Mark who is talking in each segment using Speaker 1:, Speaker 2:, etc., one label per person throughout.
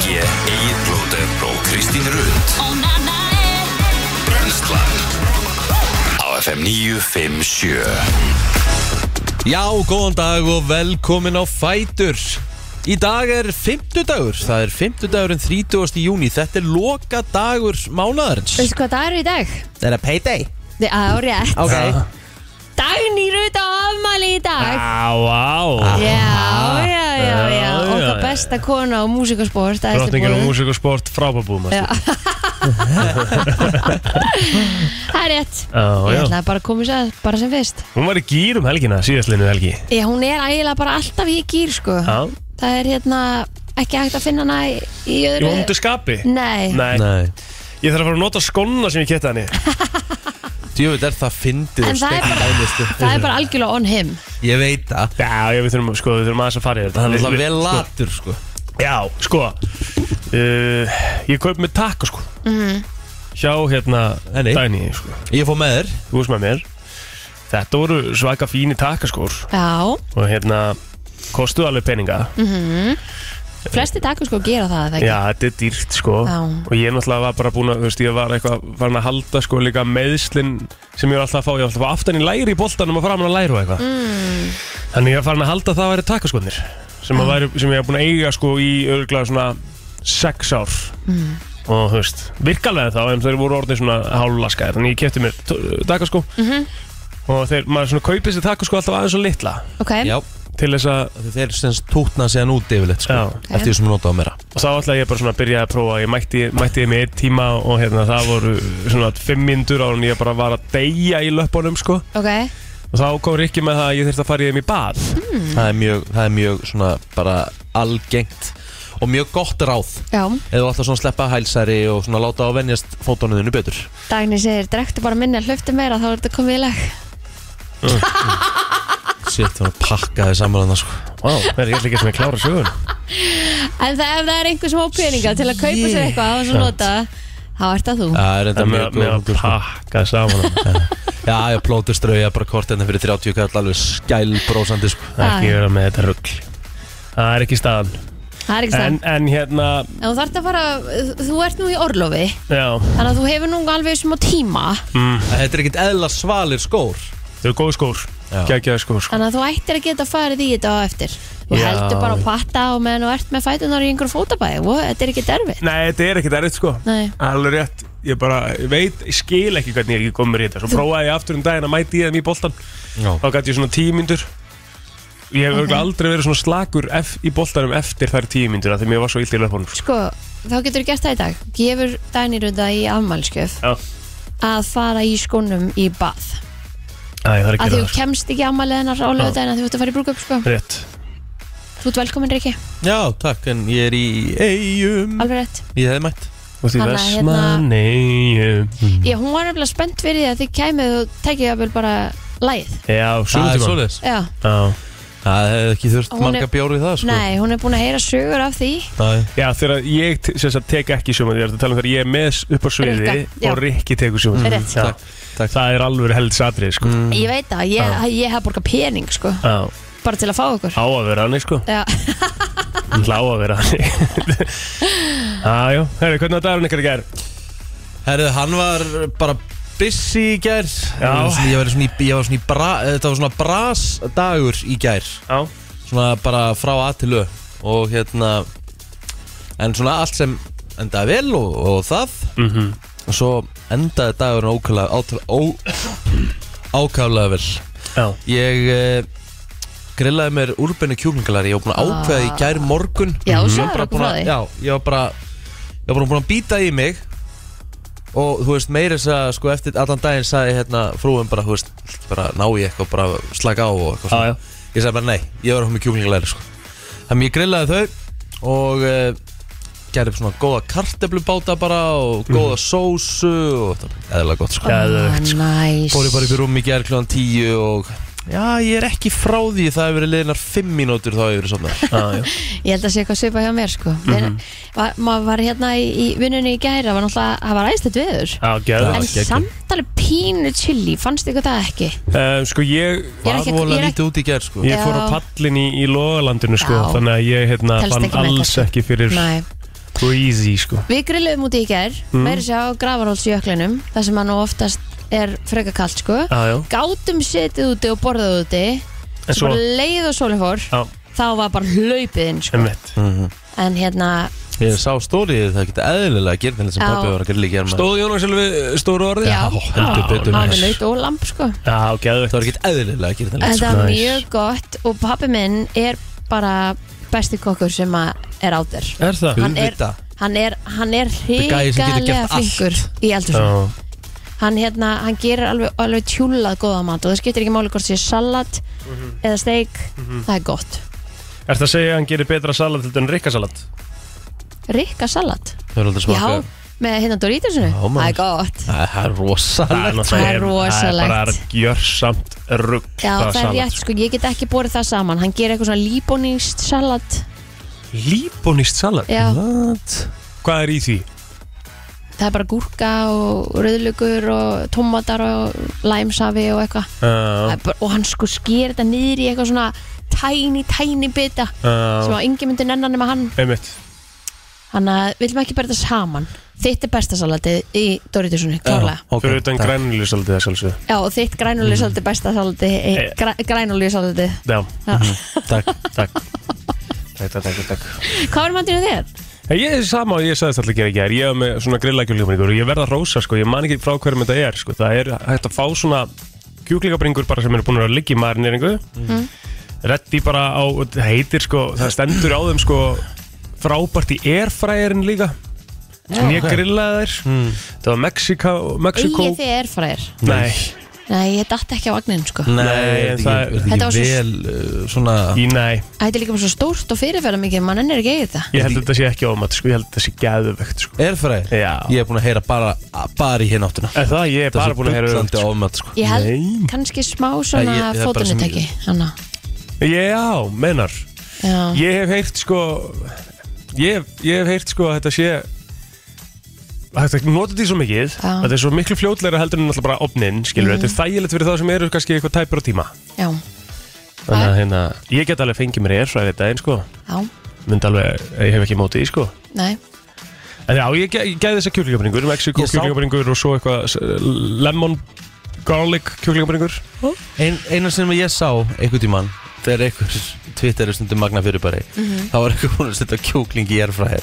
Speaker 1: G, Egil Blóter og Kristín Rund Brenslan Á FM 957
Speaker 2: Já, góðan dag og velkomin á Fætur Í dag er fimmtudagur, það er fimmtudagurinn 30. júni Þetta er loka dagur mánaðarins
Speaker 3: Veistu hvað það eru í dag?
Speaker 2: Það er að payday
Speaker 3: Þið árið
Speaker 2: Ok
Speaker 3: Dagný Rut á afmæli í dag
Speaker 4: Á, á
Speaker 3: Já, já, já, já
Speaker 4: Ah. Já, já,
Speaker 3: Okkar
Speaker 4: já.
Speaker 3: besta kona á músikasport
Speaker 4: Drottningin og músik og sport frábabúm
Speaker 3: Já. Það er rétt Ég ætlaði bara að koma sér að bara sem fyrst
Speaker 4: Hún var í gýr um helgina, síðastlinnu helgi
Speaker 3: Já, hún er ægilega bara alltaf í gýr sko
Speaker 4: Já
Speaker 3: Það er hérna ekki hægt að finna hana í, í
Speaker 4: Í
Speaker 3: öðru
Speaker 4: vondu skapi
Speaker 3: Nei,
Speaker 4: Nei.
Speaker 2: Nei
Speaker 4: Ég þarf að fara að nota skonna sem ég geta henni
Speaker 2: Djöfut er það fyndið
Speaker 3: En
Speaker 2: og
Speaker 3: það er
Speaker 2: steinn
Speaker 3: bara-
Speaker 2: dæmistu
Speaker 3: það er bara algjörlega on him
Speaker 2: Ég veit það
Speaker 4: Já, já, við þurfum, sko, við þurfum aðeins að fara í þetta
Speaker 2: Það er alltaf vel
Speaker 4: Sko,
Speaker 2: latur sko
Speaker 4: Já, sko uh, Ég kaup með takk, sko
Speaker 3: Mhm.
Speaker 4: Hjá, hérna,
Speaker 2: Henni.
Speaker 4: Dæni sko.
Speaker 2: Ég fór með þér
Speaker 4: Þú veist með mér Þetta voru svaka fíni takkaskór
Speaker 3: Já,
Speaker 4: Og hérna, kostuðu alveg peninga
Speaker 3: flesti dagur sko gera það er það ekki?
Speaker 4: Já, þetta er dýrt sko
Speaker 3: Já.
Speaker 4: Og ég náttúrulega var bara búin að, þú veist, ég var eitthvað Farin að halda sko líka meðslin Sem ég var alltaf að fá, ég var alltaf að fá aftan í læri í boltanum Og framan að læri og eitthvað mm. Þannig ég var farin að halda að það væri takkaskotnir sem, að væri, sem ég var búin að eiga sko í örgulega svona Sex ár
Speaker 5: Mm.
Speaker 3: Mm.
Speaker 4: Og þú veist, virkalega þá En þeir voru orðin svona hálflaskaðir Þannig ég kefti mér takkaskó mm Og þeir, maður svona kaupið sér takkaskó alltaf aðeins og litla
Speaker 3: Ok,
Speaker 2: Já,
Speaker 4: Til þess að
Speaker 2: af því þeir semst tótna síðan út yfirleitt sko
Speaker 4: Já.
Speaker 2: Eftir því sem hún notaði meira
Speaker 4: og þá ætlaði ég bara svona að byrja að prófa ég mætti, mætti ég með einn tíma og hérna það voru svona fimm myndur á hann ég bara var að deyja í löpunum sko
Speaker 3: ok
Speaker 4: og þá kom Rikki með það að ég þurfti að fara í þeim í bað
Speaker 3: Hmm.
Speaker 2: það, er mjög, það er mjög svona bara algengt Og mjög gott ráð
Speaker 3: Já,
Speaker 2: Eða alltaf svona sleppa hælsæri og svona láta á venjast fótónuðinu betur
Speaker 3: Dagni segir, drektu bara minna, hlöftu meira, þá er þetta komið í lag.
Speaker 2: Sitt, það var pakkaði saman þarna sko
Speaker 4: Vá, það er ég ætla ekki sem ég klára sögun
Speaker 3: En það, ef það er einhver smá peninga til að kaupa sér eitthvað á þessu nota, þá ert það þú.
Speaker 2: Það er enda
Speaker 4: það
Speaker 2: mjög
Speaker 4: með, með
Speaker 2: góð
Speaker 4: að
Speaker 2: hugmynd, sko.
Speaker 4: pakka saman það
Speaker 2: Já, ég plótur strauja bara kort hérna fyrir 30 kall alveg skælbrósandi sko
Speaker 4: er ekki vera með þetta rugg það er ekki staðan
Speaker 3: Það er ekki
Speaker 4: en,
Speaker 3: það.
Speaker 4: en hérna,
Speaker 3: En þú þarft að fara, þú ert nú í orlofi,
Speaker 4: já mm.
Speaker 3: þannig að þú hefur nú alveg smá tíma,
Speaker 2: Þetta er ekkert eðla svalir skór
Speaker 4: þau eru góð skór
Speaker 2: Já.
Speaker 4: geggjaði skór sko.
Speaker 3: þannig að þú ættir að geta farið í þetta á eftir. Þú
Speaker 4: Já.
Speaker 3: heldur bara að patta á meðan þú ert með fætunar í einhver fótabæði og þetta er ekki derfið.
Speaker 4: nei, þetta er ekki derrið sko
Speaker 3: Nei.
Speaker 4: Alveg rétt, ég bara ég veit, ég skil ekki hvernig ég ekki kom mér í þetta Svo prófaði ég aftur um daginn að mæti ég þeim í boltan
Speaker 2: Já.
Speaker 4: Þá gæti ég svona tímyndur Ég hef okay. aldrei verið svona slakur ef, í boltanum eftir þær tímyndur Þegar mér var svo illt í löpunum sko.
Speaker 3: Sko, þá getur þú gert það í dag. Gefur Dagni Runda í afmælskjöf
Speaker 4: Já,
Speaker 3: að fara í skónum í bað.
Speaker 4: Æ, það er
Speaker 3: að
Speaker 4: ekki
Speaker 3: því
Speaker 4: það
Speaker 3: þú kemst ekki ámælið hennar á lögudaginn að þú ert að fara í brúkup sko.
Speaker 4: Rétt,
Speaker 3: Þú ert velkominn Riki,
Speaker 2: Já, takk, en ég er í eigum
Speaker 3: alveg rétt
Speaker 2: Ég hefði mætt
Speaker 4: og því
Speaker 3: Þannig að, hérna-
Speaker 4: Vestmanni
Speaker 3: Ég, hún var nefnilega spennt fyrir því að þið kæmið og tekið jafnvel bara lægið
Speaker 4: Já,
Speaker 2: Það er
Speaker 4: svona tíma
Speaker 2: svoleiðis
Speaker 3: Já,
Speaker 4: Já,
Speaker 2: Það hefði ekki þurft
Speaker 3: Hún er-
Speaker 2: marga bjór í það sko
Speaker 3: nei, hún er búin að heyra sögur af því
Speaker 2: Nei.
Speaker 4: Já, þegar ég t- sem sagt tek ekki sjóman Ég er að tala um þegar ég er með upp á sviði
Speaker 3: Rikka, já. Mm.
Speaker 4: Og Rikki tekur sjóman
Speaker 3: Rétt.
Speaker 2: Takk, takk Mm.
Speaker 4: Það er alveg held satrið sko.
Speaker 2: Mhm.
Speaker 3: Ég veit það, ég, ég hef borgað pening sko,
Speaker 4: Já,
Speaker 3: bara til að fá okkur
Speaker 4: á að vera hannig sko
Speaker 3: Já,
Speaker 4: Hún hlá að vera þannig Jájú, herri, hvernig var dagurinn ykkur í gær?
Speaker 2: Herðu, hann var bara busy í gær
Speaker 4: Já.
Speaker 2: Ég var svona í, ég var svona í bra, þetta var svona bras dagur í gær
Speaker 4: Já
Speaker 2: svona bara frá að til ö og hérna en svona allt sem endaði vel og, og það
Speaker 4: Mhm.
Speaker 2: og svo endaði dagurinn ókvæðlega átal- ó- ákaflega vel
Speaker 4: Já
Speaker 2: ég eh, grillaði mér úrbenu kjúklingalar ég var búin að ákveða í gær morgun
Speaker 3: Já, þú
Speaker 4: Mhm.
Speaker 2: Ég var
Speaker 3: sagðir
Speaker 2: bara
Speaker 3: okkur
Speaker 2: búin
Speaker 3: frá
Speaker 2: að,
Speaker 3: því.
Speaker 2: já, ég var bara ég var bara búin að býta í mig og þú veist meira þess að sko eftir allan daginn sagði hérna frúin bara þú veist bara ná ég eitthvað bara slaka á og eitthvað svona.
Speaker 4: Já, já
Speaker 2: Ég sagði bara nei, ég var að fá með kjúklingalæri sko. Þannig ég grillaði þau og uh, gerði upp svona góða karteblubáta bara og góða sósu og þetta var eðalega gott sko.
Speaker 4: Mhm. Geðveikt,
Speaker 3: næs
Speaker 2: Fór ég bara upp í rúm í gerð kljóðan tíu og já, ég er ekki frá því það hefur verið liðnar fimm mínútur þá hefur verið somnar.
Speaker 4: Já, já
Speaker 3: Ég held að sé eitthvað svipa hjá mér sko mm
Speaker 2: Mhm.
Speaker 3: var, Maður var hérna í, í vinnunni í gæra var náttúrulega, það var æðslegt veður
Speaker 4: Já, gæðu
Speaker 3: En
Speaker 2: geggjað.
Speaker 3: samt alveg pínu chili, fannst ykkur það ekki?
Speaker 4: uh, Sko,
Speaker 3: Ég er
Speaker 4: ég
Speaker 3: ekki-
Speaker 2: Var
Speaker 3: ég
Speaker 2: vola
Speaker 3: er ekki-
Speaker 2: lítið út í gerð sko.
Speaker 4: Ég fór á
Speaker 3: Já.
Speaker 4: pallin í, í logalandinu sko
Speaker 3: Já.
Speaker 4: Þannig að ég hérna
Speaker 3: Telst
Speaker 4: fann
Speaker 3: ekki með
Speaker 4: alls
Speaker 3: þetta.
Speaker 4: ekki fyrir
Speaker 3: Nei
Speaker 4: Crazy sko
Speaker 3: Við grilluðum úti í gær, mm. meiri sér á Grafarholtsjöklinum, þar sem hann oftast er freka kalt sko.
Speaker 4: Já, já.
Speaker 3: Gátum setið úti og borðað úti,
Speaker 4: En
Speaker 3: svo
Speaker 4: svo,
Speaker 3: bara leið og sólinn fór,
Speaker 4: já,
Speaker 3: þá var bara hlaupið inn sko.
Speaker 4: emmitt
Speaker 3: En hérna,
Speaker 2: Mhm. Ég sá stórið það geta eðlilega að gera þannig sem
Speaker 3: Já.
Speaker 2: pappi var að gera líka
Speaker 4: Stóð Jónas alveg stóru orði?
Speaker 3: Já.
Speaker 2: heldur betur
Speaker 3: hann
Speaker 2: maður.
Speaker 3: með laut og lamp sko.
Speaker 4: Já, geðvegt
Speaker 2: Það var ekkert eðlilega að gera þannig
Speaker 3: Þetta var
Speaker 4: Nice.
Speaker 3: mjög gott og pappi minn er bara besti kokkur sem að er átur.
Speaker 4: Er það?
Speaker 3: Hann er,
Speaker 2: Auðvitað.
Speaker 3: hann er, hann er
Speaker 2: er gæi sem getur
Speaker 3: hrigalega
Speaker 2: gert allt.
Speaker 3: flinkur í eldur.
Speaker 4: Já,
Speaker 3: Hann, hérna, hann gerir alveg, alveg tjúlað góða mat og það skiptir ekki máli hvort sé salat eða steik,
Speaker 2: Mhm.
Speaker 3: það er gott.
Speaker 4: er það að segja að hann gerir betra salat heldur en rikkasalat?
Speaker 3: Rikka salat?
Speaker 2: Það var aldrei
Speaker 3: Já,
Speaker 2: smaka
Speaker 3: með hérna Doritosinu?
Speaker 2: Já, maður.
Speaker 3: Það er gott.
Speaker 2: Æ, Það er rosalegt
Speaker 3: Það er
Speaker 4: Það er bara
Speaker 3: rosalegt.
Speaker 4: gjörsamt rugg
Speaker 3: Já, það, er rétt, sko, ég get ekki borið það saman. Hann gerir eitthvað svona líbóníst salat.
Speaker 4: Líbonist salat?
Speaker 3: Já,
Speaker 2: What?
Speaker 4: Hvað er í því?
Speaker 3: það er bara gúrka og rauðlugur og tómatar og læmsafi og eitthvað.
Speaker 4: Uh,
Speaker 3: Það er bara- Og hann sko sker þetta niður í eitthvað svona tæni, tæni bita sem á
Speaker 4: uh,
Speaker 3: yngi myndi nennan nema hann.
Speaker 4: Emmitt
Speaker 3: Þannig að við viljum ekki bera þetta saman Þitt er besta salatið í Dorítusunni, klárlega
Speaker 2: Ok,
Speaker 4: Fyrir utan
Speaker 2: takk.
Speaker 4: grænulíu salatið þess alveg
Speaker 3: Já, og þitt grænulísalatið besta salatið e,
Speaker 4: Eh.
Speaker 3: græ, Grænulísalatið
Speaker 4: Já,
Speaker 2: Mhm. Takk
Speaker 4: takk Takk, takk, takk, takk
Speaker 3: Hvað er mandinu þér?
Speaker 4: Ég er sama og ég sagðist alltaf að gera ekki Ég er með svona grillakjúlingabringur og ég verð að rósa sko Ég man ekki frá hverjum þetta er sko Það er hægt að fá svona kjúklingabringur bara sem eru búin að liggja í marineringu
Speaker 5: Mhm.
Speaker 3: Mm.
Speaker 4: Reddi bara á, það heitir sko, það stendur á þeim sko Frábært í airfryerin líka Sem ég grillaði þær Það var Mexika, Mexiko
Speaker 3: Egið þið er fræðir
Speaker 4: Nei,
Speaker 3: Nei, ég datt ekki á vagnin, sko
Speaker 2: Nei,
Speaker 4: Nei,
Speaker 2: þetta
Speaker 4: það-
Speaker 2: er
Speaker 3: Þetta
Speaker 2: ekki-
Speaker 3: var
Speaker 2: þetta er
Speaker 3: svo-
Speaker 2: ekki vel uh, svona
Speaker 4: í nei
Speaker 3: Þetta er líka bara svo stórt og fyrirferða mikið Mann ennir ekki eigið það
Speaker 4: Ég held að þetta sé ekki ómat sko, ég held að þetta sé gæðuvegt sko
Speaker 2: erfræð
Speaker 4: Já.
Speaker 2: Ég er búin að heyra bara, bara í hérna áttuna
Speaker 4: En það, ég er bara búin að heyra
Speaker 2: Þetta er ofmætt sko
Speaker 3: Ég held
Speaker 4: Nei.
Speaker 3: kannski smá svona
Speaker 2: Nei, ég- það er bara sem
Speaker 3: fótunutæki Hanna
Speaker 4: Já, mennar
Speaker 3: Já,
Speaker 4: Ég hef heyrt sko Ég, hef- ég hef heyrt sko að þetta sé að Þetta nota því svo mikið
Speaker 3: Já.
Speaker 4: að Þetta er svo miklu fljótlegra heldur en náttúrulega bara opnin Skilur,
Speaker 2: Mm.
Speaker 4: þetta er þægilegt fyrir það sem eru kannski eitthvað tæpur á tíma
Speaker 3: já,
Speaker 4: Þannig að hérna, ég get alveg fengið mér erfræði þetta einn sko
Speaker 3: já,
Speaker 4: Mynd alveg, ég hef ekki mótið í sko
Speaker 3: nei
Speaker 4: En já, ég, ge- ég gæði þessa kjúlingabringur Mexiko
Speaker 2: Ég sá-
Speaker 4: kjúlingabringur og svo eitthvað s- Lemon garlic kjúlingabringur
Speaker 2: Ein, Einar sem ég sá einhvern tímann Þegar einhver Twitter er stundum magna fyrir bara
Speaker 3: Mhm.
Speaker 2: Þá var einhver búin að setja kjúkling í erfræðir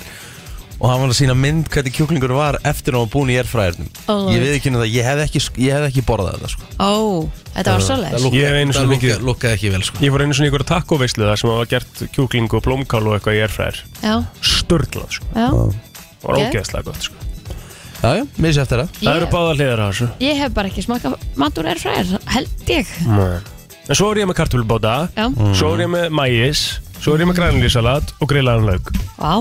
Speaker 2: Og hann var að sína mynd hvernig kjúklingur var Eftir að hann var búin í erfræðirnum
Speaker 3: Alright.
Speaker 2: Ég veit ekki henni það, ég hef ekki, ég hef ekki borðað þetta sko
Speaker 3: Ó, þetta var svoleiðis
Speaker 4: Ég hef einu
Speaker 2: það
Speaker 4: sinni
Speaker 2: lukkaði
Speaker 4: fengið-
Speaker 2: lukka ekki vel sko
Speaker 4: Ég fór einu svona í ykkur takoveislu það sem var gert kjúkling og blómkál og eitthvað í erfræðir
Speaker 3: Já,
Speaker 4: Störlað sko
Speaker 3: já
Speaker 4: Það var
Speaker 3: Geð.
Speaker 4: ógeðslega gott sko
Speaker 2: Já, já, missi eftir það
Speaker 4: Það eru
Speaker 3: Ég,
Speaker 4: báða hliðar á þessu
Speaker 3: ég hef bara ekki smakað mat úr erfræðir, held ég
Speaker 2: Mm.
Speaker 4: En svo er ég með kartúlubóta
Speaker 3: Já,
Speaker 4: Svo er ég með mæis Svo er ég með grænlýsalat og grillaðan lauk
Speaker 3: Vá,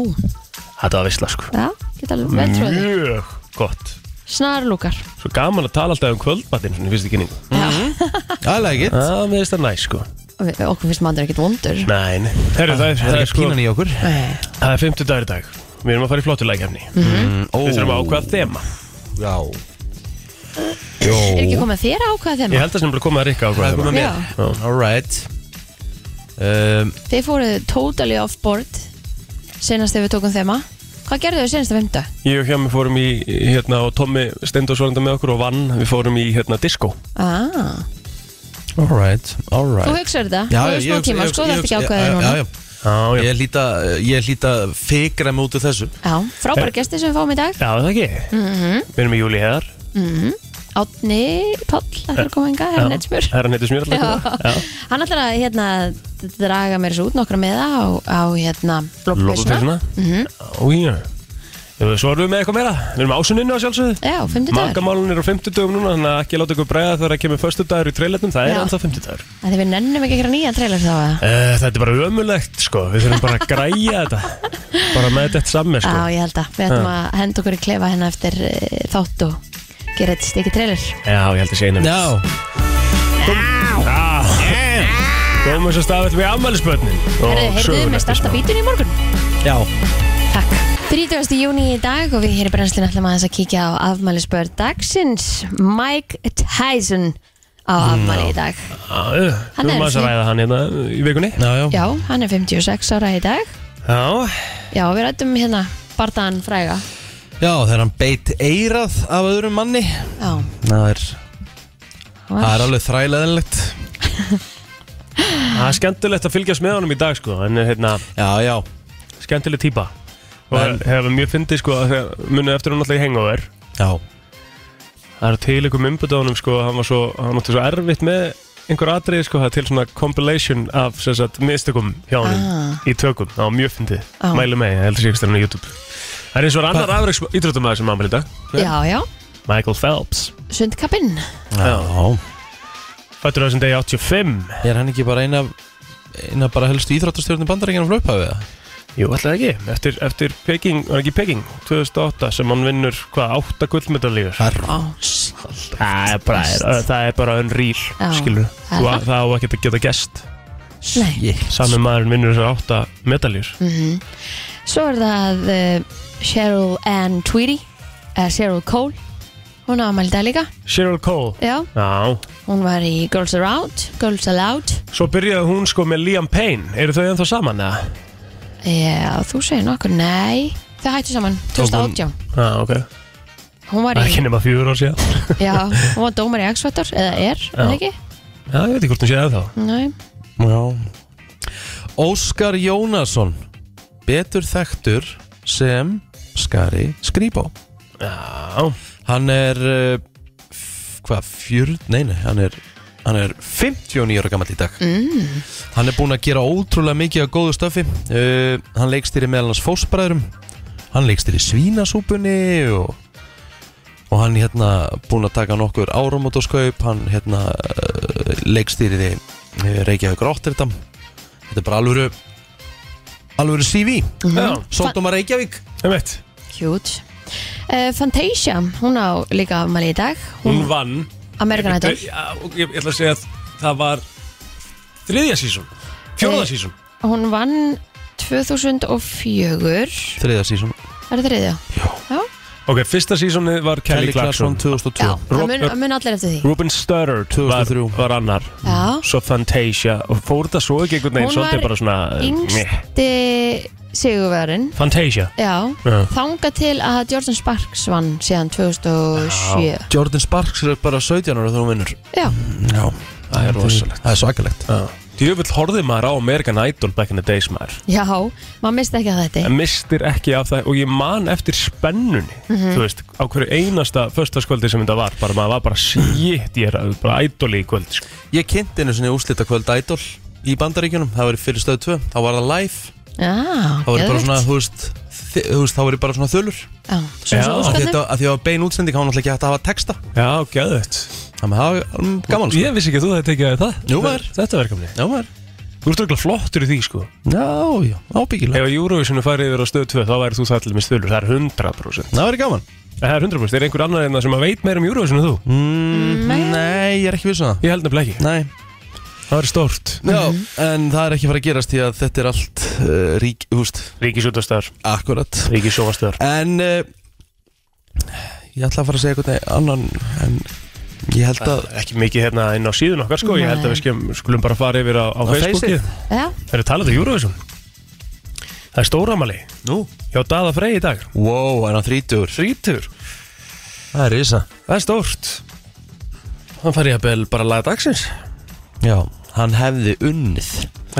Speaker 4: Þetta var veistla sko
Speaker 3: já, geta alveg vel trúið því.
Speaker 4: Mjög gott
Speaker 3: Snarlúkar
Speaker 4: Svo gaman að tala alltaf um kvöldmatinn Svona í fyrstu kynningu
Speaker 2: Mm. I like it
Speaker 4: Það með þetta næ sko
Speaker 3: Við- Okkur finnst maður ekkert vondur
Speaker 4: Nein Herru það er
Speaker 2: Það Ah, er
Speaker 4: sko
Speaker 2: ekki pínan í okkur
Speaker 3: Nei.
Speaker 4: Það er 50 dagur í dag Við erum að fara í flottulækjafni
Speaker 3: Mhm.
Speaker 2: Mm, ó,
Speaker 4: Við þurfum að ákvaða þema
Speaker 2: Já
Speaker 3: Er ekki
Speaker 2: Jó
Speaker 3: komið þér að ákvæða þeim?
Speaker 4: Ég held að sem bara koma að rikka hérna.
Speaker 2: Það
Speaker 4: ákvaða
Speaker 2: er komið
Speaker 4: þema
Speaker 2: að
Speaker 3: Já.
Speaker 2: mér Alright um,
Speaker 3: Þið fóruð totally off board Senast þegar við tókum þema Hvað gerðu þau senast að fymta?
Speaker 4: Ég og hjá mig fórum í hérna og Tommi Steindós var enda með okkur og vann Við fórum í hérna disco
Speaker 3: Ah,
Speaker 2: Alright, alright
Speaker 3: þú hugsaður þetta? þú hefur smá tíma, sko þetta ekki ákvæða þér núna
Speaker 2: Já, já,
Speaker 4: Já,
Speaker 2: Ég hlýta, ég hlýta fikra mig út úr þessu
Speaker 3: Já, frábæra gesti sem við fáum í dag Mhm,
Speaker 4: Já, það ekki Við erum í júli heðar
Speaker 3: Átni Páll, Mm, það er komið enga,
Speaker 4: Já.
Speaker 3: herr Netsmur
Speaker 4: Herra Nettismjör alltaf Já.
Speaker 3: Hann ætlar að hérna, draga mér þessu út nokkra meða á, á hérna, blóðpilsuna
Speaker 4: Lopapilsuna
Speaker 3: Mhm.
Speaker 4: Ójá Svo erum við með eitthvað meira Við erum ásuninu á sjálfsögðu
Speaker 3: Já, fymtudagur
Speaker 4: Magamálun er á 50 dögum núna Þannig að ekki láta ykkur bregða þegar að kemur Föstu dagur í treyletnum Það er
Speaker 3: Já.
Speaker 4: ennþá 50 dagur
Speaker 3: Þegar við nennum ekki að gera nýjan trailer þá að
Speaker 4: Þetta er bara ömulegt sko Við þurfum bara að græja þetta Bara með þetta samme sko
Speaker 3: Já, ég held að við ætlum að henda okkur í klefa hérna eftir e, þátt og gera þetta stikki trailer
Speaker 4: Já, ég held að segja einum
Speaker 2: Já,
Speaker 4: Komum svo stafið með afmælisbönnin
Speaker 3: Herðu, heyrðuðu með starta bítun í morgun?
Speaker 2: já
Speaker 3: Takk 30. júni í dag og við hér í brennslinu ætlum aðeins að kíkja á afmælisbörn dagsins Mike Tyson á afmæli í dag Hann
Speaker 4: Þú
Speaker 3: er
Speaker 4: maður að
Speaker 3: fín.
Speaker 4: ræða hann hérna í vikunni
Speaker 2: Já, já,
Speaker 3: Já, hann er 56 ára í dag
Speaker 4: Já,
Speaker 3: Já, við rættum hérna bardaðan fræga
Speaker 2: Já, þegar hann beit eirað af öðrum manni
Speaker 3: Já,
Speaker 2: Það er,
Speaker 3: hann
Speaker 2: það er
Speaker 3: var
Speaker 2: alveg þræleðilegt
Speaker 4: Það er skemmtilegt að fylgjast með honum í dag sko En hérna,
Speaker 2: Já, já,
Speaker 4: skemmtileg típa Og
Speaker 2: Men-
Speaker 4: hefur mjög fyndið sko að þegar- Munið eftir hún alltaf í hangover
Speaker 2: já
Speaker 4: Það er til einhverjum umbyrðunum sko Hann var svo, hann átti svo erfitt með einhver atriði sko Það er til svona compilation af sem sagt, mistökum hjá honum
Speaker 3: Ah.
Speaker 4: Í tökum, það var mjög fyndið
Speaker 3: Ah.
Speaker 4: Mælu með, ég heldur síkast hérna á YouTube Það er eins og er annar afreiks íþróttumæður sem ámæli þetta
Speaker 3: Já, já,
Speaker 4: Michael Phelps
Speaker 3: sundkappinn
Speaker 2: Já,
Speaker 4: Fættur þessum degi 85
Speaker 2: er hann ekki bara eina eina bara helstu íþróttastjórnum bandaríkjanum flöpa við það
Speaker 4: Jú, alltaf ekki, eftir, eftir Peking, var ekki Peking, 2008 sem hann vinnur, hvað, 8 gullmedalíður
Speaker 2: Það er
Speaker 4: Það er bara, það er- það er bara unreal,
Speaker 3: Já.
Speaker 4: skilur
Speaker 3: Það er
Speaker 4: Þú-
Speaker 3: það.
Speaker 4: Það á ekki að geta gest
Speaker 3: Nei.
Speaker 4: Sami maðurinn vinnur þessar 8 medalíður
Speaker 3: Mhm. Svo er það uh, Cheryl Ann Tweedy eða Cheryl Cole Hún á afmæli í dag líka
Speaker 4: Cheryl Cole
Speaker 3: Já,
Speaker 4: Já,
Speaker 3: hún var í Girls Are Out Girls Aloud
Speaker 4: svo byrjaði hún sko með Liam Payne, eru þau ennþá saman eða?
Speaker 3: Já, Eh, þú segir nokkur, nei Þau hættu saman, 2018
Speaker 4: Já, ok,
Speaker 3: Hún var
Speaker 4: það er
Speaker 3: í,
Speaker 4: ekki nema fjögur ár síðan
Speaker 3: já, hún var dómar í X-Factor Eða er, er það ekki?
Speaker 4: Já, ég veit ekki hvort hún séð ennþá
Speaker 3: Nei,
Speaker 2: Já Óskar Jónasson betur þekktur sem Skari Skrýbó
Speaker 4: Já,
Speaker 2: Hann er eh, f- hvað, 40, nei nei hann er, hann er 59 ára gammal í dag mm. Hann er búinn að gera ótrúlega mikið af góðu stöfi uh, Hann leikstýri meðal hans fósbræðurum Hann leikstýri svínasúpunni og, og hann hérna búinn að taka nokkur áramótoskaup Hann hérna uh, leikstýriði uh, Reykjavík Rotterdam Þetta er bara alvöru alvöru CV
Speaker 4: Mhm. já,
Speaker 2: Sóldóma Reykjavík
Speaker 4: ég veit
Speaker 3: cute uh, Fantasia, hún á líka afmæli í dag
Speaker 4: Hún vann
Speaker 3: American Idol
Speaker 4: Já, og ég, ég ætla að segja að það var þriðja sísón,
Speaker 3: Eh.
Speaker 4: fjóraða sísón
Speaker 3: Hún vann 2004
Speaker 2: Þriða sísón
Speaker 3: Er það þriðja?
Speaker 4: Ok, fyrsta sísónið var Kelly,
Speaker 2: Kelly Clarkson
Speaker 3: Já,
Speaker 2: 2002
Speaker 3: það mun,
Speaker 4: Rob-
Speaker 3: það mun allir eftir því
Speaker 4: Ruben Studdard
Speaker 2: 2003.
Speaker 4: var, var annar
Speaker 3: Já.
Speaker 4: Svo Fantasia og fór þetta svo ekki einhvern veginn
Speaker 3: Hún var
Speaker 4: svolítið bara svona eh, meh.
Speaker 3: Yngsti sigurverðin
Speaker 4: Fantasia
Speaker 3: Já,
Speaker 4: Já.
Speaker 3: þanga til að Jordan Sparks vann síðan 2007 Já,
Speaker 2: Jordan Sparks er bara 17 ára þegar hún vinnur Já,
Speaker 4: Það er rosalegt
Speaker 2: það er svakalegt
Speaker 4: Djöfull horfði maður á American Idol back in the days maður
Speaker 3: já maður misti ekki að þetta
Speaker 4: En mistir ekki af það og ég man eftir spennunni Þú veist, á hverju einasta föstaskvöldi sem þetta var bara maður var bara shit, ég er bara idoli í kvöld sko.
Speaker 2: Ég kynnti einu sinni úslita kvöld Idol í Bandaríkjunum, það var í fyrir stöð 2 þá var það live,
Speaker 3: Já,
Speaker 2: þá var ég bara
Speaker 3: geðveikt.
Speaker 2: svona þú veist, þi- þú veist, þá var ég bara svona þölur
Speaker 3: Já, svona
Speaker 4: Já.
Speaker 3: svo
Speaker 2: af því
Speaker 3: úrstæðnum
Speaker 2: þetta- af því að það var bein útsending, þá var náttúrulega ekki hægt að hafa texta
Speaker 4: Já, gæðvett
Speaker 2: þannig að það var um, gaman sko.
Speaker 4: Ég vissi ekki að þú það tekið það
Speaker 2: Jú, maður.
Speaker 4: Þetta verkefni
Speaker 2: Já, maður.
Speaker 4: Þú ert örgulega flottur í því sko
Speaker 2: já, já, ábyggilega
Speaker 4: Ef að Eurovisionu færi yfir á stöð 2 þá væri þú það allir með stöðlur Það er 100%
Speaker 2: Það verið gaman
Speaker 4: Það er 100% Er einhver annar en það sem að veit meira um Eurovisionu en þú?
Speaker 2: mm, Nei, ég er ekki viss um það
Speaker 4: Ég held nefnilega ekki
Speaker 2: Nei,
Speaker 4: Það er stórt
Speaker 2: já,
Speaker 3: Mhm.
Speaker 2: en það er ekki fara að gerast því að þetta er allt uh, rík, húst,
Speaker 4: Ríkisútastar
Speaker 2: akkurat
Speaker 4: Ríkisjóvastar
Speaker 2: En uh, Ég ætla að fara að segja eitthvað annan En ég held að
Speaker 4: Ekki mikið hérna inn á síðun okkar sko Ég held að við skulum, skulum bara fara yfir á, á Facebooki
Speaker 2: Face-ið.
Speaker 3: Já,
Speaker 4: Það er talað um Eurovision Það er stóramali
Speaker 2: Nú
Speaker 4: Hjá Daða Frey í dag
Speaker 2: Wow, er hann þrítur
Speaker 4: Þrítur
Speaker 2: Það er risa
Speaker 4: Það er stórt Hann fær ég að bel bara laga dagsins
Speaker 2: Já, hann hefði unnið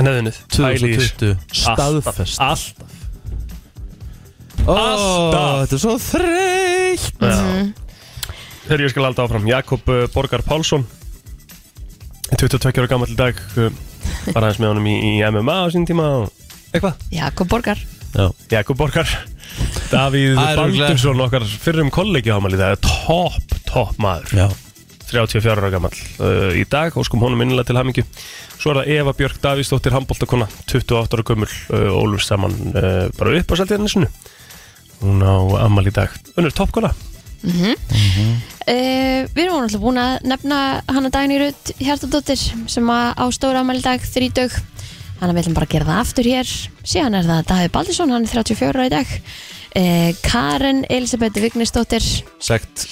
Speaker 4: Neðinuð
Speaker 2: 2020 Staðfest
Speaker 4: Allt
Speaker 2: Ó,
Speaker 4: alltaf.
Speaker 2: Þetta er svo þreytt
Speaker 4: Þegar ég skal halda áfram Jakob uh, Borgar Pálsson 22 ára gammal dag uh, var aðeins með honum í, í MMA á sín tíma og eitthvað
Speaker 3: Jakob Borgar
Speaker 2: Já
Speaker 4: Jakob Borgar Davíð
Speaker 2: Það er örugglega-
Speaker 4: Baldursson okkar fyrrum kollegi ámæli það er topp, topp maður
Speaker 2: Já
Speaker 4: 34 ára gammal uh, í dag og skum honum innlega til hamingju svo er það Eva Björk Davíðsdóttir Hamboltakona 28 ára gömul uh, Ólfur saman uh, bara upp á seldiðanisinu hún á ammali í dag unnur toppkona
Speaker 2: Mhm.
Speaker 3: uh, Mhm. Við erum alltaf búin að nefna hana Dagný Rutt Hjartadóttir sem að á stóra afmæli í dag þrítug Þannig að við ætlum bara að gera það aftur hér Síðan er það Davíð Baldesson, hann er 34 ára í dag eh, Karen Elisabeth Vignisdóttir
Speaker 2: Sekt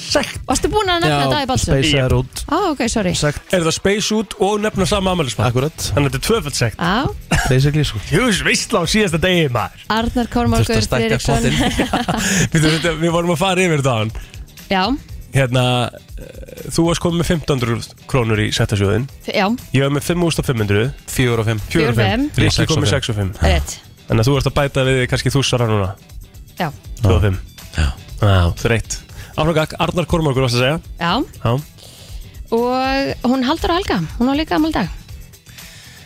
Speaker 3: Varstu búin að nefna Davíð Balsson?
Speaker 2: Space er út
Speaker 3: Á, ok, sorry
Speaker 2: Sekt
Speaker 4: Er það space út og nefna sama amælismann
Speaker 2: Akkurat
Speaker 4: Þannig að þetta er tvöfald segt
Speaker 3: Á,
Speaker 2: Basically sko
Speaker 4: Hjús veistla á síðasta degi maður
Speaker 3: Arnar
Speaker 2: Þurfti
Speaker 3: Kormorgur
Speaker 2: að stækka
Speaker 3: Friðriksson
Speaker 4: Við, við, við vorum að fara yfir þetta á hann
Speaker 3: Já,
Speaker 4: Hérna, eh, þú varst komið með 1500 krónur í settasjóðin
Speaker 3: f- já,
Speaker 4: Ég var með 5500
Speaker 2: 4 og 5
Speaker 4: 4 og 5
Speaker 2: Ég
Speaker 4: Rikki kom með
Speaker 2: 6
Speaker 4: 6 og 5
Speaker 3: rétt
Speaker 4: Þannig að þú ert að bæta við kannski þúsara núna
Speaker 3: Já,
Speaker 4: 2 og 5 Já Þreitt Afrangak, Arnar Kormorgur varst að segja
Speaker 3: já
Speaker 4: Já
Speaker 3: Og hún haldur á Helga, hún á líka amal dag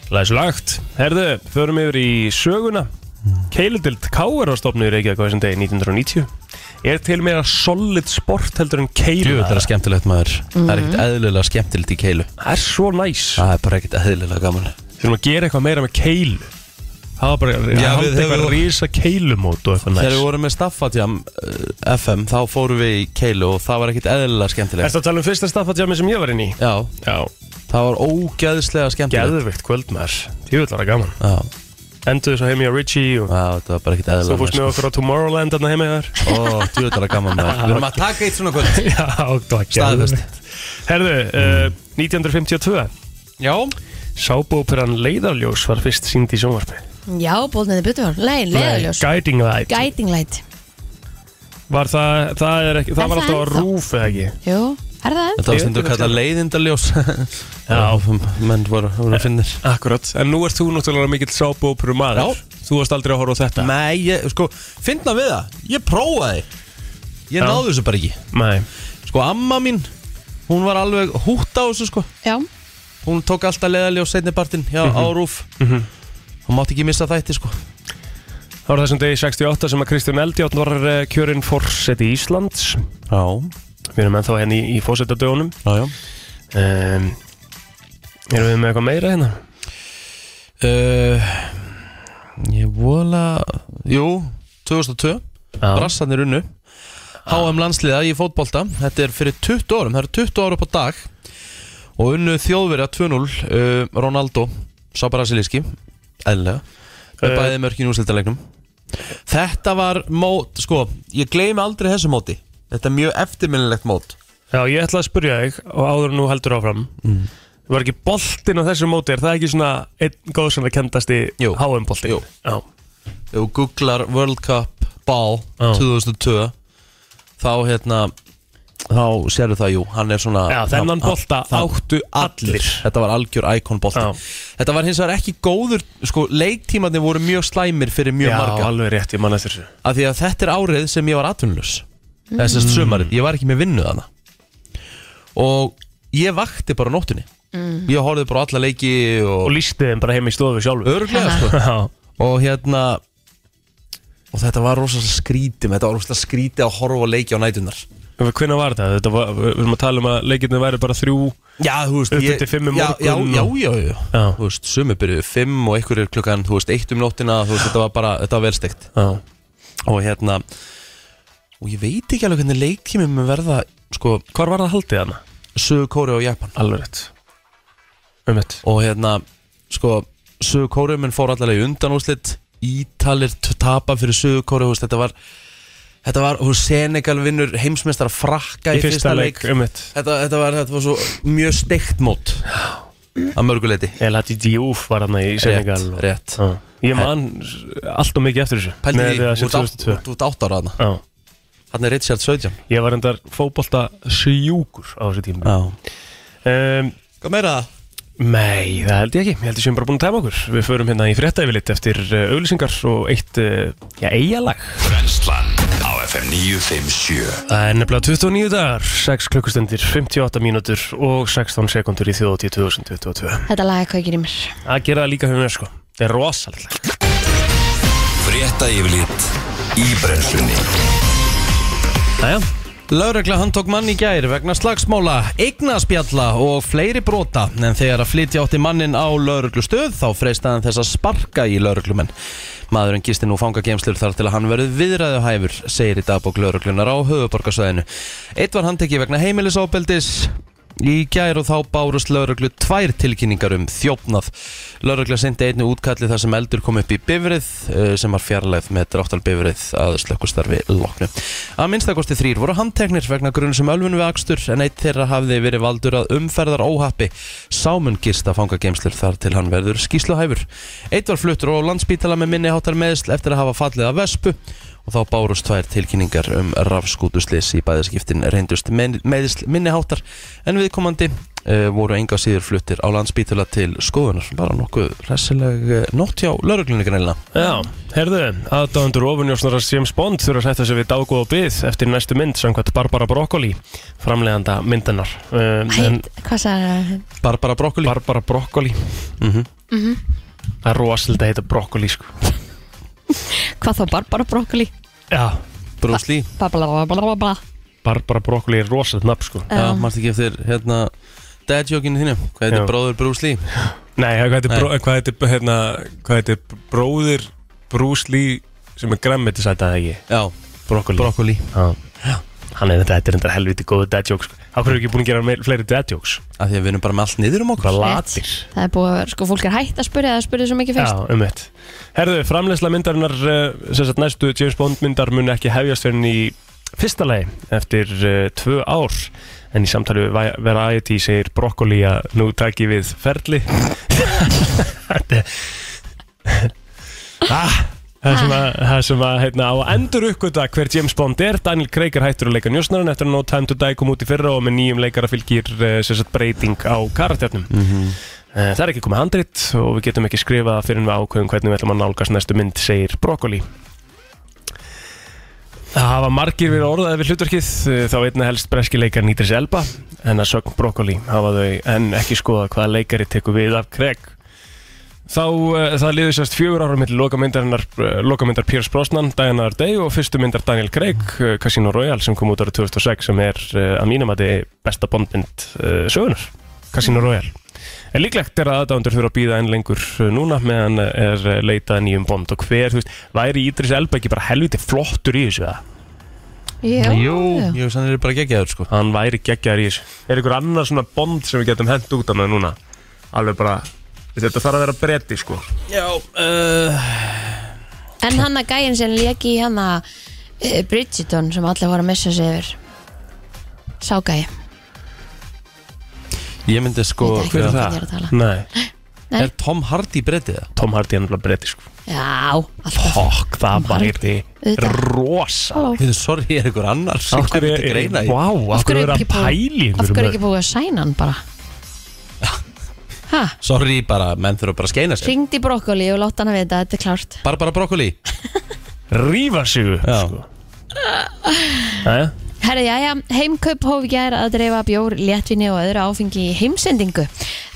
Speaker 4: Læslagt. Herðu, förum yfir í söguna. Keiludild K.R. var stopnið í Reykjavík á þessum degi 1990. Er til meira solid sport heldur en keilu?
Speaker 2: Jú, þetta er skemmtilegt maður Það er ekkert eðlilega skemmtilegt í keilu
Speaker 4: Það er svo næs.
Speaker 2: Það er bara ekkert eðlilega gaman
Speaker 4: Þurfum að gera eitthvað meira með keilu. Það var bara að
Speaker 2: Já,
Speaker 4: halda
Speaker 2: við
Speaker 4: eitthvað
Speaker 2: hefur-
Speaker 4: rísa keilumót og eitthvað
Speaker 2: Þegar við
Speaker 4: næs.
Speaker 2: vorum með Staffatjam FM þá fórum við í keilu og það var ekkert eðlilega skemmtilegt
Speaker 4: Erstu að tala um fyrsta staffatjami sem ég var inn í?
Speaker 2: Já,
Speaker 4: Já.
Speaker 2: það var ógeðslega skemmtilegt
Speaker 4: Geðvikt kvöld með þess. Tjóðvill var það gaman.
Speaker 2: Já,
Speaker 4: Endur þess að heimi á Richie og
Speaker 2: já, þetta var bara ekkert
Speaker 4: þú
Speaker 2: eðlilega
Speaker 4: fórst með okkur á Tomorrowland þarna heimi þar.
Speaker 2: Ó, tjóðlega gaman maður Við erum að taka eitt svona kvöld Mm.
Speaker 4: Já, það var geðvikt. Herðu, uh, 1952.
Speaker 2: Já
Speaker 4: Sábóperan Leiðarljós var fyrst sínd í sjónvarpi
Speaker 3: Já, bólniði butur Nei, leðaljós
Speaker 4: Guiding Light
Speaker 3: Guiding light
Speaker 4: Var það, það, er ekki, það
Speaker 3: Er
Speaker 4: var
Speaker 3: það
Speaker 4: alltaf að
Speaker 3: ennþá?
Speaker 4: rúf eða ekki
Speaker 3: Jú, er það enn?
Speaker 2: Þetta var stundu að kalla leiðindaljós Já Menn voru, voru að finnir
Speaker 4: Akkurat, en nú ert þú náttúrulega mikill sábóperu maður Þú varst aldrei að horfa á þetta
Speaker 2: Nei, ég, sko, finna við það Ég prófaði Ég
Speaker 4: Já.
Speaker 2: náði þessu bara ekki
Speaker 4: Nei,
Speaker 2: Sko, amma mín, hún var alveg hútt á þessu, sko
Speaker 3: Já,
Speaker 2: Hún tók alltaf leiðaljós seinnipartin Já, á rúf Hún mátti ekki missa þætti, sko
Speaker 4: það var þessum degi 68 sem að Kristján Eldjátt var eh, kjörinn forseti Íslands
Speaker 2: Já,
Speaker 4: Við erum ennþá henni í, í fórsetadögunum
Speaker 2: já, já
Speaker 4: um, Erum við með eitthvað meira hérna?
Speaker 2: uh, Ég vola Jú, 2002
Speaker 4: Já.
Speaker 2: Brassarnir unnu HM landsliða í fótbolta Þetta er fyrir 20 árum, það eru 20 ára upp á dag Og unnu þjóðverja 2-0 uh, Ronaldo Sá brasilíski, eðlilega Með
Speaker 4: Eh.
Speaker 2: bæði mörkin úrslitalegnum Þetta var mót, sko Ég gleymi aldrei þessu móti Þetta er mjög eftirminnilegt mót
Speaker 4: Já, ég ætla að spyrja þig og áður en nú heldur áfram
Speaker 2: Mm.
Speaker 4: Var ekki boltinn á þessu móti, er það ekki svona einn góð svona kendast í
Speaker 2: Jú.
Speaker 4: HM-boltinn?
Speaker 2: Jú.
Speaker 4: Já,
Speaker 2: Ef þú googlar World Cup Ball
Speaker 4: Já.
Speaker 2: 2002 þá hérna þá sérðu það jú, hann er svona
Speaker 4: Já, þennan
Speaker 2: hann-
Speaker 4: bolta
Speaker 2: hann-
Speaker 4: áttu allir.
Speaker 2: þetta var algjör íkon bolti
Speaker 4: Já.
Speaker 2: þetta var hins vegar ekki góður sko, leiktímarnir voru mjög slæmir fyrir mjög
Speaker 4: Já
Speaker 2: marga
Speaker 4: alveg rétt, ég man eftir þessu
Speaker 2: af því að þetta er árið sem ég var atvinnlaus mm. þess að sumarið, ég var ekki með vinnu þarna og ég vakti bara á nóttunni
Speaker 3: Mm.
Speaker 2: ég horfði bara á alla leiki
Speaker 4: Og
Speaker 2: og,
Speaker 4: lísti þeim bara heim í stofu sjálfur
Speaker 2: örglega sko
Speaker 4: Já,
Speaker 2: og hérna og þetta var rosalega skrítum þetta var rosalega skrítið að horfa og leikja á nætunar
Speaker 4: hvernig var þetta? Þetta var, við erum að tala um að leikirni væri bara þrjú
Speaker 2: já, þú veist
Speaker 4: Upp
Speaker 2: ég-
Speaker 4: undir fimm um
Speaker 2: já, já,
Speaker 4: morgun
Speaker 2: já,
Speaker 4: og-
Speaker 2: já, já,
Speaker 4: Já.
Speaker 2: þú veist, sumi byrjuðu fimm og einhverju klukkan, þú veist, eitt um nóttina þú veist, þetta var bara, þetta var velstegt
Speaker 4: Já,
Speaker 2: og hérna og ég veit ekki alveg hvernig leiktími með verða, sko,
Speaker 4: hvar var það haldið hana?
Speaker 2: sögur Kóri og Japan
Speaker 4: Alveg rétt Um mitt
Speaker 2: og hérna, sko sögur Kóri minn fór allavega í undan úslit Ítalir t- tapa fyrir sögur Kóri, þú veist, þetta var Þetta var, hún Senegal vinnur heimsmeistar að frakka í,
Speaker 4: Í fyrsta leik, um mitt
Speaker 2: Þetta, þetta, var, þetta var svo mjög steikt mót að mörguleiti
Speaker 4: El Hadi Diouf var hana í Senegal og-
Speaker 2: rétt
Speaker 4: Já. Ég man allt og mikið eftir þessu
Speaker 2: Pældi
Speaker 4: Með
Speaker 2: því,
Speaker 4: því að sér
Speaker 2: þú ert
Speaker 4: 2002
Speaker 2: átt- þú ert átt ára þarna
Speaker 4: Já
Speaker 2: Þannig er Richard 17
Speaker 4: Ég var endar fótbolta sjúkur á þessu tíma
Speaker 2: Já
Speaker 4: um,
Speaker 2: Hvað meira það?
Speaker 4: Nei, það held ég ekki, ég held ég sem bara búin að tæma okkur Við förum hérna í frétta yfirleitt eftir uh, auglýsingar og eitt, uh, já, eigalag
Speaker 1: Brennslan á FM 957
Speaker 4: Það er nefnilega 29 dagar, 6 klukkustundir, 58 mínútur og 16 sekundur í þjóðatíð 2022
Speaker 3: þetta laga kveikir í mér
Speaker 4: Það gera það líka hjá mér sko, það er rosalega
Speaker 1: Frétta yfirlit í brennslunni
Speaker 4: Næja,
Speaker 2: Lauregla handtók mann í gær vegna slagsmála, eignaspjalla og fleiri brota en þegar að flytja átti mannin á lauruglustöð þá freystaðan þess að sparka í lauruglumenn. Maðurinn gisti nú fangagemslur þar til að hann verið viðræðuhæfur, segir í dagbók lauruglunar á höfuborgarsvæðinu. Eitt var handtekki vegna heimilisofbeldis Í gær og þá bárust lauruglu tvær tilkynningar um þjófnað. Laurugla sendi einu útkalli þar sem eldur kom upp í bifrið eh, sem var fjarlægð með dráttal bifrið að slökkustarfi loknu. Að minnstakosti þrýr voru handteknir vegna grunn sem ölfun við akstur en eitt þeirra hafði verið valdur að umferðar óhappi. Sámun gist að fanga geimslur þar til hann verður skýsluhæfur. Eitt var fluttur á landspítala með minni háttar meðsl eftir að hafa fallið af vespu og þá bárust tvær tilkynningar um rafskútuslis í bæðaskiptin reyndust men- meiðsl minniháttar en viðkomandi uh, voru enga síður fluttir á landsbítula til skoðunar bara nokkuð hressileg uh, nótt hjá lauruglunni greinlega
Speaker 4: Já, herðu, aðdáðundur ofunjósnara James Bond þurfa að setja sig við dágóð og byð eftir næstu mynd samkvæmt Barbara Broccoli, framleganda myndanar. Um, en
Speaker 3: Hætt, hvað sagði það?
Speaker 2: Barbara Broccoli
Speaker 4: Barbara Broccoli,
Speaker 2: Mhm.
Speaker 4: það er rosalega að heita Broccoli, sko.
Speaker 3: Hvað þá Barbara Broccoli?
Speaker 4: Já,
Speaker 2: Bruce Lee
Speaker 3: Blablabla
Speaker 4: Barbara Broccoli er rosalega nafn, sko.
Speaker 2: Já, mannst ekki eftir hérna dadjókinu þínu hvað
Speaker 4: Já.
Speaker 2: heitir bróður Bruce Lee
Speaker 6: Nei, hvað heitir,
Speaker 2: Nei.
Speaker 6: bró, hvað heitir, hérna, hvað heitir bróðir Bruce Lee sem er græmmiti
Speaker 4: Sæta það ekki,
Speaker 2: Já,
Speaker 4: Broccoli.
Speaker 2: Broccoli
Speaker 4: Já. Hann er þetta, þetta er þetta helviti góðu dadjóks. Á hverju er ekki búin að gera meir, fleiri dadjóks?
Speaker 2: af því að við erum bara með allt niður um okkur
Speaker 4: Hvað latir?
Speaker 3: Það er búið, að vera- sko fólk er hætt að spyrja það spurði svo mikið fyrst
Speaker 4: Já, um eitt. Herðu, framleysla myndarinnar, eh, sem sagt næstu James Bond myndar mun ekki hefjast fyrir henni í fyrsta lagi eftir uh, tvö ár. En í samtali við Vi- Variety segir Broccoli að nú taki við ferli. Þetta er... ah, Það sem að, það sem að heitna, á að endur uppgöta hver James Bond er Daniel Craig er hættur að leika njósnaran eftir að No Time to Die kom út í fyrra og með nýjum leikara fylgir uh, sagt, breyting á karakternum
Speaker 3: Mhm.
Speaker 4: Eh, Það er ekki komið handrit og við getum ekki skrifað fyrir við ákveðum hvernig við ætlum að nálgast næstu mynd, segir Brokkoli. Það hafa margir verið orðaði við hlutverkið, eh, þá einna helst breski leikar Nýtris Elba, en að sögn Brokkoli hafa þau enn ekki skoðað hvaða leikari tekur við af Craig. Þá, eh, það liður sérst fjögur ára mitt lokamyndarinnar, eh, lokamyndar Piers Brosnan, Diana Day og fyrstu myndar Daniel Craig, eh, Casino Royale sem kom út ára 2006 sem er eh, að mínum að þið besta bondmynd eh, sögunar, Casino Royale. En líklegt er að aðdándur þurfa að býða enn lengur uh, núna meðan uh, er uh, leitað að nýjum bond og hver, þú veist, væri Ídris Elba ekki bara helviti flottur í þessu það?
Speaker 3: Jú
Speaker 2: Jú, sann er bara geggjaður sko
Speaker 4: Hann væri geggjar í þessu. Er ykkur annar svona bond sem við getum hent út af með núna? Alveg bara, þetta þarf að vera bretti sko.
Speaker 2: Já,
Speaker 4: eh,
Speaker 2: uh,
Speaker 3: En hann að gæin sem leki í hann að Bridgerton sem allir voru að missa sig yfir Ságæi
Speaker 2: ég myndi sko
Speaker 3: Ég veit ekki
Speaker 2: hver er
Speaker 3: um hvern
Speaker 2: það?
Speaker 3: ég er að tala.
Speaker 4: Nei,
Speaker 3: Nei.
Speaker 2: Er Tom Hardy breytið það?
Speaker 4: Tom Hardy er náttúrulega bretti sko.
Speaker 3: Já, alltaf
Speaker 4: Fokk, það væri
Speaker 3: Auðvitað.
Speaker 4: rosa.
Speaker 3: Halló.
Speaker 2: Við sorry, ég er ykkur annar sem kom til greina í-
Speaker 4: wow, af hverju er að
Speaker 3: ekki búið-
Speaker 4: pæli
Speaker 3: Af hverju er ekki búið að sæna hann bara? Hæ?
Speaker 2: Sorry bara, menn þurfa bara að skeina sér
Speaker 3: Ringdi brokkoli og látt hann að vita, þetta er klárt
Speaker 2: Barbara Broccoli
Speaker 4: Rífa sig upp
Speaker 2: Já.
Speaker 4: sko. Jæja.
Speaker 3: Herri, jæja, heimkaup hóf í gær að dreifa bjór, léttvinni og öðru áfengi í heimsendingu.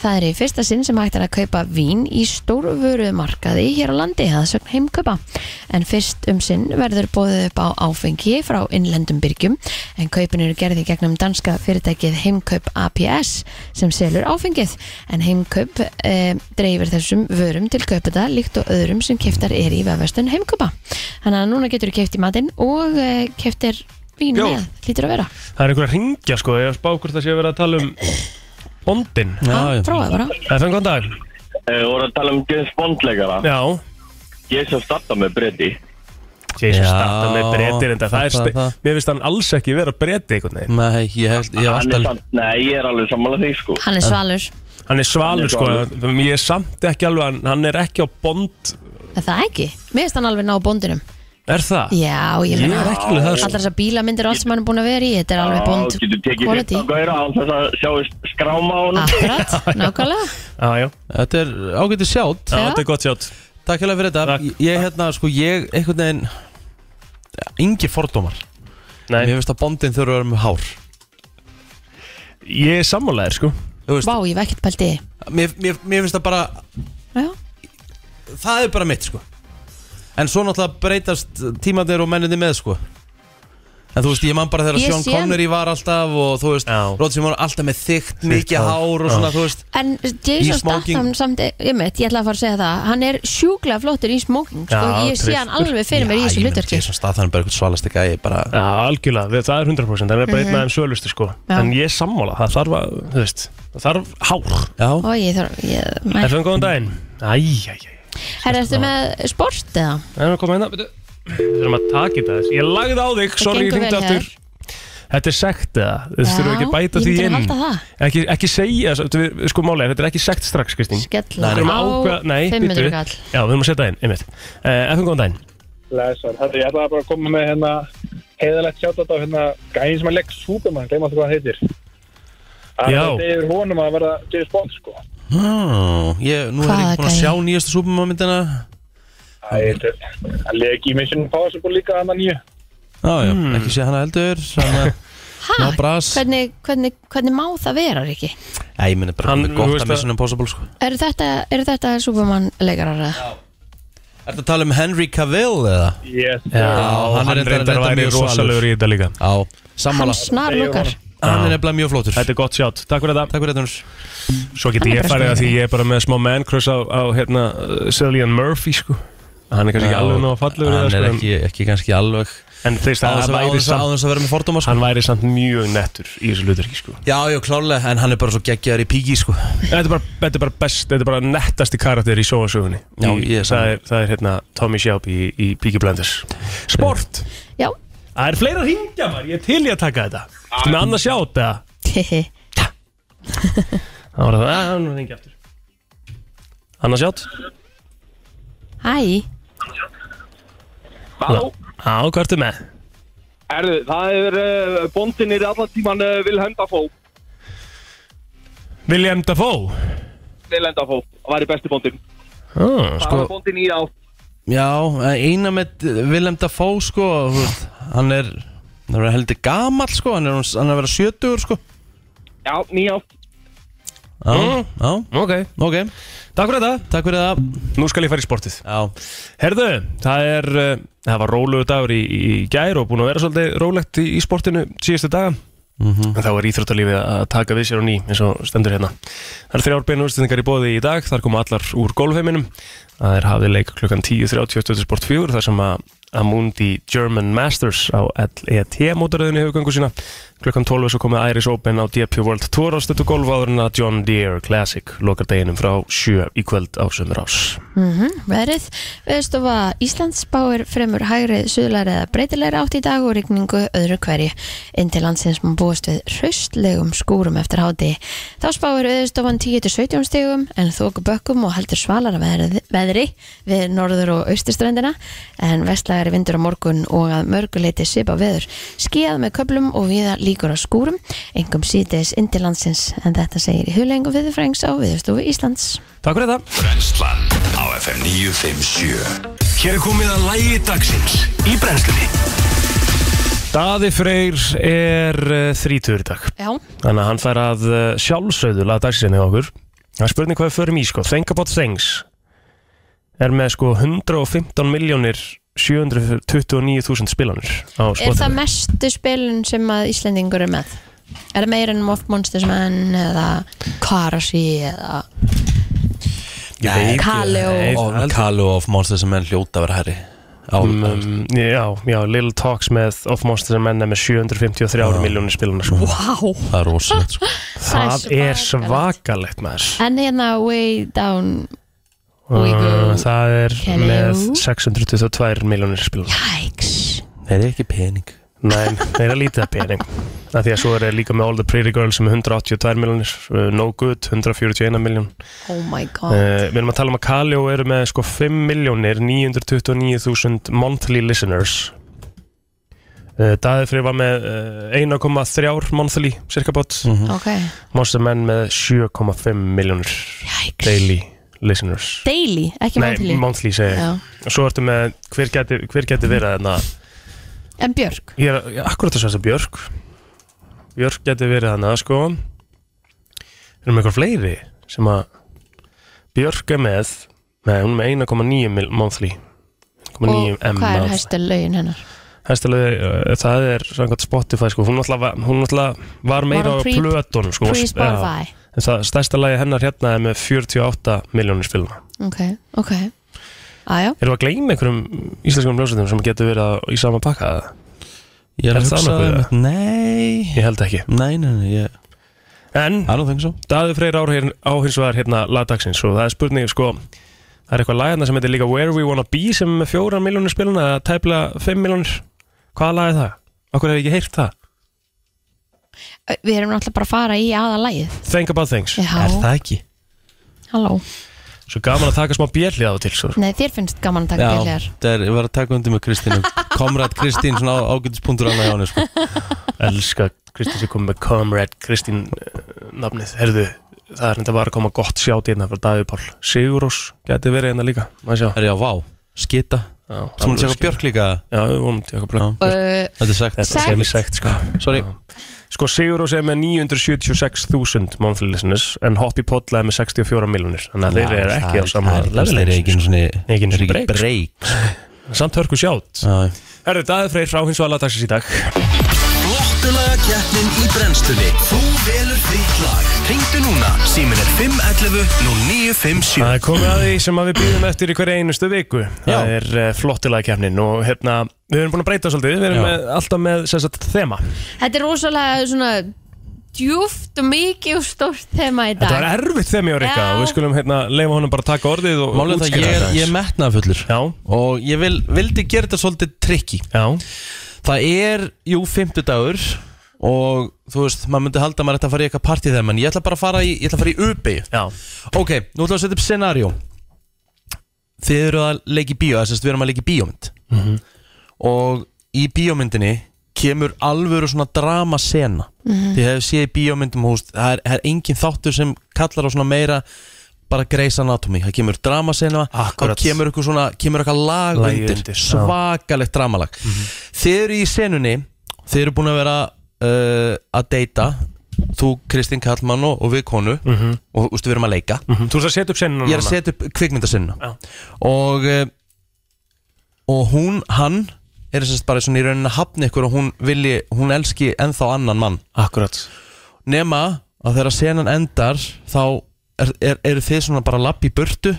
Speaker 3: Það er í fyrsta sinn sem hægt er að kaupa vín í stórvörumarkaði hér á landi að sögn heimkaupa. En fyrst um sinn verður bóðið upp á áfengi frá innlendum byrgjum en kaupin eru gerði gegnum danska fyrirtækið heimkaup APS sem selur áfengið. En heimkaup e, dreifir þessum vörum til kaupita líkt og öðrum sem keftar er í vefastun heimkaupa. Þannig að núna getur þú keft í matinn og e, keftir vín
Speaker 4: Bjór.
Speaker 3: með, lítur að vera
Speaker 4: Það er einhver að ringja sko, ég spá hvort það sé að vera að tala um bondin.
Speaker 3: ah, prófaði bara
Speaker 4: FM, góðan dag.
Speaker 7: Við vorum að tala um James Bond leikara
Speaker 4: Já.
Speaker 7: Ég sem starta með breyti
Speaker 4: Jesus,
Speaker 2: Já,
Speaker 4: starta með breytir en það, það er,
Speaker 2: það-
Speaker 4: sti-
Speaker 2: það-
Speaker 4: mér finnst hann alls ekki vera breyti einhvern veginn.
Speaker 2: Nei, ég hef, ég
Speaker 7: Hann
Speaker 2: hef
Speaker 7: er
Speaker 2: alltaf
Speaker 7: samt, nei ég er alveg sammála því sko
Speaker 3: hann er svalur,
Speaker 4: Hann er svalur
Speaker 7: Hann er
Speaker 4: sko, ég er samt ekki alveg, hann, hann er ekki á bond,
Speaker 3: er það ekki? Mér finnst hann alveg ná bóndinum
Speaker 4: er það?
Speaker 3: Já, ég
Speaker 4: Ég
Speaker 3: meina
Speaker 4: er ekki alveg það sko.
Speaker 3: Allar þessar bílamyndir og allt sem hann er búin að vera í Þetta er alveg bónd
Speaker 7: Já, Getur tekið
Speaker 3: quality.
Speaker 7: fyrst á gæra án þess að sjá skráma á hann
Speaker 3: Akkurat, nákvæmlega
Speaker 4: Já, já,
Speaker 2: Þetta er ágætið sjátt
Speaker 4: Já,
Speaker 3: Já.
Speaker 4: þetta er gott sjátt.
Speaker 2: Takk hérlega fyrir þetta
Speaker 4: Takk.
Speaker 2: Ég- Ég hérna, sko, ég einhvern veginn Ingi fordómar
Speaker 4: Nei,
Speaker 2: Mér finnst að bondin þurfa að vera með hár
Speaker 4: ég er sammálaðir sko.
Speaker 2: Þú veist,
Speaker 3: Vá, ég var ekkert pælti
Speaker 2: mér, mér, mér finnst að bara
Speaker 3: Já,
Speaker 2: Það er bara mitt, sko En svo náttúrulega breytast tímandir og menninni með, sko En þú veist, ég man bara þegar
Speaker 3: Ég
Speaker 2: Sean
Speaker 3: sé-
Speaker 2: Connery var alltaf og þú veist,
Speaker 4: Já.
Speaker 2: Róð sem var alltaf með þykkt, mikið
Speaker 4: hár.
Speaker 2: hár og svona, þú veist
Speaker 3: En Jason
Speaker 2: Í smoking.
Speaker 3: Statham samt, ég mitt, ég ætla að fara að segja það Hann er sjúklega flottur í smoking sko,
Speaker 4: Já,
Speaker 3: Ég sé hann
Speaker 4: trylltur.
Speaker 3: alveg fyrir mér í þessu hlutverki
Speaker 2: Jason Statham er bara eitthvað svalast ekki að ég bara
Speaker 4: Já, algjörlega, við- það er 100% Það er bara einn af þeim sölustu sko
Speaker 3: Mhm. Já.
Speaker 4: En ég er sammála, það þarf að, þú veist Það þarf hár
Speaker 2: Já,
Speaker 3: Ó, ég þarf, ég, nei.
Speaker 4: Er það góðan daginn? Æ, æ, æ
Speaker 3: Herra, ertu með sport eða?
Speaker 4: Það er að koma hérna, betur Við þurfum að taka þetta þess Ég lagði á þig, sorry, ég
Speaker 3: gengur vel
Speaker 4: hringdi
Speaker 3: hjá
Speaker 4: aftur Þetta er sekt eða, þú þurfum ekki að bæta
Speaker 3: Já,
Speaker 4: því
Speaker 3: ég myndi
Speaker 4: inn
Speaker 3: halda það.
Speaker 4: ekki, ekki segja, þetta er- sko málega, þetta er ekki sekt strax, Kristín
Speaker 3: Skella
Speaker 4: Við
Speaker 2: Nei,
Speaker 4: erum
Speaker 3: á
Speaker 4: að ákveða- Nei,
Speaker 3: 500
Speaker 4: býttu.
Speaker 3: kall
Speaker 4: Já, við erum að setja það inn, einmitt uh, Ef við góðan daginn
Speaker 8: Læsar, herri, ég ætlaði bara að koma með hérna heiðalegt sjátt á hérna gæðin sem að legg Superman, gleyma alltaf hvað hann heitir Það
Speaker 4: Já.
Speaker 8: er þetta yfir honum að verða James Bond sko
Speaker 2: Hmm, ég, nú er ég
Speaker 3: Hvaða
Speaker 2: ekki búin að
Speaker 3: gæi?
Speaker 2: sjá nýjastu súpumamyndina
Speaker 8: Það er hann legg í Mission Impossible líka hann að nýju
Speaker 2: Já, já, Hmm, ekki sé hana heldur svona,
Speaker 3: Ha,
Speaker 2: Ná bras.
Speaker 3: hvernig, hvernig, hvernig má það vera, Riki?
Speaker 2: Já, ég meni bara
Speaker 4: Hann- þú
Speaker 2: með gott
Speaker 4: veist
Speaker 2: að
Speaker 4: að-
Speaker 2: Mission Impossible sko.
Speaker 3: Eru þetta, er þetta Superman leikarar? eða?
Speaker 2: Ertu að tala um Henry Cavill eða?
Speaker 8: Yes,
Speaker 4: Já,
Speaker 2: hann er reyndar- reyndar
Speaker 4: væri
Speaker 2: mjög
Speaker 4: rosalegur í þetta líka
Speaker 2: Já,
Speaker 3: Hann
Speaker 2: sammála
Speaker 3: snar lukkar
Speaker 2: Hann er nefnilega mjög flótur
Speaker 4: Þetta er gott sjátt, takk fyrir þetta
Speaker 2: Takk fyrir þetta Unnur.
Speaker 4: Svo get
Speaker 3: Hann er
Speaker 4: ég
Speaker 3: besti
Speaker 4: farið að
Speaker 3: vinur.
Speaker 4: því ég er bara með smá man crush á, á hérna, uh, Cillian Murphy sko Hann er kannski ekki
Speaker 2: Já,
Speaker 4: alveg ná að falla
Speaker 2: Hann er ekki, ekki kannski alveg
Speaker 4: sko, En þeir það
Speaker 2: áðans að,
Speaker 4: væri
Speaker 2: áðans að,
Speaker 4: samt
Speaker 2: áðans að vera með fordóma sko.
Speaker 4: Hann væri samt mjög nettur í þessu hlutverki sko
Speaker 2: Já, já, klálega, en hann er bara svo geggjaður í píki sko.
Speaker 4: Þetta er bara, þetta er bara best, þetta er bara nettasti karakter í sjóasögunni
Speaker 2: Já,
Speaker 4: Í-
Speaker 2: ég er
Speaker 4: það
Speaker 2: sammála.
Speaker 4: er, það er hérna Tommy Schaub í, í Peaky Blinders Sport,
Speaker 3: Já
Speaker 4: það er fleira hringja maður, ég er til í að taka þetta Ertu Með annars sjátt eða Það var það, að hann hringja aftur Annars sjátt
Speaker 3: Hæ
Speaker 7: Halló
Speaker 4: Já, hvað ertu með?
Speaker 7: Erðu, það er uh, bóndin er allan tíman uh, Vilhelm Dafoe
Speaker 4: William Dafoe
Speaker 7: Vilhelm Dafoe, það væri besti bóndin
Speaker 2: Sko-
Speaker 4: ah,
Speaker 7: Það var bóndin í á
Speaker 2: Já, eh, eina með Willem Dafoe sko, þú veist, hann er hann er að vera heldur gamall sko, hann er, hann er að vera 70 sko.
Speaker 7: Já, nýjá
Speaker 2: Já,
Speaker 3: Mm.
Speaker 2: já,
Speaker 4: Ok,
Speaker 2: ok,
Speaker 4: takk fyrir þetta
Speaker 2: takk fyrir það
Speaker 4: Nú skal ég fara í sportið
Speaker 2: Já,
Speaker 4: Herðu, það er, uh, það var rólegur dagur í, í gær og búin að vera svolítið rólegt í, í sportinu síðustu daga
Speaker 2: Mhm.
Speaker 4: en þá er íþróttalífið að taka við sér á ný eins og stendur hérna. Það er þrjár beinu úrstendingar í bóði í dag, þar koma allar úr golfheiminum. Það er hafið leik klukkan 10.30 eftir sport 4 þar sem að Amundi German Masters á E LET mótaröðinu hefur gangu sína. Klukkan 12 er svo komið Iris Open á DP World Tour ástötu golf áður en að John Deere Classic lokar deginum frá 7 í kvöld á sömur ás.
Speaker 3: Verið, veðstofa Mhm, Íslands spáir fremur hægri suðlæri eða breytilegri átt í dag og rigningu öðru hverju inn til landsins má búast við hraustlegum skúrum eftir háti. Þá spáir veðstofan 10-17 stigum en þóku bökkum og heldur svalara veðri, veðri við norður og austurströndina en vestlægari vindur á morgun og að mörguleiti sipa veður. Skíðað með köplum og viða líkur á skúrum, engum síðdeis inn til landsins en þetta segir í hulengum viðurfrængs á viðurstofu Íslands.
Speaker 4: Takk fyrir þetta.
Speaker 1: Brennslan á FM 957
Speaker 6: Hér er komið að lægi dagsins í brennslunni
Speaker 4: Daði Freyr er uh, þrítur í dag
Speaker 3: Já,
Speaker 4: Þannig að hann fær að uh, sjálfsögðu laða dagsinni á okkur Það er spurning hvað við förum í sko Think About Things er með sko 115 miljónir 729.000 spilanir á
Speaker 3: Er það
Speaker 4: Spotify
Speaker 3: mestu spilin sem að Íslendingur er með? Er það meira en Moff Monsters Man eða Karashi eða Kaleo?
Speaker 2: og Kalu of Monsters sem enn hljóta að vera herri á,
Speaker 4: Um, já, já, Little Talks með Of Monsters and Men er með 753 miljónir spilanir sko.
Speaker 3: Wow,
Speaker 2: Það er rosalegt sko.
Speaker 4: Það er
Speaker 3: svakalegt.
Speaker 4: svakalegt maður
Speaker 3: En hérna Way Down We
Speaker 4: Uh,
Speaker 3: Go
Speaker 4: Það er
Speaker 3: Kaleo.
Speaker 4: með 622 miljónir spilanir
Speaker 3: Æks
Speaker 2: Það er ekki pening
Speaker 4: Nei, það er lítið að pening Það því að svo er það líka með All the Pretty Girls sem er 182 miljónir, uh, No Good 141 miljón uh,
Speaker 3: Oh my god
Speaker 4: Við erum að tala um að Kaleo eru með sko 5 miljónir 929.000 monthly listeners uh, Daði fyrir var með uh, 1,3 monthly cirka bát mm
Speaker 2: Mhm.
Speaker 4: -hmm.
Speaker 3: Ok,
Speaker 4: Monstermenn með 7,5 miljónir
Speaker 3: æks
Speaker 4: daily listeners
Speaker 3: Daily, ekki
Speaker 4: Nei,
Speaker 3: mantili
Speaker 4: monthly segi ég
Speaker 3: Já.
Speaker 4: Og Svo ertu með, hver geti, hver geti verið þarna
Speaker 3: En Björk
Speaker 4: Ég er ég- akkurat að segja þetta Björk Björk geti verið hana sko Erum eitthvað fleiri sem að Björk er með Nei, hún er með 1,9 mil- monthly
Speaker 3: Og
Speaker 4: 1,9
Speaker 3: hvað
Speaker 4: M
Speaker 3: er
Speaker 4: monthly.
Speaker 3: hæstu lögin hennar?
Speaker 4: Hestalöði, uh, það er samkvæmt Spotify sko, hún náttúrulega var- hún náttúrulega var meira
Speaker 3: Var hún
Speaker 4: á
Speaker 3: pre-
Speaker 4: plötunum sko
Speaker 3: Free
Speaker 4: Já.
Speaker 3: Spotify
Speaker 4: En það stærsta lagi hennar hérna er með 48 miljónir spilna
Speaker 3: Ok, ok Aja,
Speaker 4: Erum við að gleyma einhverjum íslenskum ljósætum sem getur verið á, í sama pakka eða?
Speaker 2: Ég er
Speaker 4: Er
Speaker 2: að
Speaker 4: það
Speaker 2: hugsa
Speaker 4: nokkuð
Speaker 2: um þetta Nei
Speaker 4: Ég held ekki
Speaker 2: Nei, nei, nei ég,
Speaker 4: En
Speaker 2: I don't think so
Speaker 4: Daði Freyr áhrifin áhinsvegar hérna lagdagsins og það er spurning sko það er eitthvað lagana sem heitir líka Where We Wanna Be sem er með fjóra miljónir spiluna eða tæpla fimm miljónir hvaða lag er það? Okkur hef ég ekki heyrt það
Speaker 3: við erum náttúrulega bara að fara í aðalægið
Speaker 4: Think About Things
Speaker 2: Er
Speaker 3: Já,
Speaker 2: það ekki?
Speaker 3: halló
Speaker 4: Svo gaman að taka smá björli á og til svo.
Speaker 3: Nei, þér finnst gaman að taka
Speaker 2: Já,
Speaker 3: bíljar
Speaker 2: það er, ég var að taka undir með Kristínu Komrad Kristín, svona ágætispunktur alveg á henni sko.
Speaker 4: Elska Kristín sem kom með Comrade Kristín eh, nafnið Herðu, það er enda bara að koma gott sjátt hérna frá Daði Pál Sigurós gæti verið hérna líka Má sjá
Speaker 2: Er ég á vá? Skita
Speaker 4: Já,
Speaker 2: Svo maður tjekka Björk líka
Speaker 4: Já, við vonum til eitthvað björk
Speaker 3: Uh,
Speaker 2: Þetta er sagt
Speaker 4: Þetta sem er sagt sko
Speaker 2: Sorry
Speaker 4: Sko Sigurós er með 976.000 monthly listeners en Hoppy Podla er með 64 miljonir þannig að þeir eru ekki á sama
Speaker 2: Það er ekki einu sinni
Speaker 4: Ekki einu sinni
Speaker 2: er
Speaker 4: break, sko.
Speaker 2: break
Speaker 4: Samt hörku sjátt
Speaker 2: Já,
Speaker 4: Herðu, Daði Freyr frá hins og aladagsins í dag
Speaker 9: Flottulaga keppnin í brennstunni Þú velur þitt lag Ringdu núna, símin er 511 nú 957
Speaker 4: Það er komið að því sem að við býðum eftir í hverja einustu viku Það
Speaker 2: Já.
Speaker 4: er uh, flottilega kefnin og hérna, við erum búin að breyta svolítið Við erum
Speaker 2: Já.
Speaker 4: með, alltaf með sem sagt, þema
Speaker 3: Þetta er rosalega svona djúft og mikið og stórt þema í dag
Speaker 4: Þetta var erfitt þema hjá Rikka
Speaker 3: Já.
Speaker 4: og við skulum hérna, leifa honum bara að taka orðið og
Speaker 2: Málið er það,
Speaker 4: útskýra
Speaker 2: ég er,
Speaker 4: þetta
Speaker 2: ég er
Speaker 4: aðeins.
Speaker 2: metnaðfullur
Speaker 4: Já,
Speaker 2: Og ég vil, vildi gera þetta svolítið tricky
Speaker 4: já,
Speaker 2: Það er, jú, fimmtudagur Og þú veist, maður myndi halda að maður ætti að fara í eitthvað partí þeim En ég ætla bara að fara í, ég ætla að fara í UB
Speaker 4: já,
Speaker 2: Ok, nú ætlum við að setja upp scenarió Þið eru að leika í bíó Þess að við erum að leika í bíómynd
Speaker 4: Mhm.
Speaker 2: Og í bíómyndinni Kemur alvöru svona dramasena Þið hefur séð í bíómyndum húst það er, það er engin þáttur sem kallar á svona meira Bara Grey's Anatomy Það kemur dramasena
Speaker 4: Akkurat.
Speaker 2: Og kemur eitthvað svona Kemur eitthvað lag
Speaker 4: Lagið
Speaker 2: undir,
Speaker 4: undir, já. Mhm.
Speaker 2: Svakalegt dramalag Þið eru í senunni Þið eru búin að vera uh, að deyta Þú, Kristín Kallmann og, og við konu Og ústu, við erum að leika
Speaker 4: Mhm. þú ert að setja upp senna
Speaker 2: ég er að setja upp kvikmyndasinna og eh, og hún, hann er sérst bara svona í rauninni að hafna ykkur og hún vilji, hún elski ennþá annan mann
Speaker 4: Akkurat
Speaker 2: nema að þegar senan endar þá er, er, eru þið svona bara lapp í burtu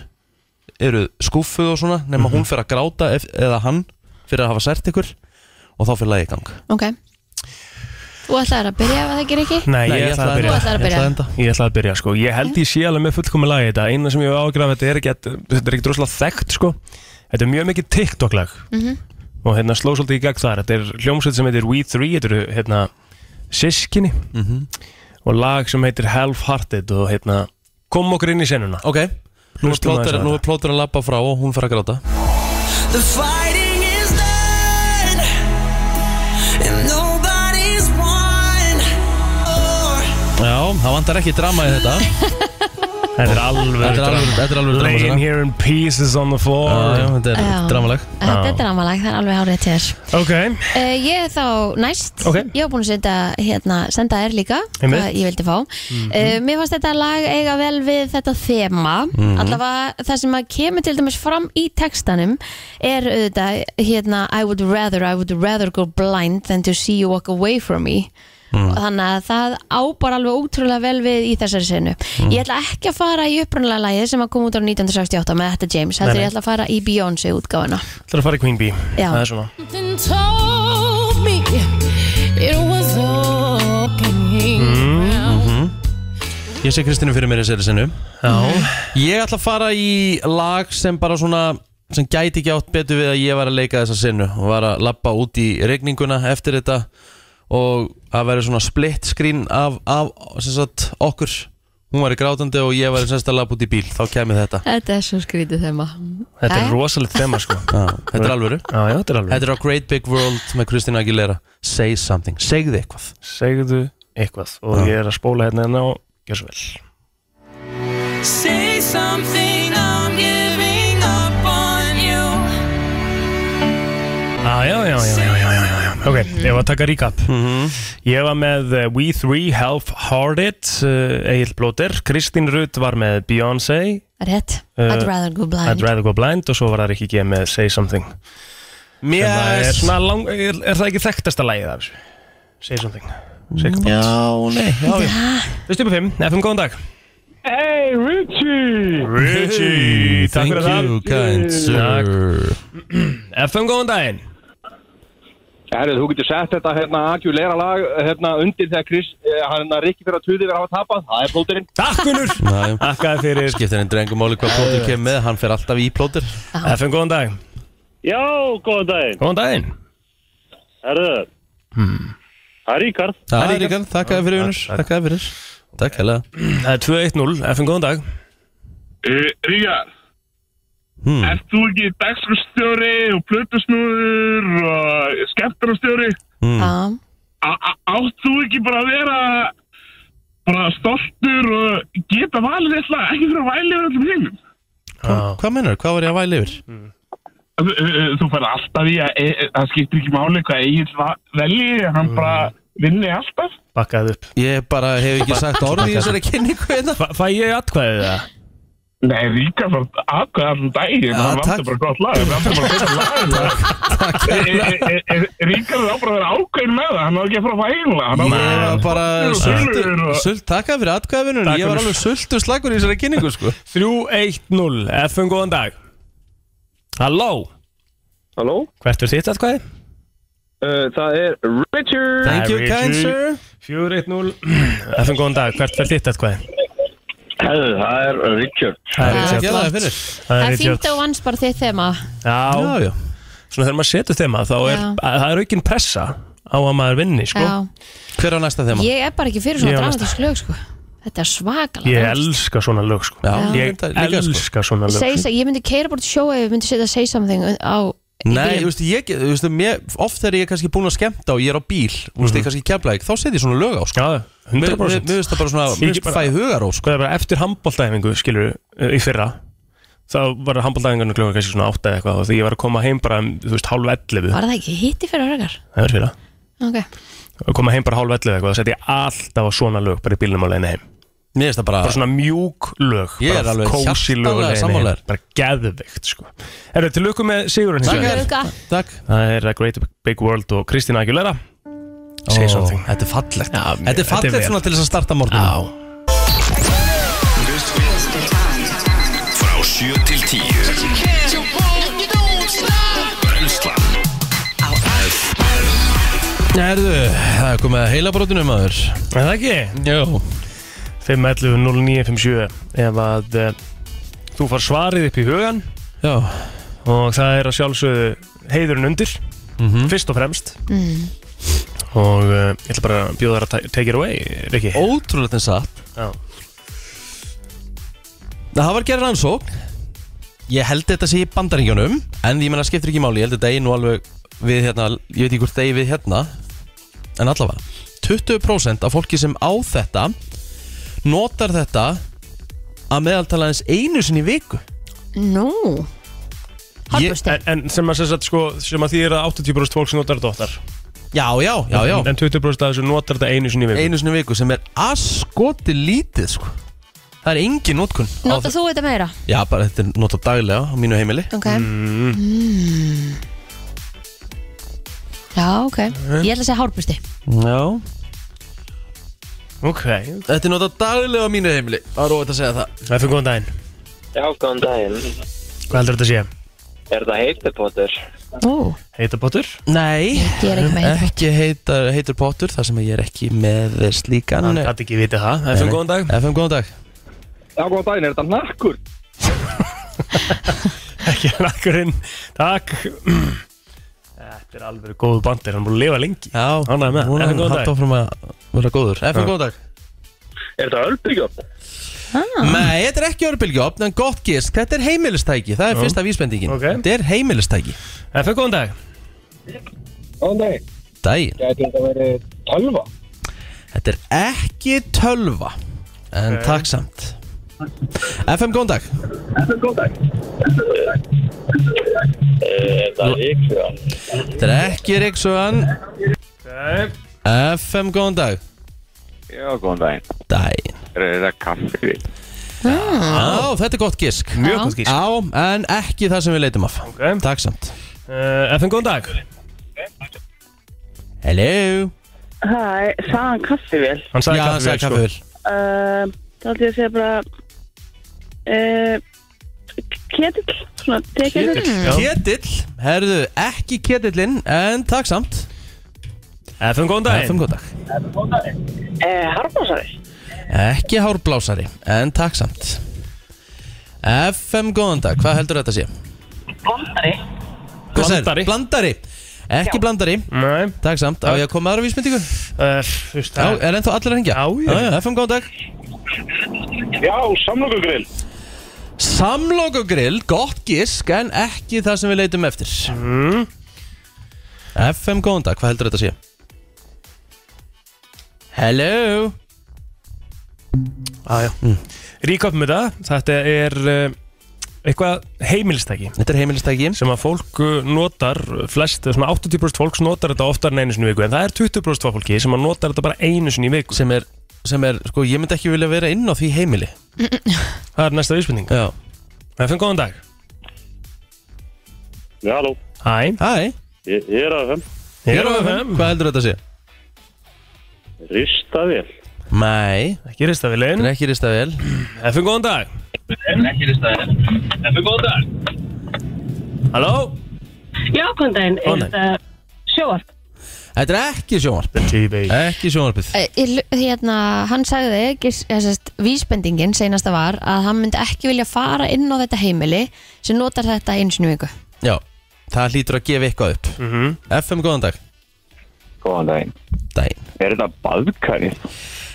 Speaker 2: eru skúffuð og svona nema hún fyrir að gráta ef, eða hann fyrir að hafa sært ykkur og þá fyrir lagi í gang
Speaker 3: Ok Þú ætlaðir að byrja ef það gerir ekki?
Speaker 4: Nei, ég, ætla að byrja
Speaker 3: Þú ætlar að
Speaker 2: Ég
Speaker 3: byrja.
Speaker 2: ætla að enda
Speaker 4: Ég ætla að byrja sko, ég held ég sé alveg með fullkomi lagi þetta Eina sem ég hef ágraf, þetta er ekki Þetta er ekki droslega þekkt sko Þetta er mjög mikið TikTok lag Og hérna sló svolítið í gegn þar Þetta er hljómsveit sem heitir We Three Þetta eru hérna sískinni
Speaker 2: Mhm.
Speaker 4: Og lag sem heitir Half Hearted Og hérna, kom okkur inn í senuna
Speaker 2: Ok, nú er
Speaker 4: Hlustum aðeins
Speaker 2: plóter-
Speaker 4: á
Speaker 2: nú er plótur að lappa frá og hún fyrir að gráta
Speaker 10: The fighting is done, and nobody's won. Or
Speaker 2: Já, það vantar ekki drama í þetta
Speaker 4: Þetta er alveg
Speaker 2: Þetta er alveg, þetta er alveg drama
Speaker 4: Laying here in pieces on the floor
Speaker 2: Já, já, þetta er
Speaker 3: Já.
Speaker 2: dramaleg
Speaker 3: Þetta er dramalag, það er alveg árið til þér
Speaker 4: Ok,
Speaker 3: uh, Ég er þá næst
Speaker 4: Ok.
Speaker 3: Ég hef búin að senda, hérna, senda þér líka
Speaker 4: Einmitt. Mhm.
Speaker 3: Hvað ég vildi fá uh, Mér fannst þetta lag eiga vel við þetta þema
Speaker 4: Mhm.
Speaker 3: Allavega það sem að kemur til dæmis fram í textanum Er auðvitað, hérna I would rather, I would rather go blind Than to see you walk away from me og þannig að það ábar alveg ótrúlega vel við í þessari senu
Speaker 4: Mm.
Speaker 3: ég ætla ekki að fara í upprunalega lagið sem að kom út á 1968 með þetta James heldur
Speaker 4: Nei, nei.
Speaker 3: ég ætla að fara í Beyoncé útgáfuna
Speaker 4: það er að fara í Queen Bee
Speaker 3: Já.
Speaker 4: Það er svona
Speaker 11: Something told me it was opening ground.
Speaker 2: Mhm. Ég sé Kristínu fyrir mér í sér sinu
Speaker 4: Já,
Speaker 2: Ég ætla að fara í lag sem bara svona sem gæti ekki átt betur við að ég var að leika þessa sinu og var að lappa út í regninguna eftir þetta og að vera svona split screen af, af sem sagt, okkur hún var í grátandi og ég var semst að lappa út í bíl þá kemur þetta
Speaker 3: Þetta er svo skrítið þema
Speaker 4: þetta
Speaker 3: Jæja.
Speaker 4: er rosalegt þema sko
Speaker 2: ah, Þetta er alvöru
Speaker 4: Já, já, þetta er alveg
Speaker 2: Þetta er á Great Big World með Kristínu Aguilera Say something, segðu eitthvað
Speaker 4: segðu eitthvað og ég er að spóla hérna hérna og gjör svo vel
Speaker 10: say something, I'm giving up on you.
Speaker 4: ah, já, já, já, já, já, já, já, já. ok, ég var að taka recap ég var með eh, We Three Half Hearted uh, Egil Blóter, Kristín Rutt var með Beyoncé,
Speaker 3: Rétt,
Speaker 4: Eh,
Speaker 3: I'd rather go
Speaker 4: I'd
Speaker 3: blind
Speaker 4: Rather Go Blind og svo var það ekki ekki með Say Something Mér
Speaker 12: Sem að er-
Speaker 4: er svona lang, er, er það ekki þekktasta lagið af þessu? Say something Já, nei, já, já Við stupum 5, FM góðan dag
Speaker 10: Hey, Richie!
Speaker 4: Richie, takk fyrir það Takk. FM góðan daginn
Speaker 7: Herrið, þú getur sett þetta hérna aðgjúleira lag hérna undir þegar Chris, eh, hann er ekki fyrir að tuði verið að hafa tapað, það er plóterinn.
Speaker 4: Takk, Gunnur! Takkaði fyrir
Speaker 2: Skiptir henni drengumáli hvað plótur kemur með Hann fer alltaf í plótur
Speaker 4: FM, góðan dag
Speaker 13: Já, góðan daginn.
Speaker 4: Góðan daginn Hmm.
Speaker 13: Herðu, það er Ríkard.
Speaker 2: Það er Ríkard, þakkaði fyrir unnur Þakkaði fyrir Takk hella
Speaker 4: Það er 2-1-0, FM góðan dag
Speaker 5: Ríkar hmm. Eh, Ert þú ekki dagskristjóri og plötusnúður og skemmtarastjóri
Speaker 3: Já.
Speaker 5: Átt þú ekki bara að vera bara stoltur og geta valið eitthvað ekki fyrir að væli yfir öllum heimum
Speaker 2: Hva- Hvað mennur, hvað var ég að væla yfir?
Speaker 5: Þú- þú- Þú færð alltaf í að e- það skiptir ekki máli hvað Egil velji hann bara vinni alltaf
Speaker 4: Bakkaði upp
Speaker 2: Ég bara hef ekki sagt orð í þessari kynningu hérna
Speaker 4: Fæ ég atkvæðið það?
Speaker 5: Nei, Ríkar var aðkvæða allan daginn
Speaker 4: Já,
Speaker 5: hann
Speaker 4: takk.
Speaker 5: vantur bara gott lag hann vantur bara gott lag Ríkar er á bara að vera ákveðin með það hann á ekki að fara að fá eiginlega hann á bara að vera
Speaker 2: bara
Speaker 5: stoltur
Speaker 2: sultur,
Speaker 5: og-
Speaker 2: sult, Takkaði fyrir atkvæðvinun Ég var alveg sultur slagur í þessari kynningu sko
Speaker 4: 3-1-0, FM góðan dag Halló
Speaker 7: Halló
Speaker 4: Hvert er þitt atkvæði?
Speaker 7: Uh, það er Richard!
Speaker 4: Thank you, kind sir. 4-1-0 FM góðan dag, hvert er þitt atkvæði?
Speaker 13: Herðu, það er Richard.
Speaker 4: Það er
Speaker 3: Já, flott.
Speaker 4: Richard
Speaker 3: Það er
Speaker 4: Richard.
Speaker 3: fínt að vans bara þitt þema
Speaker 4: Já, já Svona þegar maður setur þema þá er,
Speaker 3: Já.
Speaker 4: að, það er aukin pressa á að maður vinni sko.
Speaker 3: Já.
Speaker 4: Hver á næsta þema?
Speaker 3: Ég er bara ekki fyrir svona
Speaker 4: Ég var
Speaker 3: dramatísk lög sko. Þetta er svakalega
Speaker 4: Ég
Speaker 3: dramatískt.
Speaker 4: elska svona lög sko.
Speaker 3: Já,
Speaker 4: Ég
Speaker 2: þetta er líka, sko.
Speaker 4: elska svona lög
Speaker 3: Say, ég myndi keira bort sjó ef ég myndi setja say something á
Speaker 2: Nei, þú veist, ég, þú veist, mér, oft þegar ég er kannski búin að skemmta og ég er á bíl, þú veist, ég er kannski kemla þá setjum ég svona lög á, sko.
Speaker 4: Já, 100%
Speaker 2: Mér veist það bara svona, mér veist fæ hugaró
Speaker 4: sko. Það er bara eftir handbóltæfingu, skilur í fyrra þá var handbóltæfingunum klukka kannski svona 8 eða eitthvað og því ég var að koma heim bara, um, þú veist, hálf 11
Speaker 3: Var það ekki hitti fyrir örgar?
Speaker 4: Það var fyrra
Speaker 3: Ok
Speaker 4: að koma heim bara hálf 11 eða eitthvað þá sett ég alltaf á svona lög bara í bílnum á leiðinni heim
Speaker 2: Mér finnst það bara
Speaker 4: svona mjúk lög
Speaker 2: Ég er
Speaker 4: bara
Speaker 2: alveg
Speaker 4: kósí lög á leiðinni
Speaker 2: hjartanlega
Speaker 4: heim,
Speaker 2: sammálaður.
Speaker 4: Bara geðveikt sko Herru, til lukku með Sigurinn hins vegar.
Speaker 2: Takk
Speaker 4: Það er A Great Big World og Kristín Aguilera Say
Speaker 2: Ó,
Speaker 4: something
Speaker 2: Þetta er fallegt
Speaker 4: mér-
Speaker 2: Þetta er
Speaker 4: þetta
Speaker 2: fallegt
Speaker 4: er
Speaker 2: svona
Speaker 4: vel.
Speaker 2: til þess að starta morgunum
Speaker 1: Frá 7 til 10 Brenslan
Speaker 2: Herðu, það er komið að heila brotunum maður
Speaker 4: Er það ekki?
Speaker 2: Jó
Speaker 4: 511-0957 Ef að uh, þú far svarið upp í hugan
Speaker 2: Já
Speaker 4: Og það er að sjálfsögðu heiðurinn undir
Speaker 2: Mhm.
Speaker 4: Fyrst og fremst
Speaker 10: Mm.
Speaker 4: Og uh, ég ætla bara að bjóða þér að ta- take it away, Rikki
Speaker 2: Ótrúlega þess að
Speaker 4: Já
Speaker 2: Það var gerðið rannsókn Ég held þetta sé í bandaringjunum En ég menna skiptir ekki máli Ég held þetta einu alveg við hérna Ég veit ekki hvort það eigi við hérna En allavega 20% af fólki sem á þetta Notar þetta Að meðaltala eins einu sinni í viku
Speaker 3: Nú
Speaker 4: Ég- en, en sem að, sem, sagt, sko, sem að því er að 80% fólk sem notar þetta oftar
Speaker 2: Já, já, já, já
Speaker 4: En 20% af þessu notar þetta einu sinni í viku
Speaker 2: Einu sinni í viku sem er askoti lítið sko. Það er engin notkun á
Speaker 3: Nota
Speaker 2: þe-
Speaker 3: þú þetta meira?
Speaker 2: Já, bara þetta er notað daglega á mínu heimili
Speaker 3: Ok.
Speaker 2: mm.
Speaker 3: Mm. Já, ok Ég ætla að segja hárbusti
Speaker 2: Já
Speaker 4: Ok
Speaker 2: Þetta er notað daglega á mínu heimili Það er óvægt að segja það
Speaker 4: Það er fyrir góðan daginn
Speaker 14: Já, góðan daginn.
Speaker 4: Hvað heldur þetta að sé?
Speaker 14: Er það heitupottur?
Speaker 3: Ó
Speaker 4: Heita potur?
Speaker 2: Nei
Speaker 3: Ég er ekki með heitur
Speaker 2: Ekki heitar, heitur pottur þar sem ég er ekki með slíkan
Speaker 4: Hann gat ekki vitið það. FM, góðan dag.
Speaker 2: FM góðan dag
Speaker 7: Já, góðan daginn, er þetta nakkur?
Speaker 4: Ekki nakkurinn Takk Þetta er alveg góðu bandir Hann er búin að lifa lengi
Speaker 2: Já
Speaker 4: Ánægð með
Speaker 2: Hún
Speaker 4: FM,
Speaker 2: er
Speaker 4: góðan
Speaker 2: hægt
Speaker 4: dag
Speaker 2: áfram að vera góður
Speaker 4: Já.
Speaker 2: FM góðan dag
Speaker 14: Er það öllbyggjöfn?
Speaker 4: Ah.
Speaker 2: Nei, þetta er ekki örbylgjófn en gott gist Þetta er heimilistæki, það er
Speaker 4: Já.
Speaker 2: fyrsta vísbendingin
Speaker 4: Ok.
Speaker 2: Þetta er heimilistæki
Speaker 4: FM góðan dag
Speaker 8: Góðan daginn.
Speaker 2: Dæin
Speaker 8: Gæti þetta verið tölva?
Speaker 2: Þetta er ekki tölva En
Speaker 8: Ok.
Speaker 2: takk samt FM, góðan dag
Speaker 14: FM, góðan dag. Er það ríksugan?
Speaker 2: Þetta er ekki Ríksugan FM, góðan dag
Speaker 14: Já, góðan daginn.
Speaker 2: Daginn.
Speaker 14: Er það kaffi?
Speaker 2: Já, þetta er gott gisk
Speaker 14: Mjög gott gisk.
Speaker 2: Já, en ekki það sem við leitum af okay. Takk samt
Speaker 4: Uh, FN, góðan dag Hello
Speaker 12: Hæ, sagði hann kaffivél?
Speaker 4: Hann sagði sko. Já, hann sagði kaffivél,
Speaker 12: Uh, þá ætlum ég að segja bara uh, Ketill Svona, teketill
Speaker 2: Ketill, herðu, ekki ketillinn En takk samt
Speaker 4: FM góðan dag
Speaker 2: FM góðan dag
Speaker 5: Eh,
Speaker 12: uh, Harfásari
Speaker 2: Ekki hárblásari, en takk samt FM góðan dag, hvað heldur þetta sé?
Speaker 12: Blandari
Speaker 2: Hvað sagðir? Blandari Ekki blandari
Speaker 4: Nei
Speaker 2: Takk samt, á ég að koma með aðra vísmyndingu? Já, er ennþá allir að hengja? Já, já FM góðan dag
Speaker 10: Já, samlokugrill
Speaker 2: Samlokugrill, gott gisk En ekki það sem við leitum eftir FM góðan dag, hvað heldur þetta sé? Hello
Speaker 4: ah, mm. Rík upp með það Þetta er uh, eitthvað heimilistæki
Speaker 2: Þetta er heimilistæki
Speaker 4: Sem að fólk uh, notar flest, svona 80% fólks notar þetta oftar en einu sinni í viku En það er 20% af fólki sem að notar þetta bara einu sinni í viku
Speaker 2: Sem er, sem er sko, ég myndi ekki vilja vera inn á því heimili
Speaker 4: Það er næsta vísbending
Speaker 2: Já
Speaker 4: FM, góðan dag
Speaker 13: Já, halló
Speaker 4: Hæ
Speaker 2: Hæ
Speaker 13: Ég ég er að þeim
Speaker 2: Hér á FM, hvað heldur þetta sé?
Speaker 13: Ristavél
Speaker 2: Nei
Speaker 4: Ekki ristavilin
Speaker 2: Þetta er ekki ristavél
Speaker 4: FM, góðan dag
Speaker 13: Ekki ristavél
Speaker 8: Ef við góðan dag
Speaker 4: Halló
Speaker 12: Já, góðan daginn
Speaker 2: Góðan
Speaker 12: Er
Speaker 2: daginn.
Speaker 12: þetta sjóvarp?
Speaker 2: Þetta er ekki sjónvarpið Ekki sjónvarpið
Speaker 3: Eh, í- hérna, hann sagði gis- eða sem sagt, vísbendingin seinasta var að hann myndi ekki vilja fara inn á þetta heimili sem notar þetta einu sinni í viku
Speaker 2: Já, það hlýtur að gefa eitthvað upp
Speaker 4: Mhm.
Speaker 2: FM, góðan dag
Speaker 14: Góðan daginn
Speaker 2: Daginn
Speaker 14: Er þetta baðkarið?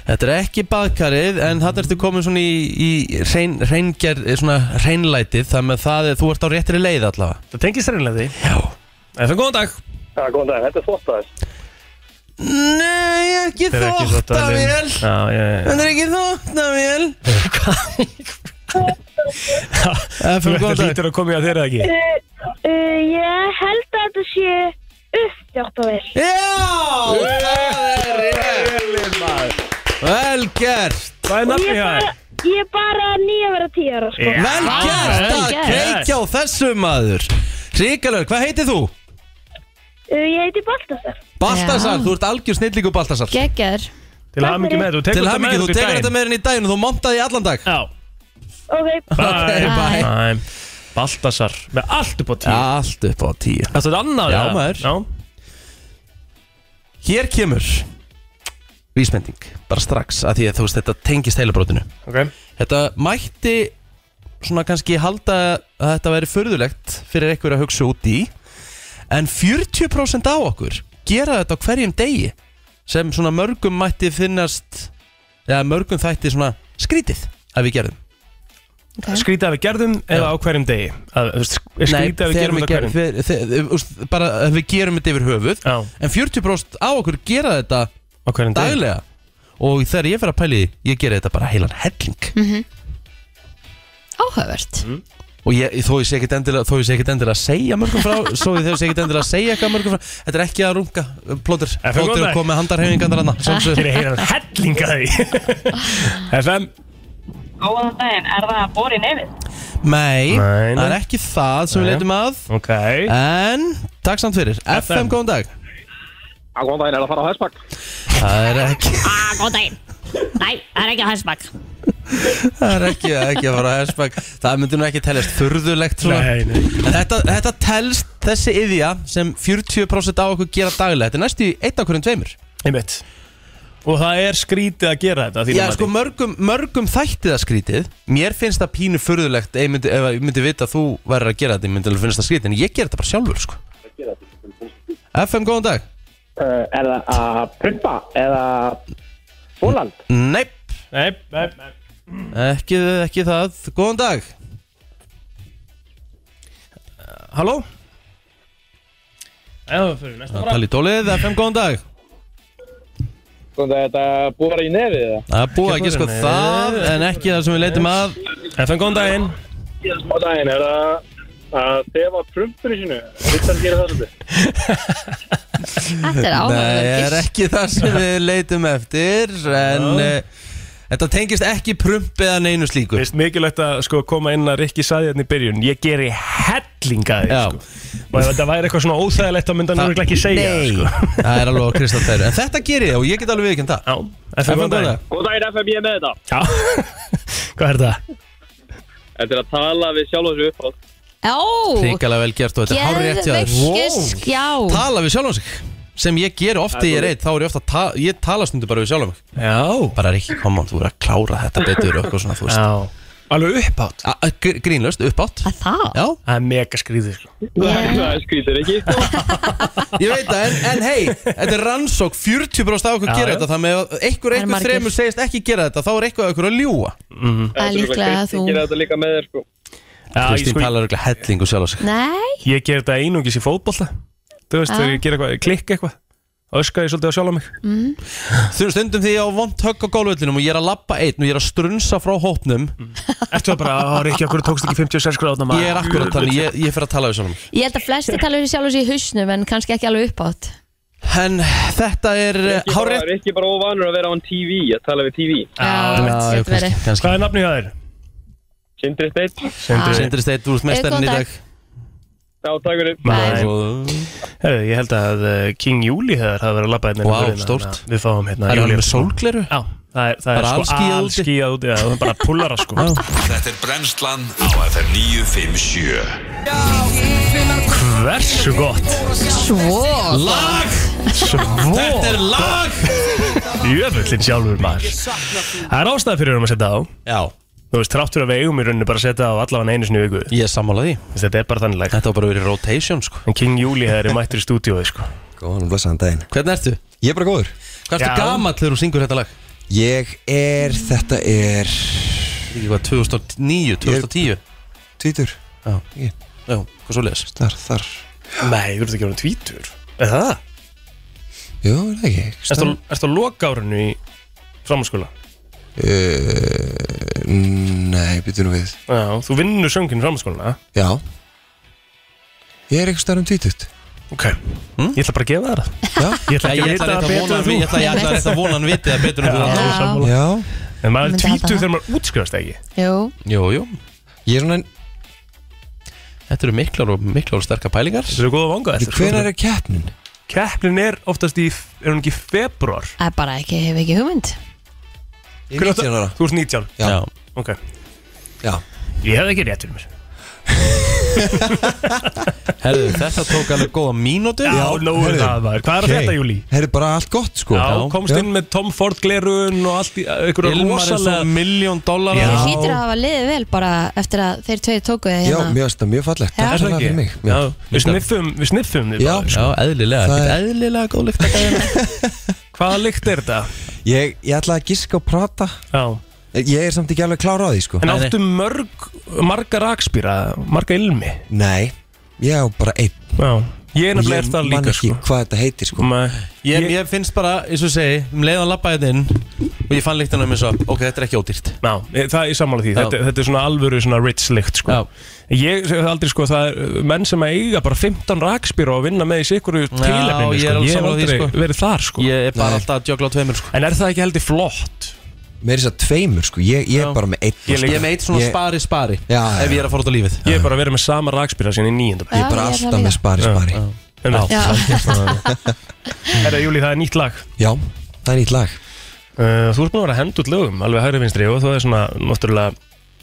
Speaker 2: Þetta er ekki baðkarið en það ertu komin svona í, í reyn, reyngerð, eh, svona reynlætið þar með það er, þú ert á réttri leið allavega
Speaker 4: Það tengist reynlæti
Speaker 2: Já
Speaker 4: FM, góðan dag
Speaker 8: Já, góðan dag, þetta er þóttaðis
Speaker 2: Nei, ekki
Speaker 4: Þetta er ekki
Speaker 2: þvottavél.
Speaker 4: þvottavél. Já, já, já, já.
Speaker 2: Þetta er ekki þóttavél FM,
Speaker 4: Þetta
Speaker 2: góðan dag
Speaker 4: lítur að koma í að þeirra ekki
Speaker 15: Eh, Ég held að þetta sé uppdjáttavél.
Speaker 2: Já! Það er
Speaker 4: rétt
Speaker 2: Vel gert
Speaker 4: Hvað er nafnið hjá þér?
Speaker 15: Ég er bara nýja vera tíu ára, sko.
Speaker 2: Vel gert að kveikja á þessu maður Ríkalur, hvað heitir þú?
Speaker 12: Eh,
Speaker 15: Uh, Ég heiti Baltasar.
Speaker 2: Baltasar, þú ert algjör snillíku Baltasar
Speaker 3: Geggar
Speaker 4: Til hamingju með þetta, þú tekur
Speaker 2: Til
Speaker 4: þetta
Speaker 2: hamingju,
Speaker 4: með
Speaker 2: þú
Speaker 4: þér út í
Speaker 2: tekur
Speaker 4: daginn.
Speaker 2: þetta með henni í daginn og þú montaði í allan dag
Speaker 4: Já
Speaker 15: Ok,
Speaker 4: Bye,
Speaker 2: Bye.
Speaker 4: bye. Baltasar með allt upp á tíu
Speaker 2: Allt upp á tíu
Speaker 4: Þetta er annað
Speaker 2: Já
Speaker 4: eða?
Speaker 2: maður
Speaker 4: Já.
Speaker 2: Hér kemur Vísmending, bara strax að Því að þú veist þetta tengist heilabrótinu
Speaker 4: Ok.
Speaker 2: Þetta mætti Svona kannski halda að þetta væri förðulegt Fyrir einhver að hugsa út í En 40% á okkur Gera þetta á hverjum degi Sem svona mörgum mætti finnast Eða mörgum þætti svona skrítið Að við gerðum
Speaker 4: Skrítið að við gerðum eða á hverjum degi að, þú veist, Skrítið að við
Speaker 2: þegar
Speaker 4: gerum þetta á hverjum
Speaker 2: við, þegar, þegar, úst, bara að við gerum þetta yfir höfuð
Speaker 4: Já.
Speaker 2: en 40% á okkur gera þetta
Speaker 4: degi.
Speaker 2: daglega og þegar ég fer að pæli ég gera þetta bara heilan helling
Speaker 3: mm Áhugavert
Speaker 4: Mm.
Speaker 2: og ég, þó ég sé ekkit endilega þó ég sé ekkit endilega að segja mörgum frá svo ég þó ég sé ekkit endilega að segja eitthvað mörgum frá þetta er ekki að runga plótur
Speaker 4: FM, góðan
Speaker 2: plótur
Speaker 4: dag.
Speaker 2: kom með handarhefingarnar hann
Speaker 4: Hér er heilan helling að því FM
Speaker 12: Góðan daginn, er það borið nefið?
Speaker 2: nei,
Speaker 4: Nei, nei.
Speaker 2: það er ekki það sem við
Speaker 4: Nei.
Speaker 2: leitum að
Speaker 4: Ok
Speaker 2: en takk samt fyrir FM, góðan dag
Speaker 7: Já, góðan daginn, er það að fara á hessbakk?
Speaker 2: það er ekki
Speaker 12: Ah, góðan daginn. Nei, það er ekki að hæsbakk.
Speaker 2: Það er ekki, ekki að fara að hessbæk Það myndi nú ekki teljast furðulegt svona
Speaker 4: Nei, nei.
Speaker 2: En þetta, þetta telst þessi yðja sem 40% á okkur gera daglega Þetta er næstu í eitt af hverjum tveimur
Speaker 4: Einmitt Og það er skrítið að gera þetta að þínu
Speaker 2: Já,
Speaker 4: mati.
Speaker 2: sko, mörgum, mörgum þætti það skrítið Mér finnst það pínu furðulegt ef ég myndi, ef ég myndi vita að þú væri að gera þetta Ég myndi alveg finnst það skrítið En ég gera þetta bara sjálfur, sko FM, góðan dag
Speaker 8: Eh,
Speaker 16: Uh, er það að prumpa eða bóland?
Speaker 2: Nei,
Speaker 4: Nei, nei, nei
Speaker 2: ekki, ekki það Góðan dag
Speaker 4: Halló Já, það fyrir næsta bara
Speaker 2: Tali tólið, FM, góðan dag
Speaker 8: Góðan dag, þetta er búið að vera í nefið eða?
Speaker 2: Það er búið að ekki sko
Speaker 4: Nei.
Speaker 2: það En ekki það sem við leitum að
Speaker 4: FM, góðan daginn
Speaker 8: Góðan daginn, er það að defa prumpur í sinu? Þetta er að gera það svolítið
Speaker 3: Þetta er
Speaker 2: Nei,
Speaker 3: áhugavert
Speaker 2: er
Speaker 3: gisk.
Speaker 2: ekki það sem við leitum eftir En, eh, Þetta tengist ekki prump eða neinu slíku
Speaker 4: Vist mikilvægt að sko, koma inn að Rikki saði hérna í byrjun Ég geri hellinga því sko. Og ef þetta væri eitthvað svona óþægilegt þá myndi hann örugglega ekki segja
Speaker 2: Nei,
Speaker 4: það, sko.
Speaker 2: það er alveg að kristall þeirra En þetta ger ég og ég get alveg við ekki en það
Speaker 4: FM, góðan daginn.
Speaker 10: Góð daginn FM, ég er með þetta
Speaker 4: Hvað er það?
Speaker 10: Þetta er að tala við sjálf þessu uppátt
Speaker 3: Já,
Speaker 2: Ríkala vel gert og þetta er hár rétt hjá þér
Speaker 3: Geðveikt skjá.
Speaker 2: Tala við sjálfum sig Sem ég ger ofti ég er eitt Þá er ég ofta ta Ég tala stundu bara við sjálfum mig
Speaker 4: Já
Speaker 2: Bara Ríkki, koma, þú verður að klára þetta betur og eitthvað svona, þú veist
Speaker 4: Já Alveg uppátt
Speaker 2: Grínlöst, uppátt
Speaker 3: Það?
Speaker 2: Já
Speaker 4: Það er mega skrýðið sko
Speaker 10: Það er skvítir ekki
Speaker 2: Ég veit það, en, en hei, þetta er rannsók 40% af okkur
Speaker 4: Já,
Speaker 2: gera
Speaker 4: já.
Speaker 2: þetta Þannig að ef einhver
Speaker 3: Það er
Speaker 2: einhver
Speaker 3: margir.
Speaker 2: þremur segist ekki gera þetta Þá er eitthvað okkur að ljúa
Speaker 10: Það er
Speaker 3: líklega að þú-
Speaker 10: Ég gera þetta líka með þér sko
Speaker 2: Kristín talar okkur hellingu sjálf sig
Speaker 3: Nei,
Speaker 4: sko- Ég ger þetta einungis í fótbolta Þú veist,
Speaker 3: Ah.
Speaker 4: þegar ég ger eitthvað, klikk eitthvað Öskar ég svolítið á sjálf mig
Speaker 3: mm.
Speaker 2: Þú veist, stundum því ég á vond högg á gólvöllinum Og ég er að labba einn og ég er að strunsa frá hópnum
Speaker 4: Ertu það bara, á Rikki, okkur tókst ekki 56 gráðna maður?"
Speaker 2: Ég er akkurat þannig, ég, ég fer að tala við sjálfum mig.
Speaker 3: ég held að flesti tala um sjálf þessi í hausnum en kannski ekki alveg uppátt
Speaker 2: En þetta er eh,
Speaker 10: Rikki bara, Rikki bara óvanur að vera án TV Að tala við TV
Speaker 3: Ah,
Speaker 2: Já, já, kannski, kannski.
Speaker 4: Hvað er nafnið það er?
Speaker 10: Sindri Steinn
Speaker 4: Sindri.
Speaker 2: Sindri Steinn, þú ert mestarinn í
Speaker 10: Góðan
Speaker 2: dag
Speaker 10: dag. Já, takk fyrir
Speaker 4: Herru, ég held að eh, King Júli hefur hafa verið að labba hérna
Speaker 2: Vá,
Speaker 4: hérna,
Speaker 2: stórt.
Speaker 4: þannig að Við fáum hérna
Speaker 2: Það er hann
Speaker 4: Júlíu.
Speaker 2: með sólgleru?
Speaker 4: Já, það er, það er
Speaker 2: Bara
Speaker 4: sko
Speaker 2: alskýjað úti?
Speaker 4: allskíðað úti Já, það er bara pullara sko
Speaker 1: Þetta er brennslan á FM 957
Speaker 4: Hversu gott
Speaker 3: Svo
Speaker 2: Lag
Speaker 4: Svo
Speaker 2: Þetta er lag
Speaker 4: Jöfullin sjálfur maður Það er ástæða fyrir um að setja á
Speaker 2: Já
Speaker 4: Þú veist, trátt fyrir að við eigum í rauninu bara að setja á allavega einu sinni í viku
Speaker 2: Ég er sammála því
Speaker 4: Þetta er bara þannig lag
Speaker 2: Þetta var bara verið rotation sko
Speaker 4: En King Júli hefur mættur í stúdíói sko
Speaker 17: Góðan og blessaðan daginn
Speaker 2: Hvernig ertu?
Speaker 17: Ég er bara góður
Speaker 2: Hvað ertu
Speaker 4: Já.
Speaker 2: gamall þegar þú syngur þetta lag?
Speaker 17: Ég er, þetta er
Speaker 2: Ég var 2009, 2010
Speaker 17: Tvítur
Speaker 2: Já, já, hvað svo leiðis?
Speaker 17: Þar, þar
Speaker 4: Nei, þú ert ekki orðin tvítur Er það?
Speaker 17: Jú, er það ekki
Speaker 4: Erstu á- ertu á loka árinu í framhanskóla?
Speaker 17: uh, Nei, býtu nú við
Speaker 4: Já, þú vinnur söngin í framhanskóla
Speaker 17: Já Ég er eitthvað starf um tvítut
Speaker 4: Ok, ég ætla bara að gefa þér það
Speaker 17: Já.
Speaker 4: Ég ætla ekki að
Speaker 2: Ég ætla
Speaker 4: vita það betur en þú
Speaker 2: rétt að vona- ég ætla- ég ætla rétt að vona hann viti það betur en þú.
Speaker 4: Já,
Speaker 2: Já.
Speaker 4: ég er sammála.
Speaker 17: Já.
Speaker 4: En maður
Speaker 3: Myndi halda
Speaker 4: er
Speaker 3: það.
Speaker 4: tvítur þegar maður útskrifast ekki
Speaker 3: Jú,
Speaker 2: Jú, jú
Speaker 17: Ég er svona
Speaker 2: Þetta eru miklar og miklar og sterkar pælingar
Speaker 4: Þetta eru góða vanga þetta
Speaker 17: Hvenær er keppnin?
Speaker 4: Keppnin er oftast í, er hún ekki í februar
Speaker 3: það er bara ekki, hef ekki hugmynd
Speaker 17: Ég er 19 ára
Speaker 4: Þú ert 19
Speaker 17: Já.
Speaker 4: Ok
Speaker 17: Já
Speaker 4: Ég hefði ekki rétt fyrir mér
Speaker 2: Herðu, þetta tók alveg góða mínútu
Speaker 4: Já, nóg er það maður Hvað er að þetta, Júli?
Speaker 17: Það er bara allt gott sko
Speaker 4: Já, komst inn með Tom Ford glerun og allt í einhverju
Speaker 2: Ilmar er svo
Speaker 4: rosalega
Speaker 2: miljón dólar
Speaker 4: Já.
Speaker 3: Það hýtur að hafa liðið vel bara eftir að þeir tveir tóku þið
Speaker 17: Já,
Speaker 3: hérna
Speaker 17: mér finnst það mjög fallegt
Speaker 3: Já.
Speaker 17: Takk
Speaker 4: Er það
Speaker 17: sannlega
Speaker 4: ekki?
Speaker 17: fyrir mig
Speaker 4: Já, við sniffum, við sniffum þið
Speaker 17: Já.
Speaker 4: bara,
Speaker 2: Já,
Speaker 4: sko.
Speaker 2: eðlilega,
Speaker 17: Það
Speaker 2: ekkert
Speaker 17: er-
Speaker 2: eðlilega góð lykt að gæðina
Speaker 4: Hvaða lykt er þetta?
Speaker 17: Ég, ég ætla að giska og prata
Speaker 4: Já
Speaker 17: Ég er samt ekki alveg klára á því sko
Speaker 4: En áttu mörg, marga rakspýra, marga ilmi
Speaker 17: Nei, ég á bara einn
Speaker 4: Já Ég er
Speaker 17: Og
Speaker 4: nefnilega er það líka
Speaker 17: Ég man ekki hvað þetta heitir sko
Speaker 4: Nei,
Speaker 2: Ég, ég finnst bara, eins og ég segi, um leiðan lappa hérna inn og ég fann líktan á mér svo, ok, þetta er ekki ódýrt
Speaker 4: Já, ég- það er sammála því,
Speaker 2: Já.
Speaker 4: þetta, þetta er svona alvöru svona rich lykt sko.
Speaker 2: Já.
Speaker 4: Ég hef aldrei sko, það er menn sem að eiga bara 15 rakspýra og vinna með í sikuru tilefninu
Speaker 2: ég er
Speaker 4: sko. Ég
Speaker 2: alveg
Speaker 4: hef
Speaker 2: sammála því,
Speaker 4: aldrei
Speaker 2: sko.
Speaker 4: verið þar sko.
Speaker 2: Ég er bara
Speaker 17: Nei.
Speaker 2: alltaf að jökla á tveimur sko.
Speaker 4: En er það ekki heldur flott?
Speaker 17: Mér er þess að tveimur sko Ég, ég er bara með einn sko.
Speaker 4: Ég
Speaker 2: Ég
Speaker 4: líka.
Speaker 2: er með eitt svona
Speaker 17: Ég-
Speaker 2: spari spari
Speaker 17: Já, já.
Speaker 2: ef ég er að fara út á lífið
Speaker 4: Ég hef bara verið með sama rakspýra síðan í nýjönda
Speaker 17: Ég er bara
Speaker 3: Já, ég er það
Speaker 17: alltaf með
Speaker 3: líka.
Speaker 17: spari spari Já,
Speaker 3: Já.
Speaker 4: Herra Júli, það er nýtt lag
Speaker 17: það er nýtt lag
Speaker 4: Uh, Þú ert búin að vera að henda út lögum, alveg hægri vinstri og það er svona náttúrulega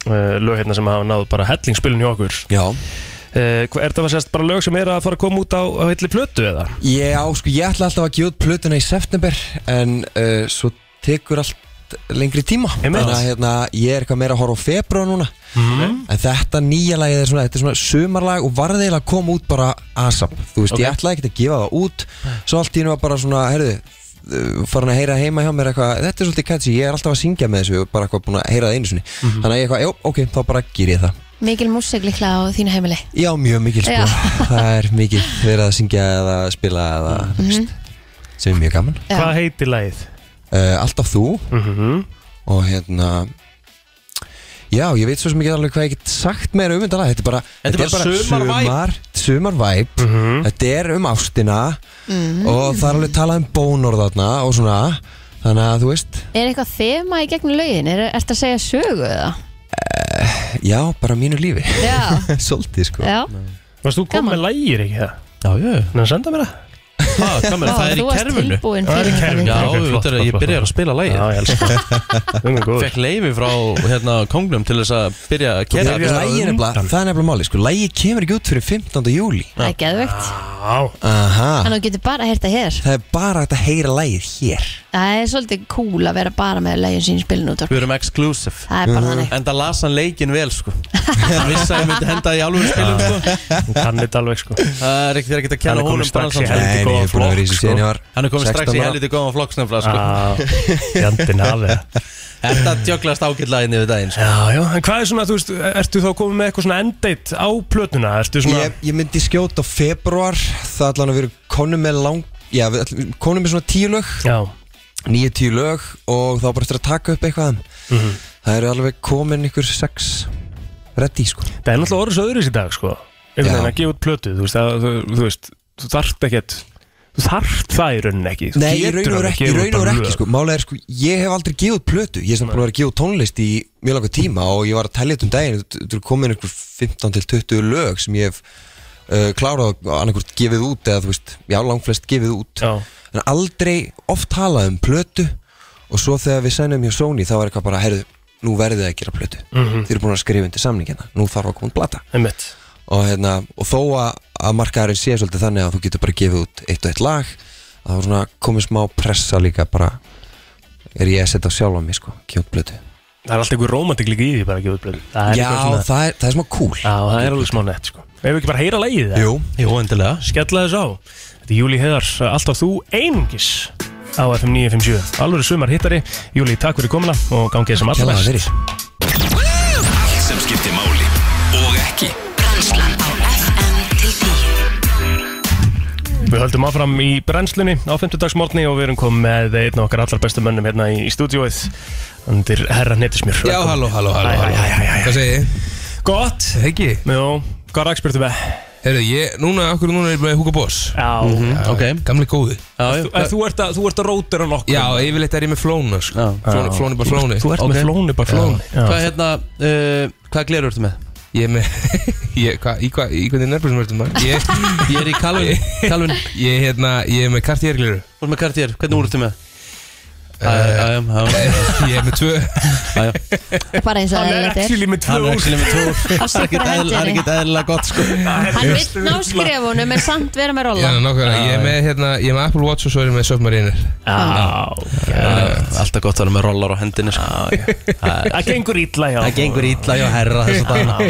Speaker 4: uh, lög hérna sem hafa náð bara hellingsspilun hjá okkur
Speaker 17: Já
Speaker 4: uh, hva- Er það sérst bara lög sem er að fara að koma út á, á heilli plötu eða?
Speaker 17: Ég á sko, ég ætla alltaf að gefa út plötuna í september En uh, svo tekur allt lengri tíma
Speaker 4: Einmitt. Mhm.
Speaker 17: Þannig að hérna, ég er eitthvað meira að horfa á februar núna En þetta nýja lagið er svona, þetta er svona sumarlag og varð eiginlega að koma út bara ASAP Þú veist, ég ætlaði ekki að gefa það út Svo allt í hennu var bara svona, heyrðu uh, farin að heyra heima hjá mér eitthvað þetta er svolítið catchy, ég er alltaf að syngja með þessu og bara eitthvað búin að heyra það einu sinni
Speaker 4: Mhm.
Speaker 17: þannig að ég eitthvað, já, ok, þá bara gýr ég það
Speaker 3: Mikil músik líklega á þínu heimili
Speaker 17: já, mjög mikil sko,
Speaker 3: Já.
Speaker 17: það er mikil verið að syngja eða spila eða mm sem er mjög gaman
Speaker 3: Já.
Speaker 4: Hvað heitir lagið?
Speaker 17: uh, Alltaf þú
Speaker 4: Mhm.
Speaker 17: og hérna já, ég veit svo sem ekki alveg hvað ég get sagt meira um þetta lag þetta er bara,
Speaker 2: Þetta er bara Mhm. sumarvæp.
Speaker 17: sumar, sumar væp
Speaker 3: Mhm.
Speaker 17: þetta er um ástina og það er alveg talað um bónorð þarna og svona Þannig að þú veist,
Speaker 3: Er eitthvað þema í gegnum lögin? Er þetta að segja sögu eða?
Speaker 17: já, bara mínu lífi
Speaker 3: Já.
Speaker 17: Svolítið sko
Speaker 3: Já.
Speaker 4: Varst þú komið með lægir ekki það?
Speaker 2: Já, já
Speaker 4: Ná, senda mér það Ha, hvað með
Speaker 2: Já,
Speaker 4: það? Það er í
Speaker 2: þú varst
Speaker 4: kerfinu
Speaker 2: tilbúin
Speaker 4: Það er í
Speaker 2: fyrir
Speaker 4: kerfinu
Speaker 2: þetta. Já,
Speaker 4: Ok, flott, flott,
Speaker 2: auðvitað er að ég
Speaker 4: flott,
Speaker 2: byrjar
Speaker 4: flott.
Speaker 2: að spila lagið.
Speaker 4: Já, ég elska það
Speaker 2: Fekk leifi frá hérna, kongnum til þess að byrja að
Speaker 17: Lægi
Speaker 2: kera
Speaker 17: er nefnilega, það er nefnilega máli sko Lægi kemur ekki út fyrir 15. júli
Speaker 3: Það er geðvegt
Speaker 17: Aha
Speaker 18: Ah.
Speaker 3: Þannig að þú getur bara að hérta hér
Speaker 17: Það er bara hægt að heyra lægið hér
Speaker 3: Það er svolítið cool að vera bara með lögin sín í spilinu út
Speaker 2: Við erum exclusive
Speaker 3: Það er bara
Speaker 4: Mm.
Speaker 3: Mhm. þannig.
Speaker 2: En það las hann leikin vel sko Hann vissi að ég myndi henda það í alvöru spilum sko
Speaker 4: Hún kann þetta alveg sko
Speaker 2: Það er ekkert ekki að kenna
Speaker 4: Hann er kominn
Speaker 2: honum
Speaker 4: strax í
Speaker 2: bransan, sko.
Speaker 4: helviti Nei, nei, ég er góðan búinn að vera í þessu flokk, síðan ég sko. var
Speaker 2: Hann er komið strax
Speaker 4: 16
Speaker 2: í
Speaker 4: ára.
Speaker 2: helviti góðan flokk snöfla sko
Speaker 4: Já, jandinn hafi það.
Speaker 2: Þetta djöglast ágætlega inn yfir daginn sko.
Speaker 4: Já, já, en hvað er svona, þú veist, ertu þá komið með eitthvað svona endeit á plötuna? Ertu svona,
Speaker 17: ég, ég myndi skjóta á februar Það allan að við erum konum með lang Já, við ætlum- konum með svona tíu lög
Speaker 4: Já
Speaker 17: Nýju tíu lög og þá bara eftir að taka upp eitthvað
Speaker 4: Mhm.
Speaker 17: Það eru alveg komin ykkur sex Reddi sko
Speaker 4: það er náttúrulega orðis öðruðs í dag, sko Einhvern veginn að gefa út plötu, þú veist, að, þú, þú veist, þú þarft ekkert Þú þarft það í rauninni ekki Þú
Speaker 17: Nei, ég
Speaker 4: getur
Speaker 17: raun og
Speaker 4: alveg
Speaker 17: ekki,
Speaker 4: gefið
Speaker 17: ég
Speaker 4: út
Speaker 17: raun og
Speaker 4: bara
Speaker 17: ekki
Speaker 4: lög.
Speaker 17: sko. Málega er sko, ég hef aldrei gefið út plötu Ég er samt búin að vera að gefa út tónlist í mjög langa tíma Og ég var að tellja þetta um daginn Þú þú eru komin einhver 15 til 20 lög Sem ég hef uh, klárað annarkvort gefið út Eða þú veist, já langflest gefið út
Speaker 4: já.
Speaker 17: En aldrei oft talað um plötu Og svo þegar við sænum hjá Sony Þá var eitthvað bara, heyrðu, nú verðið þið að gera plötu
Speaker 4: Mhm.
Speaker 17: Þið eru búin að skrifa undir samningina Nú þarf að koma út blata
Speaker 4: Einmitt.
Speaker 17: og, hérna, og þó að, að markaðarinn sé svolítið þannig að þú getur bara gefið út eitt og eitt lag að það svona komið smá pressa líka bara er ég að setja á sjálf á mig sko, kjóttblötu
Speaker 4: Það er alltaf einhver romantik líka í því bara að gefa út plötu Það er
Speaker 17: Já,
Speaker 4: eitthvað svona-
Speaker 17: það er, það er smá cool
Speaker 4: Já, það er alveg smá nett sko Ef við ekki bara heyra lægið það?
Speaker 17: Jú,
Speaker 2: Jú endilega
Speaker 4: Skella þess á Þetta er Júli Heðars, alltaf þú einungis á FM 957 Alvöru sumar hittari Júli, takk fyrir komuna og gangið sem allra
Speaker 17: Kjallaði
Speaker 4: best
Speaker 17: fyrir.
Speaker 1: Allt sem skiptir máli og ekki
Speaker 4: Við höldum áfram í brennslunni á 50 dagsmorni og við erum komið með einn af okkar allar bestu mönnum hérna í, í stúdíóið Þannig herra netismjör
Speaker 18: Já, halló, halló, halló, halló. Hvað segið þið?
Speaker 4: Gott
Speaker 18: Ekki?
Speaker 4: Jó, hvað rækspyrtu með?
Speaker 18: Herru, ég, núna, okkur núna er ég með Hugo Boss
Speaker 4: Já,
Speaker 2: Mhm, ok
Speaker 18: Gamli góði Já,
Speaker 4: Þú, þú, ert að, þú ert að rótera nokkur
Speaker 18: Já, yfirleitt er ég með flónu, sko Flónu,
Speaker 2: Já.
Speaker 18: flónu bara flónu
Speaker 4: Þú ert með flónu bara flónu. Já.
Speaker 2: Hvað hérna, uh, hvað glerur ertu með?
Speaker 18: Ég er með, ég, hva, í, hva, í hvernig nervusum ertu maður? Ég,
Speaker 2: ég er í Calvin, Calvin.
Speaker 18: Ég, hérna, ég er með kartérgliru
Speaker 2: Þú ert með kartér, hvernig úr ertu með? Æ, æ, æ, æ,
Speaker 18: Eh, Ég er með tvö
Speaker 3: Bara eins og
Speaker 4: Hann er
Speaker 3: eðlilegt
Speaker 4: actually með tvö
Speaker 2: Hann er
Speaker 4: úr.
Speaker 2: actually með tvö úr. Það er ekkert eðl- það er ekkert eðlilega gott sko
Speaker 3: Hann vill ná skrefunum en samt vera með
Speaker 18: Já,
Speaker 3: róla
Speaker 18: nákvæmlega, ég er með, hérna, ég er með Apple Watch og svo er ég með Submariner
Speaker 4: Já,
Speaker 2: Ah, Alltaf gott að vera með rollar á hendinni sko.
Speaker 4: Ah, Það gengur illa, já
Speaker 2: Það gengur illa, já, herra þess að dana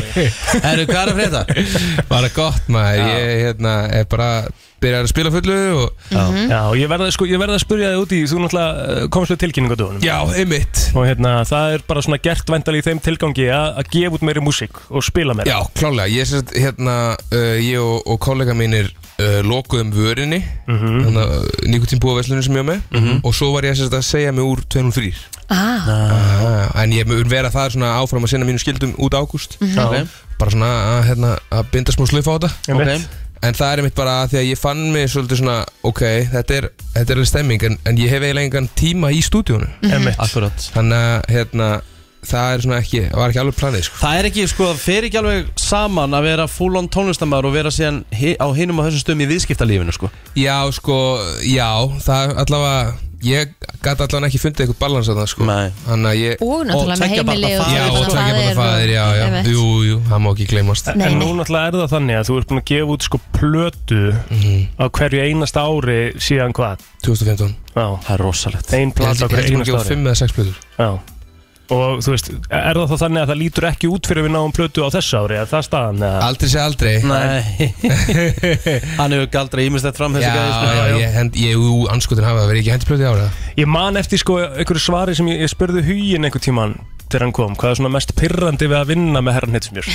Speaker 2: Herru, hvað er að frétta?
Speaker 18: Bara gott maður, ég hérna, er bara byrjar að spila fullu og
Speaker 4: Já,
Speaker 2: Mhm.
Speaker 4: ég verða sko, ég verða að spurja þig út í, þú náttúrulega uh, komst við tilkynningu á dögunum
Speaker 18: Já, einmitt
Speaker 4: Og hérna, það er bara svona gert vendal í þeim tilgangi að, að gefa út meiri músík og spila meira
Speaker 18: Já, klálega, ég sérst hérna uh, ég og, og kollega mínir uh, lokuðum vörinni mm
Speaker 3: Mhm.
Speaker 18: -hmm. þannig að nikotinbúaverslunum sem ég var með og svo var ég sérst að segja mig úr 203
Speaker 3: ah.
Speaker 18: ah. en ég mun vera það svona áfram að sinna mínum skildum út ágúst
Speaker 3: Mhm. Já.
Speaker 18: bara svona að, hérna, að binda smá slöf á þetta
Speaker 4: Einmitt.
Speaker 18: en það er mitt bara að því að ég fann mig svolítið svona, ok, þetta er, þetta er alveg stemming en, en ég hef eiginlega engan tíma í stúdíónu
Speaker 4: Mhm. Einmitt.
Speaker 2: Akkurat
Speaker 18: þannig að hérna, það er svona ekki, var ekki alveg planið sko.
Speaker 2: Það er ekki, sko, það fer ekki alveg saman að vera full on tónlistamæður og vera síðan hi- á hinum á þessum stöðum í viðskiptalífinu, sko
Speaker 18: Já, sko, já, það allavega, ég gæti allavega ekki fundið eitthvað balans að það, sko. Nei. Þannig að ég...
Speaker 3: Og náttúrulega með
Speaker 18: tveggja barna
Speaker 3: heimili og
Speaker 18: faðir. Já,
Speaker 3: barna
Speaker 18: og tvekja
Speaker 3: faðir
Speaker 18: bara
Speaker 3: og-
Speaker 18: faðir, já, já,
Speaker 3: Einmitt.
Speaker 18: jú, jú, það má ekki gleymast.
Speaker 4: En nú náttúrulega er það þannig að þú ert búin að gefa út sko plötu
Speaker 18: Mhm.
Speaker 4: á hverju einasta ári síðan hvað?
Speaker 18: 2015
Speaker 4: Já
Speaker 2: Það er rosalegt
Speaker 4: Einn plata á
Speaker 18: Ég held-
Speaker 4: hverju
Speaker 18: ég held ég
Speaker 4: einasta
Speaker 18: gefa út
Speaker 4: ári
Speaker 18: fimm eða sex plötur.
Speaker 4: Já Og þú veist, er það þá þannig að það lítur ekki út fyrir við náum plötu á þessu ári? Er það staðan? Eða?
Speaker 18: Aldrei sé aldrei
Speaker 2: Nei Hann hefur galdra ímislegt fram þessi
Speaker 18: Já,
Speaker 2: gæði, sko
Speaker 18: já, ég hend, ég, jú, anskotin hafa, verið ekki hendi plötu í ára.
Speaker 4: Ég man eftir sko einhverju svari sem ég, ég spurði hugin einhver tíman þegar hann kom, hvað er svona mest pirrandi við að vinna með herran hitsmjör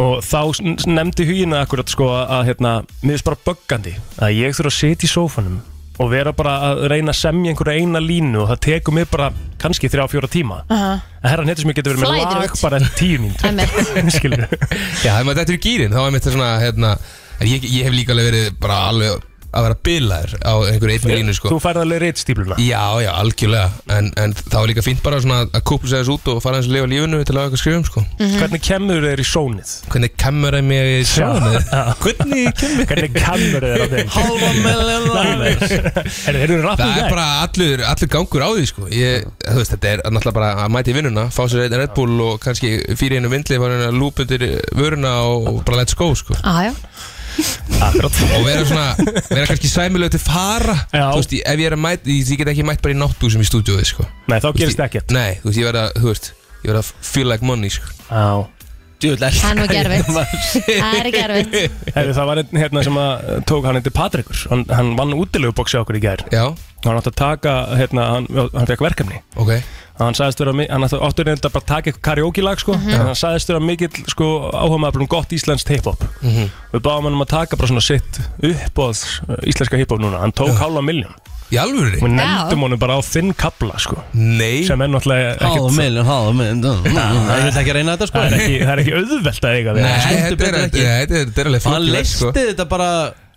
Speaker 4: og þá s- nefndi hugina akkurat sko að hérna, mér er bara böggandi að ég þurfa að sitja í sófanum og vera bara að reyna að semja einhverja eina línu og það tekur mig bara kannski þrjá fjóra tíma
Speaker 3: Aha.
Speaker 4: að herran hitsmjör getur verið með
Speaker 3: Flæðir
Speaker 4: lag
Speaker 3: út.
Speaker 4: bara eftir tíu mín
Speaker 18: Já, ef maður þetta er í gýrin, þá er mitt svona, hérna, en ég, ég hef líka alveg verið bara alveg að vera bilaður á einhverju einni línu sko.
Speaker 4: Þú færði alveg reitt stípluna
Speaker 18: Já, já, algjörlega En, en það var líka fínt bara svona að kúpla sér þessu út og fara eins og lifa lífinu til að hafa eitthvað skrifum sko.
Speaker 4: Mhm. Hvernig kemur þeir í sónið?
Speaker 18: Hvernig kemur þeir mér í sjónið? Hvernig kemur
Speaker 4: Hvernig kemur þeir á þeim?
Speaker 18: Hálfa
Speaker 4: million dollars. Þeir eru rappið
Speaker 18: Það er bara allur, allur gangur á því sko. ég, Þú veist, þetta er náttúrulega bara að mæta í vinnuna Fá sér einn Red Bull og kannski fyrir einu vindli Fá hérna lúp undir vöruna og og bara let's go sko.
Speaker 3: Aja,
Speaker 18: og vera svona, vera kannski sæmilega til fara þú veist, ef ég er að mæta, ég, ég get ekki mætt bara í náttbúsum í stúdíóið, sko
Speaker 4: Nei, þá
Speaker 18: Þú veist,
Speaker 4: gerist
Speaker 18: ég-
Speaker 4: ekkert.
Speaker 18: Nei, þú veist, ég verða, þú veist, ég verða feel like money, sko
Speaker 4: Já
Speaker 18: Djúvill
Speaker 3: það er nú gerfitt Það er gerfitt
Speaker 4: Hefði, það var einn hérna sem að eh, tók hann eitthvað Patrikur, hann, hann vann útilegu bóksi okkur í gær
Speaker 18: Já
Speaker 4: Hann átti að taka, hérna, hann, hann fekk verkefni
Speaker 18: Ok
Speaker 4: Hann sagðist vera, mi- hann átti áttur reynda bara að taka eitthvað karaoke lag
Speaker 18: Mhm.
Speaker 4: sko En hann sagðist vera mikill sko áhuga maður um gott íslensk hip-hop
Speaker 18: Mhm.
Speaker 4: Við báðum hann um að taka bara svona sitt uppbóðs íslenska hip-hop núna Hann tók hálfa miljón
Speaker 18: Í alvöru?
Speaker 4: Við
Speaker 2: Já.
Speaker 4: nefndum honum bara á þinn kabla sko
Speaker 18: Nei
Speaker 4: Sem er náttúrulega ekkert-
Speaker 2: Hálf miljón, hálf miljón Það vil ekki reyna þetta sko
Speaker 4: Það er ekki, það er ekki auðvelt að eiga við
Speaker 2: Nei,
Speaker 4: hann, sko.
Speaker 2: heldur betur ekki. Hann
Speaker 4: verk, sko.
Speaker 2: leisti þetta bara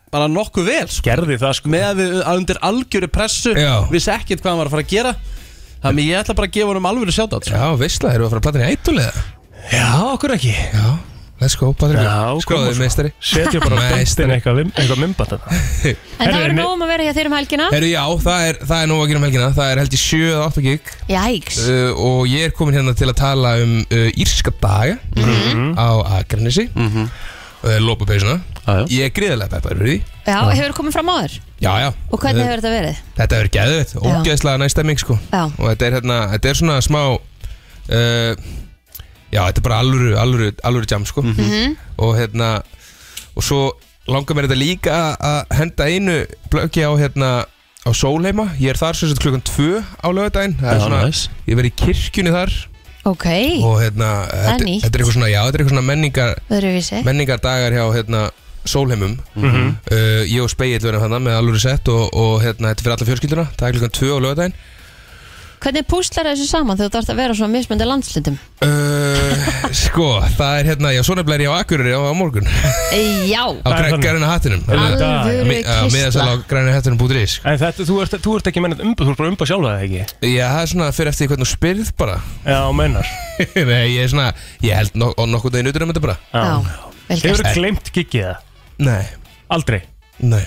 Speaker 2: bara nokkuð vel sko.
Speaker 4: Gerði það sko
Speaker 2: Með að við að undir algjöru pressu
Speaker 18: Já.
Speaker 2: Vissi ekkert hvað hann var að fara að gera Þannig ég ætla bara að gefa honum alvöru sko. sjátt
Speaker 18: Já, veistla, erum við að fara að platina í eitthulega?
Speaker 4: Já, okkur ekki
Speaker 18: Já, let's go, Patrik
Speaker 4: Já,
Speaker 18: Skoðu
Speaker 4: koma svo.
Speaker 18: þig, meistari
Speaker 4: Setjum bara á
Speaker 18: Meistari.
Speaker 4: döndin eitthvað vim- eitthvað mymband
Speaker 3: En það verður nógum að vera hjá þeir um helgina
Speaker 18: Herru, já, það er, það er nóg að gera um helgina Það er held í 7 eða 8 gig
Speaker 3: Jæks
Speaker 18: uh, Og ég er komin hérna til að tala um uh, Írska daga
Speaker 3: Mhm.
Speaker 18: Á Akranesi mm -hmm. uh, Lópapeisuna Ég er gríðarlega peppar fyrir því
Speaker 3: Já, hefur komið fram áður
Speaker 18: Já, já
Speaker 3: Og hvernig hefur þetta verið?
Speaker 18: Þetta verður gæðvett, ógæðslega næst stemming sko
Speaker 3: Já.
Speaker 18: Og þetta er hérna, þetta er svona smá uh, Já, þetta er bara alvöru, alvöru, alvöru jam sko
Speaker 3: Mhm.
Speaker 18: Og hérna, og svo langar mér þetta líka að- að henda einu blöki á hérna á Sólheima, ég er þar sem sagt klukkan 2 á laugardaginn, það er
Speaker 2: Já,
Speaker 18: svona
Speaker 2: nice.
Speaker 18: ég verð í kirkjunni þar
Speaker 3: Ok,
Speaker 18: og hérna, þetta,
Speaker 3: nýtt.
Speaker 18: þetta er eitthvað svona já, þetta er eitthvað svona menningar
Speaker 3: öðruvísi
Speaker 18: menningardagar hjá hérna, sólheimum
Speaker 2: Mhm.
Speaker 18: uh, ég og Speill verðum hann með alvöru sett og, og hérna, þetta er fyrir alla fjölskylduna það er klukkan 2 á lögadaginn
Speaker 3: Hvernig púslar þessu saman þegar þú þarfst að vera á svona mismöndi landslutum?
Speaker 18: uh, sko, það er hérna já, svo nefnilega er ég á Akureyri á, á morgun
Speaker 3: E, já
Speaker 18: á græ- græna hattinum
Speaker 4: Alvöru
Speaker 18: að
Speaker 4: kistla.
Speaker 18: miðasal á græna hattinum búið ís
Speaker 4: En þetta, þú ert, þú ert ekki mennað umba, þú ert bara umba sjálfa það ekki
Speaker 18: já, það er svona fyrir eftir hvernig þú spyrð bara
Speaker 4: Já, mennar
Speaker 18: Nei, ég er svona, ég held nok nokkuð daginn utur um þetta bara
Speaker 3: vel
Speaker 4: Hefur
Speaker 18: gert.
Speaker 4: þú glemt giggið það?
Speaker 18: Nei
Speaker 4: Aldrei?
Speaker 18: Nei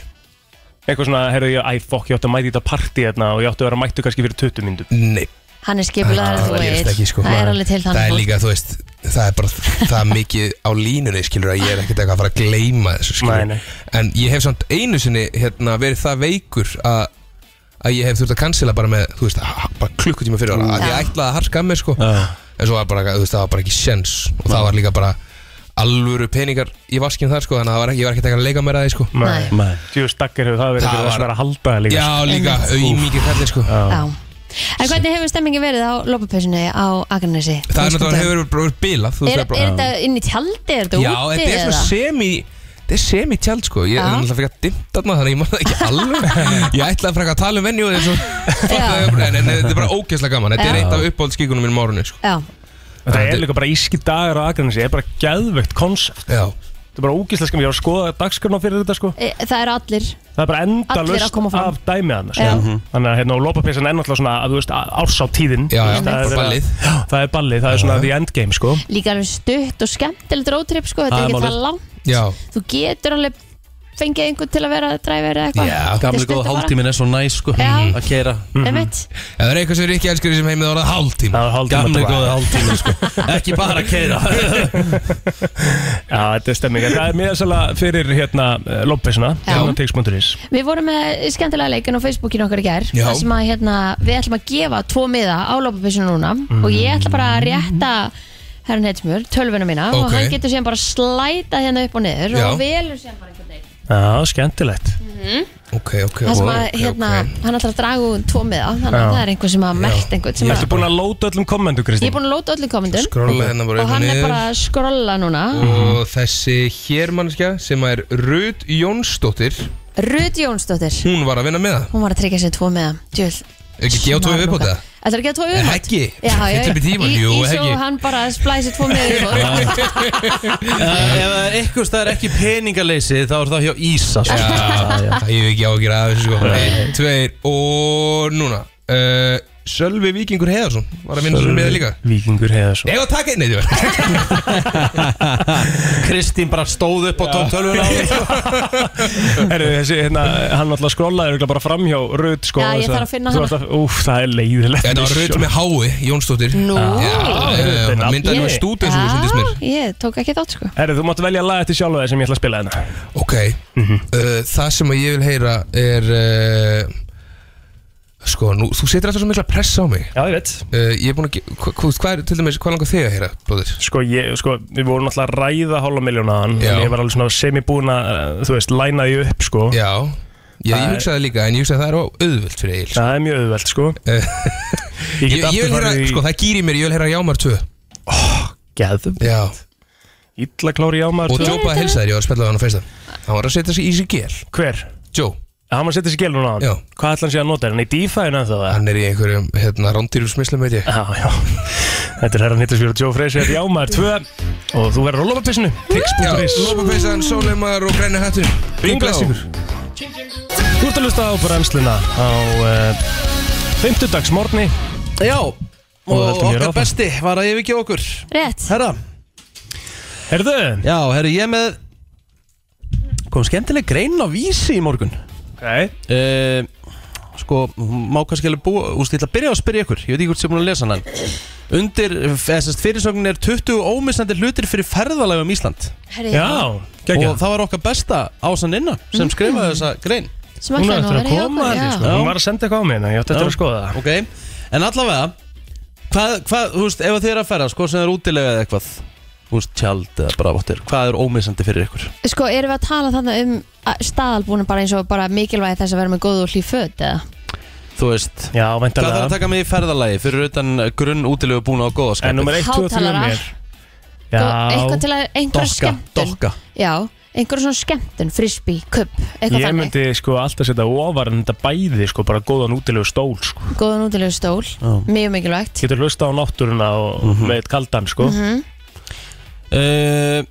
Speaker 4: Eitthvað svona, heyrðu ég, æ, fokk, ég átti að mæta í þetta partí hérna og ég átti að vera mættu kannski fyrir 20 myndum
Speaker 18: Nei
Speaker 3: Hann er skipulaðar en þú
Speaker 18: gerist
Speaker 3: veit
Speaker 18: ekki, sko.
Speaker 3: Það er alveg til
Speaker 18: Það
Speaker 3: þannig
Speaker 18: er líka, þú veist, það er bara það er mikið á línunni, skilur að ég er ekkert eitthvað að fara að gleyma þessu, skilur
Speaker 4: Nei, nei.
Speaker 18: En ég hef samt einu sinni, hérna, verið það veikur að að ég hef þurft að cancela bara með, þú veist, ha- bara klukkutíma fyrir ára, að ég ætlaði að harska að mér, sko en svo var bara, þú veist, það var bara ekki sens og það var líka bara alvöru peningar í vaskinu þar, sko, þannig að það var ekki, ég var ekkert eitthvað að leika mér að því, sko
Speaker 4: Nei Jú, stakkar hefur það verið
Speaker 18: Það
Speaker 4: fyrir það sem
Speaker 18: var-
Speaker 4: er að halda það líka sko?
Speaker 18: Já, líka, auðmikið kallir, sko
Speaker 3: Já En hvernig hefur stemmingi verið á lópapesunni á Akranesi?
Speaker 18: Það er náttúrulega hefur verið bara bilað þú veist,
Speaker 3: Er,
Speaker 18: það
Speaker 3: er
Speaker 18: bara-
Speaker 3: þetta inn í tjaldi? Er þetta
Speaker 18: Já,
Speaker 3: úti?
Speaker 18: þetta er svona
Speaker 3: eða?
Speaker 18: semi Þetta er semi-tjald sko, ég er
Speaker 3: Já.
Speaker 18: náttúrulega fyrir að dimta þarna þannig að ég man það ekki alveg Ég ætlaði fyrir að tala um venju en, svo, en, en þetta er bara ógeðslega gaman, þetta
Speaker 3: Já.
Speaker 18: er eitt af uppáhaldskíkunum mínum á árunni sko.
Speaker 3: Já,
Speaker 4: Það er líka bara íski dagar á Akranesi, það er bara geðveikt konsept
Speaker 18: Já
Speaker 4: Það er bara ógislega skam, ég var að skoða dagskarna fyrir þetta sko
Speaker 3: E, það eru allir
Speaker 4: Það er bara enda
Speaker 3: Allir að
Speaker 4: löst
Speaker 3: koma fram.
Speaker 4: af dæmið hann
Speaker 3: Já.
Speaker 4: sko.
Speaker 18: Mhm.
Speaker 4: Þannig að hérna og lópapessan er náttúrulega svona að þú veist ársáttíðin
Speaker 18: Já, já,
Speaker 4: það er
Speaker 18: bara ballið.
Speaker 4: Já, Það er ballið, það er svona the endgame sko
Speaker 3: líka alveg stutt og skemmtilegt rótrip sko, þetta
Speaker 4: Það
Speaker 3: er
Speaker 4: er
Speaker 3: ekki
Speaker 4: málið.
Speaker 3: það langt
Speaker 18: Já
Speaker 3: þú getur alveg fengið einhvern til að vera dræver eða eitthvað Þetta er
Speaker 2: Gamli
Speaker 3: stutt
Speaker 2: góð
Speaker 3: að fara.
Speaker 2: hálftíminn er svo næ sko
Speaker 3: Já. Mhm.
Speaker 2: Að keira
Speaker 3: Einmitt.
Speaker 18: Ef það er eitthvað sem er ekki elskar í þessum heimi þá er það hálftíma
Speaker 2: Gamli góði hálftíminn sko Ekki bara að keira
Speaker 4: Já, þetta er stemming En Það er miðasalega fyrir hérna lópapessuna Hérna tix.is
Speaker 3: Við vorum með skemmtilega leikin á Facebookinu okkar í gær
Speaker 4: Já.
Speaker 3: þar sem að hérna, við ætlum að gefa tvo miða á lópapissinu núna og ég ætla bara að rétta herrn Heitsmjör, tölvuna mína og
Speaker 4: Ok.
Speaker 3: hann getur síðan bara slæta hérna upp og niður
Speaker 4: Já.
Speaker 3: og velur síðan bara hérna. einhvern veginn
Speaker 4: Já, skemmtilegt
Speaker 3: Mhm.
Speaker 18: Ok, ok,
Speaker 3: Það sem að hérna, hann ætlar að draga úr tvo miða þannig
Speaker 4: Já.
Speaker 3: að það er einhver sem að merkt einhvern sem
Speaker 4: Ertu búin að lóta öllum kommentu,
Speaker 3: Ég er
Speaker 4: Kristín?
Speaker 3: búin að lóta öllum komendum
Speaker 18: Skrolla hérna bara upp
Speaker 3: og
Speaker 18: og
Speaker 3: hann er
Speaker 18: niður. Mm.
Speaker 3: bara að skrolla núna
Speaker 18: Og þessi hér mannskja sem er Rut Jónsdóttir
Speaker 3: Rut Jónsdóttir
Speaker 18: Hún var að vinna með það
Speaker 3: Hún var að tryggja sér tvo með
Speaker 18: Ekki gefa tvo upp á það?
Speaker 3: Þetta er ekki að tvo yfir
Speaker 18: Ekki.
Speaker 3: Já, já, já.
Speaker 18: Fyllum í tímann, jú,
Speaker 3: Ísó,
Speaker 18: ekki.
Speaker 3: hann bara splæsir tvo með yfir
Speaker 2: Ef það er eitthvað staðar ekki peningaleysi þá er það hjá Ísa sko.
Speaker 18: Það ég hef ekki ágjör að þessu sko Einn, tveir og núna uh, Sölvi Víkingur Heiðarsson Var að vinna svo með líka
Speaker 4: Víkingur Heiðarsson
Speaker 18: Ef að taka einn eitthvað
Speaker 2: Kristín bara stóð upp og tók tölvuna á því
Speaker 4: Herru, þessi, hérna, hann alltaf skrollaði örugglega bara fram hjá Rut sko,
Speaker 3: Já, ég
Speaker 4: þess
Speaker 3: þarf að finna
Speaker 4: þú
Speaker 3: hana.
Speaker 4: varst að- Úff, það er leiðilegt
Speaker 18: Þetta var Rut með hái, Jónsdóttir
Speaker 3: Nú.
Speaker 18: Já,
Speaker 4: Þetta er
Speaker 18: Hún myndaði nú
Speaker 4: nafnið.
Speaker 18: stúd eins og þú sendist mér
Speaker 3: Ég tók ekki þátt sko
Speaker 4: Herru, þú mátt velja lag eftir sjálfa þér sem ég ætla að spila hérna Mhm.
Speaker 18: Ok, uh, það sem að ég vil heyra er uh, Sko, nú, þú setur alltaf svo mikla press á mig
Speaker 4: Já, ég veit
Speaker 18: uh, Ég er búin að, ge- hva- hvað hva er til dæmis, hvað langar þig að heyra, blóðir?
Speaker 4: Sko, ég, sko, við vorum alltaf að ræða hálfa miljónaðan
Speaker 18: Já.
Speaker 4: En ég var alveg svona semibúin að, eh, þú veist, læna því upp, sko
Speaker 18: Já, Já, ég hugsaði líka, en ég hugsaði að það er á auðvöld fyrir Egil
Speaker 4: Það er mjög auðvelt, sko
Speaker 18: Ég,
Speaker 4: get
Speaker 18: ég,
Speaker 4: aftur
Speaker 18: vil heyra,
Speaker 4: farið í-
Speaker 18: sko, það gýri mér, ég vil heyra Jámar 2
Speaker 4: Gæðum
Speaker 18: Já
Speaker 4: Ítla klári Jámar
Speaker 18: Og
Speaker 4: 2.
Speaker 18: Joe bara hilsaði, þér, ég var að spilla við hann á feistan Hann var að setja sig í sig gél
Speaker 4: Hver?
Speaker 18: Joe
Speaker 4: Hann var að setja sig gél núna á
Speaker 18: Já.
Speaker 4: hann Hvað ætla hann sé að nota? Er hann í dífæðinu ennþá? eða?
Speaker 18: Hann er í einhverjum, hérna, rándýrjusmislum, veit ég
Speaker 4: Já, já Þetta er herran hittisfjör Joe Freysi Þetta er Jámar 2 Og þú verður á lopapissinu Tix.is
Speaker 18: Lópapeysan, sóleimar og græni hattur
Speaker 4: Bing bless ykkur Þú ert að lusta á brennsluna á uh, 50 dags morgni
Speaker 2: Já,
Speaker 4: Og
Speaker 2: og
Speaker 4: höldum hér
Speaker 2: okkar
Speaker 4: áfram.
Speaker 2: besti var að yfirgefa okkur
Speaker 3: Rétt
Speaker 2: Herra,
Speaker 4: Herðu
Speaker 2: já, herru, ég er með kom skemmtileg grein á vísi í morgun Eh,
Speaker 4: okay.
Speaker 2: Sko, hún má kannski alveg búa Úst, ég ætla að byrja á að spyrja ykkur, ég veit ekki hvort sem búin að lesa hann en Undir, þessast fyrirsögnin er 20 ómissandi hlutir fyrir ferðalega um Ísland
Speaker 3: Herri, já.
Speaker 4: geggjað.
Speaker 2: Og það var okkar besta ásan innan sem skrifaði þessa grein
Speaker 3: Sem ætlaði Hún á nú að eftir að vera hjá koma okkur, held ég, já. sko.
Speaker 4: Hún var að senda eitthvað á mig hérna, ég átti eftir
Speaker 2: Já.
Speaker 4: að skoða það.
Speaker 2: Ok, en allavega Hvað, hvað, þú veist, ef þið eru að ferðast, sko sem er útilega eða eitthvað Þú veist, tjald eða bara áttir Hvað er ómissandi fyrir ykkur?
Speaker 3: Sko, erum við að tala þannig um að- staðalbúna bara eins og bara mikilvægi þess að vera með góð og hlý föt eða?
Speaker 2: Þú veist
Speaker 4: Já,
Speaker 2: Hvað þarf að
Speaker 4: væntanlega
Speaker 2: taka með í ferðalagi fyrir utan grunn útilegu búin á góða skapið?
Speaker 4: En númer 1, 2 og 3
Speaker 3: Hátalarar.
Speaker 4: mér Já
Speaker 3: Eitthvað til að einhverja skemmt
Speaker 2: Dokka
Speaker 3: Já, einhverja svona skemmtun, frisbee, kupp Eitthvað
Speaker 4: Ég
Speaker 3: þannig,
Speaker 4: myndi sko alltaf setja ofar en þetta bæði sko bara góðan útilegu stól sko
Speaker 3: góðan útilegu stól
Speaker 4: Já.
Speaker 3: Mjög mikilvægt
Speaker 4: Getur hlusta á náttúruna og með eitt kaldan sko
Speaker 3: Mhm.
Speaker 2: Uh,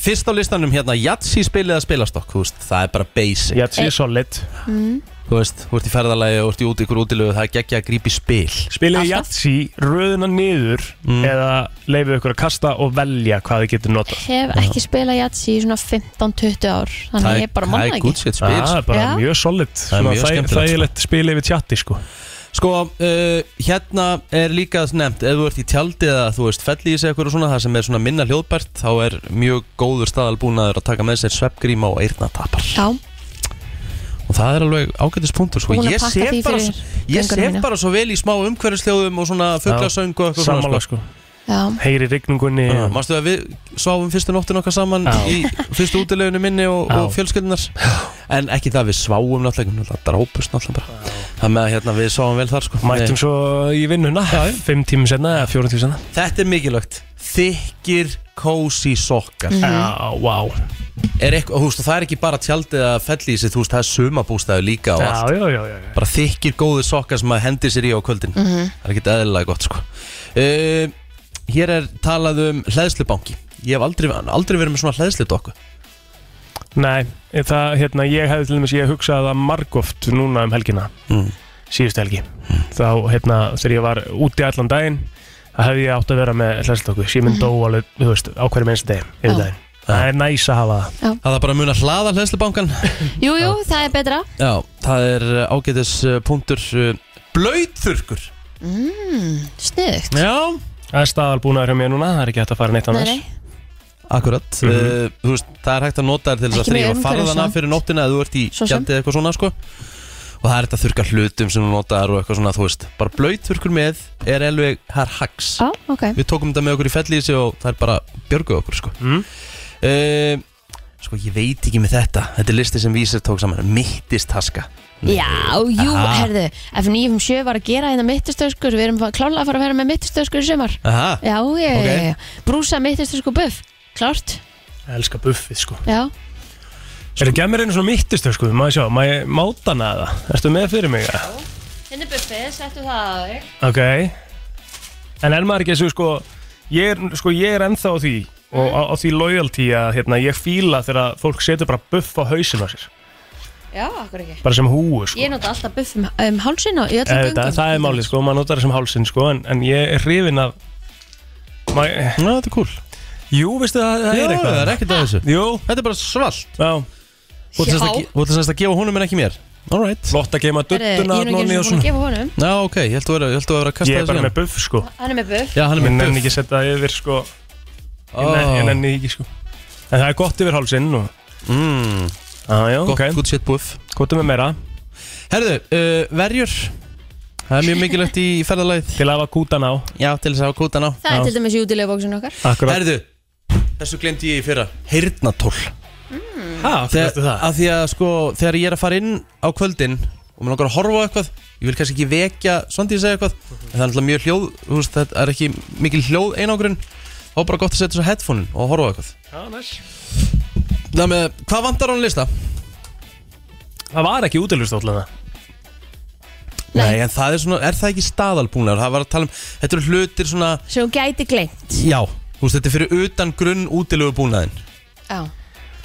Speaker 2: fyrst á listanum hérna Jatsi spilið að spilastokk þú veist, það er bara basic
Speaker 4: Yatzy er solid
Speaker 3: Mm.
Speaker 2: þú veist, þú ert í ferðalagi og ert í út ykkur útilegu það er geggja að grípa í spil
Speaker 4: Spilið jatsi, röðuna niður
Speaker 2: Mhm.
Speaker 4: eða leifið ykkur að kasta og velja hvað þið getur notað
Speaker 3: Hef ekki spilað jatsi í svona 15-20 ár Þannig að ég bara manna ekki
Speaker 4: Já, Það er bara
Speaker 3: Já.
Speaker 4: mjög solid
Speaker 2: sko. er
Speaker 4: Svona
Speaker 2: mjög
Speaker 4: þæ-
Speaker 2: skemmtilegt, sko.
Speaker 4: Þægilegt spil yfir tjatti sko
Speaker 2: sko, uh, hérna er líka nefnt, ef þú ert í tjaldi eða þú veist felli í sig eitthvað og svona, það sem er svona minna hljóðbært þá er mjög góður staðalbúnaður að taka með sér sveppgríma og eyrnatapar Sko,
Speaker 3: Já,
Speaker 2: og það er alveg ágætis punktur sko.
Speaker 3: Búin að
Speaker 2: ég
Speaker 3: pakka
Speaker 2: sé
Speaker 3: því
Speaker 2: bara,
Speaker 3: fyrir
Speaker 2: svo- ég
Speaker 3: gönguna
Speaker 2: sé
Speaker 3: mína.
Speaker 2: bara svo vel í smá umhverfisljóðum og svona fugglasöng og eitthvað
Speaker 4: Sammála,
Speaker 2: sko. Ah.
Speaker 3: já
Speaker 4: Heyri rigningunni
Speaker 2: Já,
Speaker 4: og-
Speaker 2: Mástu að við sváum fyrstu nóttin okkar saman
Speaker 4: Já.
Speaker 2: í fyrstu útileginu minni og,
Speaker 4: Já.
Speaker 2: og fjölskyldunar En ekki það við sváum náttúrulega, hún náttúrulega drápust náttúrulega bara Það með að hérna, við sváum vel þar sko
Speaker 4: Mættum
Speaker 2: Nei.
Speaker 4: svo í vinnuna Fimm tímum senna eða fjórum tímum senna
Speaker 2: Þetta er mikilvægt Þykir kósi sokkar
Speaker 4: Mhm. Já, wow
Speaker 2: Er eitthvað, þú veist, og það er ekki bara tjaldið að felli í sig Þú veist, það er sumabústæðu líka og
Speaker 4: Já,
Speaker 2: allt
Speaker 4: já, já, já, já.
Speaker 2: Bara þykir góði sokkar sem maður hendir sér í á kvöldin
Speaker 4: Mhm.
Speaker 2: Það er ekki eðlilega gott sko uh, Hér er talað um hleðslubanki Ég hef aldrei, aldrei verið með svona hleðsludokku
Speaker 4: Nei, það, hérna, ég hefði til dæmis, ég hugsaði það margoft núna um helgina
Speaker 2: Mm.
Speaker 4: Síðustu helgi Þá, hérna, þegar ég var úti allan daginn Það hefði ég átt að vera með hlæsloku Ég
Speaker 2: Mhm.
Speaker 4: mynd dó alveg, þú veist, á hverju minnst degi Yfir daginn Það er næs að hafa það
Speaker 3: Já.
Speaker 2: Það er bara að muna hlaða hlæðslubankan
Speaker 3: jú, jú, það er betra
Speaker 2: Já, það er uh, ágætis uh, punktur uh, Blöytþurkur
Speaker 3: mm, Sniðugt
Speaker 2: Já
Speaker 4: Það er staðalbúnaður hjá mér núna, það er ekki hægt að fara neitt
Speaker 3: Nei,
Speaker 4: annars Mhm.
Speaker 3: nei,
Speaker 2: Akkurat mm Þú veist, það er hægt að nota þér til þess
Speaker 3: Ekki
Speaker 2: að þrýfa
Speaker 3: mjög
Speaker 2: farðana
Speaker 3: umhverfisvænt.
Speaker 2: fyrir nóttina eða þú ert í
Speaker 3: Svo sem.
Speaker 2: gjaldið eitthvað svona sko og það er þetta að þurka hlutum sem þú notaðar og eitthvað svona, þú veist, bara blöytþurkur með er elveg, það er hags
Speaker 3: á, ok
Speaker 2: Við tókum þetta með okkur í fellísi og það er bara björguð okkur sko
Speaker 4: mm.
Speaker 2: Sko, ég veit ekki með þetta Þetta er listi sem vísir tók saman Mittist taska
Speaker 3: Já, jú,
Speaker 2: Aha.
Speaker 3: herðu, F957 var að gera hérna mittistöskur, við erum klálega að fara að vera með mittistöskur í sumar
Speaker 2: Aha.
Speaker 3: Já, ég,
Speaker 2: Ok.
Speaker 3: okay. brúsa mittistöskur buff, klárt,
Speaker 4: Ég elska buffið, sko
Speaker 3: já
Speaker 4: Er það gemur einu svona mittistöð, sko, maður sjá, maður máta hana það Ertu með fyrir mig? eða?
Speaker 3: Henni buffi kaffið, Hérna settu það að þig
Speaker 4: Ok En er maður ekki þessu sko Ég er, sko, ég er ennþá á því Og á, á því loyalty að hérna, ég fíla þegar fólk setur bara buff á hausinu á sér
Speaker 3: Já, akkur ekki
Speaker 4: Bara sem húu sko
Speaker 3: Ég nota alltaf buff um, um hálsin og í öllum
Speaker 4: Eða, það,
Speaker 3: göngum
Speaker 4: það er málið sko, maður notar þessum hálsinn sko en, en ég er hrifin af Mæ... Ná, þetta er cool Jú, veistu það, það
Speaker 2: Jú,
Speaker 4: er eitthvað
Speaker 2: það er ekkert að þessu
Speaker 4: Jú
Speaker 2: Þetta er bara svalt
Speaker 4: Já
Speaker 2: Þú ert sem sagt að
Speaker 3: Já.
Speaker 2: ge- þú ert sem sagt að gefa honum en ekki mér Alright
Speaker 4: Flott að geima
Speaker 3: Heyrðu, ég er nú ekki eins og búin að gefa honum
Speaker 2: Já, ok, ég held að vera, ég held að vera að kasta
Speaker 4: Ég er
Speaker 2: þessu
Speaker 4: bara
Speaker 2: í hann.
Speaker 4: með buff sko
Speaker 3: Hann er með buff
Speaker 2: Já, hann er
Speaker 4: Ég
Speaker 2: með
Speaker 4: nenni
Speaker 2: buff.
Speaker 4: ekki setja það yfir sko Ég nenni- ég
Speaker 2: Ó.
Speaker 4: nenni því ekki sko En það er gott yfir hálsinn og
Speaker 2: mm.
Speaker 4: ah, já,
Speaker 2: Gott-
Speaker 4: ok
Speaker 2: Good shit buff
Speaker 4: Kvotum með meira
Speaker 2: Herðu, uh, verjur Það er mjög mikilvægt í ferðalagið
Speaker 4: Til að hafa kútan á
Speaker 2: Já, til þess að hafa kútan á
Speaker 3: Það er til dæmis jútilega bóksun okkar
Speaker 4: Akkurat
Speaker 2: Herðu, þessu glemdi ég í fyrra Heyrnatól
Speaker 3: Mm.
Speaker 4: Hæ,
Speaker 2: Þegar, að því að sko, þegar ég er að fara inn á kvöldin og mér langar að horfa á eitthvað ég vil kannski ekki vekja Svandi að segja eitthvað en það er alltaf mjög hljóð, þú veist, það er ekki mikil hljóð einangrun þá er bara gott að setja þessu headphone og horfa á eitthvað
Speaker 4: Já, næs
Speaker 2: Það með, hvað vantar á hann lista?
Speaker 4: Það var ekki útilegustóðlega
Speaker 2: Nei. Nei, en það er svona, er það ekki staðalbúinlegar? Það var að tala um, þetta eru hlutir svona,
Speaker 3: Sem hún gæti gleymt
Speaker 2: já, þú veist, þetta er fyrir utan grunn útilegu búnaðin
Speaker 3: Já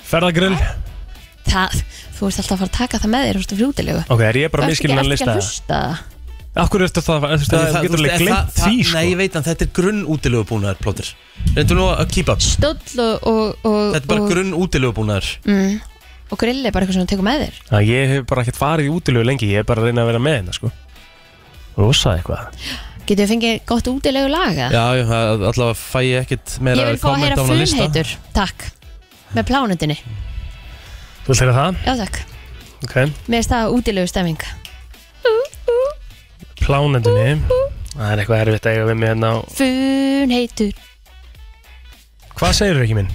Speaker 4: Ferðagrill
Speaker 3: Það, þú ert alltaf að fara að taka það með þér, þú ert fyrir útilegu
Speaker 4: Ok, er ég bara miskilinn að lista það?
Speaker 3: það?
Speaker 4: Akkur er þetta það, það, það getur alveg glemt því sko
Speaker 2: Nei, ég veit að þetta er grunn útilegu búnaðar, plóttir Reyndu nú að keep up
Speaker 3: Dóll og, og, og
Speaker 2: Þetta er bara
Speaker 3: og,
Speaker 2: grunn útilegu búnaðar
Speaker 3: mm, Og grill er bara eitthvað sem hún tekur með þér
Speaker 4: Já, Ég hef bara ekkert farið í útilegu lengi, ég hef bara reynað að vera með hérna sko Rosa eitthvað
Speaker 3: Getur við fengið gott útilegu laga?
Speaker 2: Já, já, það- allavega fæ ég ekkert meira
Speaker 3: Ég vil fá að
Speaker 2: komment
Speaker 3: heyra
Speaker 2: á þennan lista.
Speaker 3: funheitur, takk Með plánutinni,
Speaker 4: Þú vilt heyra það?
Speaker 3: já takk
Speaker 4: Ok
Speaker 3: Mér er það útilegu stemming
Speaker 4: Plánendunni Það er eitthvað erfitt að eiga við mig hérna á
Speaker 3: Funheitur
Speaker 4: Hvað segirðu ekki minn?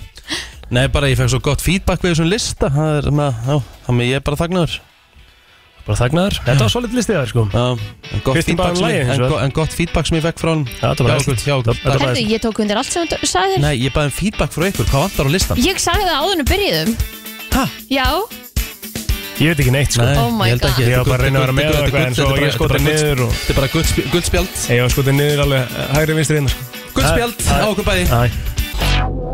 Speaker 2: Nei, bara ég fekk svo gott feedback við þessum lista Það er, ma, já, þannig ég er bara þagnaður
Speaker 4: Bara þagnaður? Þetta var svolítið listið það, sko
Speaker 2: Já, en gott,
Speaker 4: Kristín bara
Speaker 2: feedback sem,
Speaker 4: lagið,
Speaker 2: ég-
Speaker 4: hins
Speaker 2: en,
Speaker 4: vegar.
Speaker 2: go, en gott feedback sem ég fekk frá hann Já,
Speaker 4: þetta var æðislegt.
Speaker 2: já,
Speaker 4: Þetta
Speaker 2: já,
Speaker 3: Herðu, ég tók undir allt sem hún sagði þér
Speaker 2: Nei, ég baði um feedback frá ykkur, hvað vantar á listan?
Speaker 3: Ég sagði það áðunum byrjuðum
Speaker 2: Hæ?
Speaker 3: Já,
Speaker 4: Ég veit ekki neitt sko
Speaker 2: Nei,
Speaker 3: Oh my
Speaker 2: ég held ekki
Speaker 4: Ég var
Speaker 2: Þetta
Speaker 4: bara að reyna að vera með
Speaker 2: gull-
Speaker 4: og eitthvað En
Speaker 2: þetta
Speaker 4: svo
Speaker 2: er bara-
Speaker 4: ég skotið
Speaker 2: þetta er bara
Speaker 4: niður og
Speaker 2: Þetta er bara gull- guldspjald
Speaker 4: Ég var skotið niður alveg eh, hægri vinstri hérna sko
Speaker 2: Guldspjald á okkur bæði
Speaker 4: Æ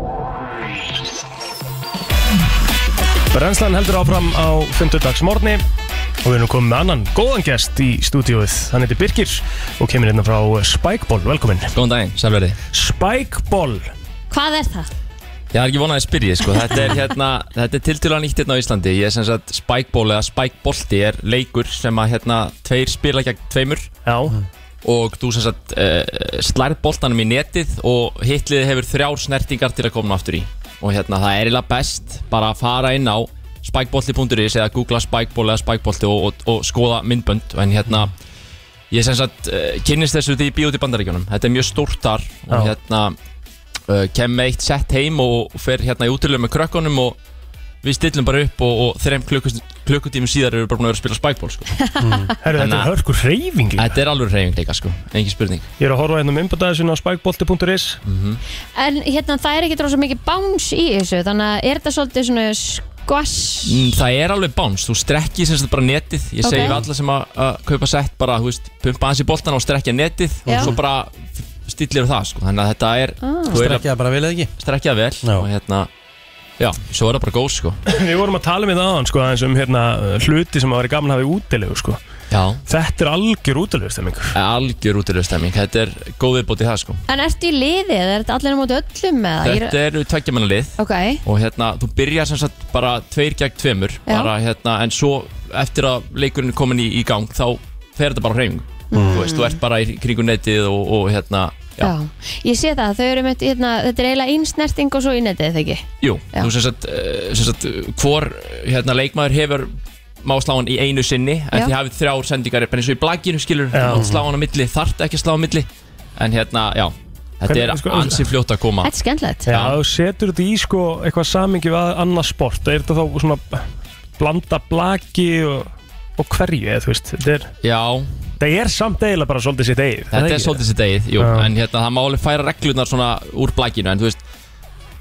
Speaker 4: Brennslan heldur áfram á 5. dags morgni og við erum komið með annan góðan gest í stúdíóið. Hann heitir Birgir og kemur hérna frá Spikeball. Velkomin.
Speaker 19: Góðan daginn, sæflöði
Speaker 4: Spikeball.
Speaker 3: hvað er það?
Speaker 19: Ég er ekki vonað að spyrja, sko Þetta er hérna, þetta er tiltölulega nýtt hérna á Íslandi Ég er sem sagt spikeból eða spikebolti er leikur sem að hérna tveir spila gegn tveimur
Speaker 4: Já
Speaker 19: Og þú sem sagt uh, slærð boltanum í netið og hitlið hefur þrjár snertingar til að koma aftur í Og hérna, það er eiginlega best bara að fara inn á spikebolti.is eða googla spikeból eða spikebolti og, og, og skoða myndbönd En hérna, ég sem sagt uh, kynnist þessu því ég bý út í bandaríkjunum Þetta er mjög stórt þar og
Speaker 4: Já.
Speaker 19: hérna uh, kem með eitt sett heim og fer hérna í útilegum með krökkunum og við stillum bara upp og, og þreim klukkust- klukkutímum síðar erum við bara búin að vera að spila spikeball sko.
Speaker 4: Herru, þetta er hörkur hreyfing líka.
Speaker 19: Þetta er alveg hreyfing líka sko, engin spurning Mhm.
Speaker 4: Ég er að horfa hérna um umbútaðisinn á spikebolti.is
Speaker 3: En hérna, það er ekki dróð svo mikið báns í þessu Þannig að er þetta svolítið svona skvass
Speaker 19: Mm, Það er alveg báns, þú strekkið sem sagt bara netið Ég segi
Speaker 3: Ok.
Speaker 19: við alla sem að að kaupa sett bara, þú veist, pumpa aðeins í boltan og strekkja netið
Speaker 3: Já.
Speaker 19: og svo bara stillir það sko, þannig að þetta er
Speaker 3: Ah.
Speaker 19: þú er að-
Speaker 2: Strekkja bara vel eða ekki
Speaker 19: Strekkja vel og hérna, já, svo er það bara góð sko
Speaker 4: Við vorum að tala með það aðan sko aðeins um hérna hluti sem að vera gaman að hafa í útilegu sko
Speaker 19: Já
Speaker 4: Þetta er algjör útilegu stemming
Speaker 19: Algjör útilegu stemming, þetta er góð viðbót í það sko
Speaker 3: En ertu í liðið? Er þetta allir á móti öllum? eða? Ég
Speaker 19: Þetta eru tveggjamannalið
Speaker 3: Ok,
Speaker 19: og hérna, þú byrjar sem sagt bara tveir gegn tveimur
Speaker 3: Já.
Speaker 19: bara, hérna, en svo eftir að leikurinn er komin í, í gang þá fer þetta bara á hreyfingu
Speaker 3: Mm.
Speaker 19: þú veist, þú ert bara í kringu netið og, og hérna,
Speaker 3: já. Ég sé það, þau eru með, hérna, þetta er eiginlega einsnerting og svo í netið, þegar ekki?
Speaker 19: jú,
Speaker 3: Já.
Speaker 19: þú sem sagt, eh, sem sagt hvor hérna, leikmaður hefur má slá hann í einu sinni en
Speaker 3: Já.
Speaker 19: þið hafið þrjár sendingar, bara eins og í blagginu skilur þú mátt slá hann á milli, þart ekki að slá á milli en hérna, já, þetta
Speaker 4: Hvernig-
Speaker 19: er
Speaker 4: sko-
Speaker 19: ansi fljótt að koma
Speaker 3: Þetta er skemmtilegt
Speaker 4: Já, þú setur þetta í sko eitthvað samingi við annað sport Er þetta þá svona blanda blaki og, og hverju eða þú veist Þetta er,
Speaker 19: já,
Speaker 4: það er samt eiginlega bara svolítið sitt eigið
Speaker 19: Þetta er svolítið sitt eigið, jú,
Speaker 4: Já.
Speaker 19: en hérna það má alveg færa reglurnar svona úr blækinu, en þú veist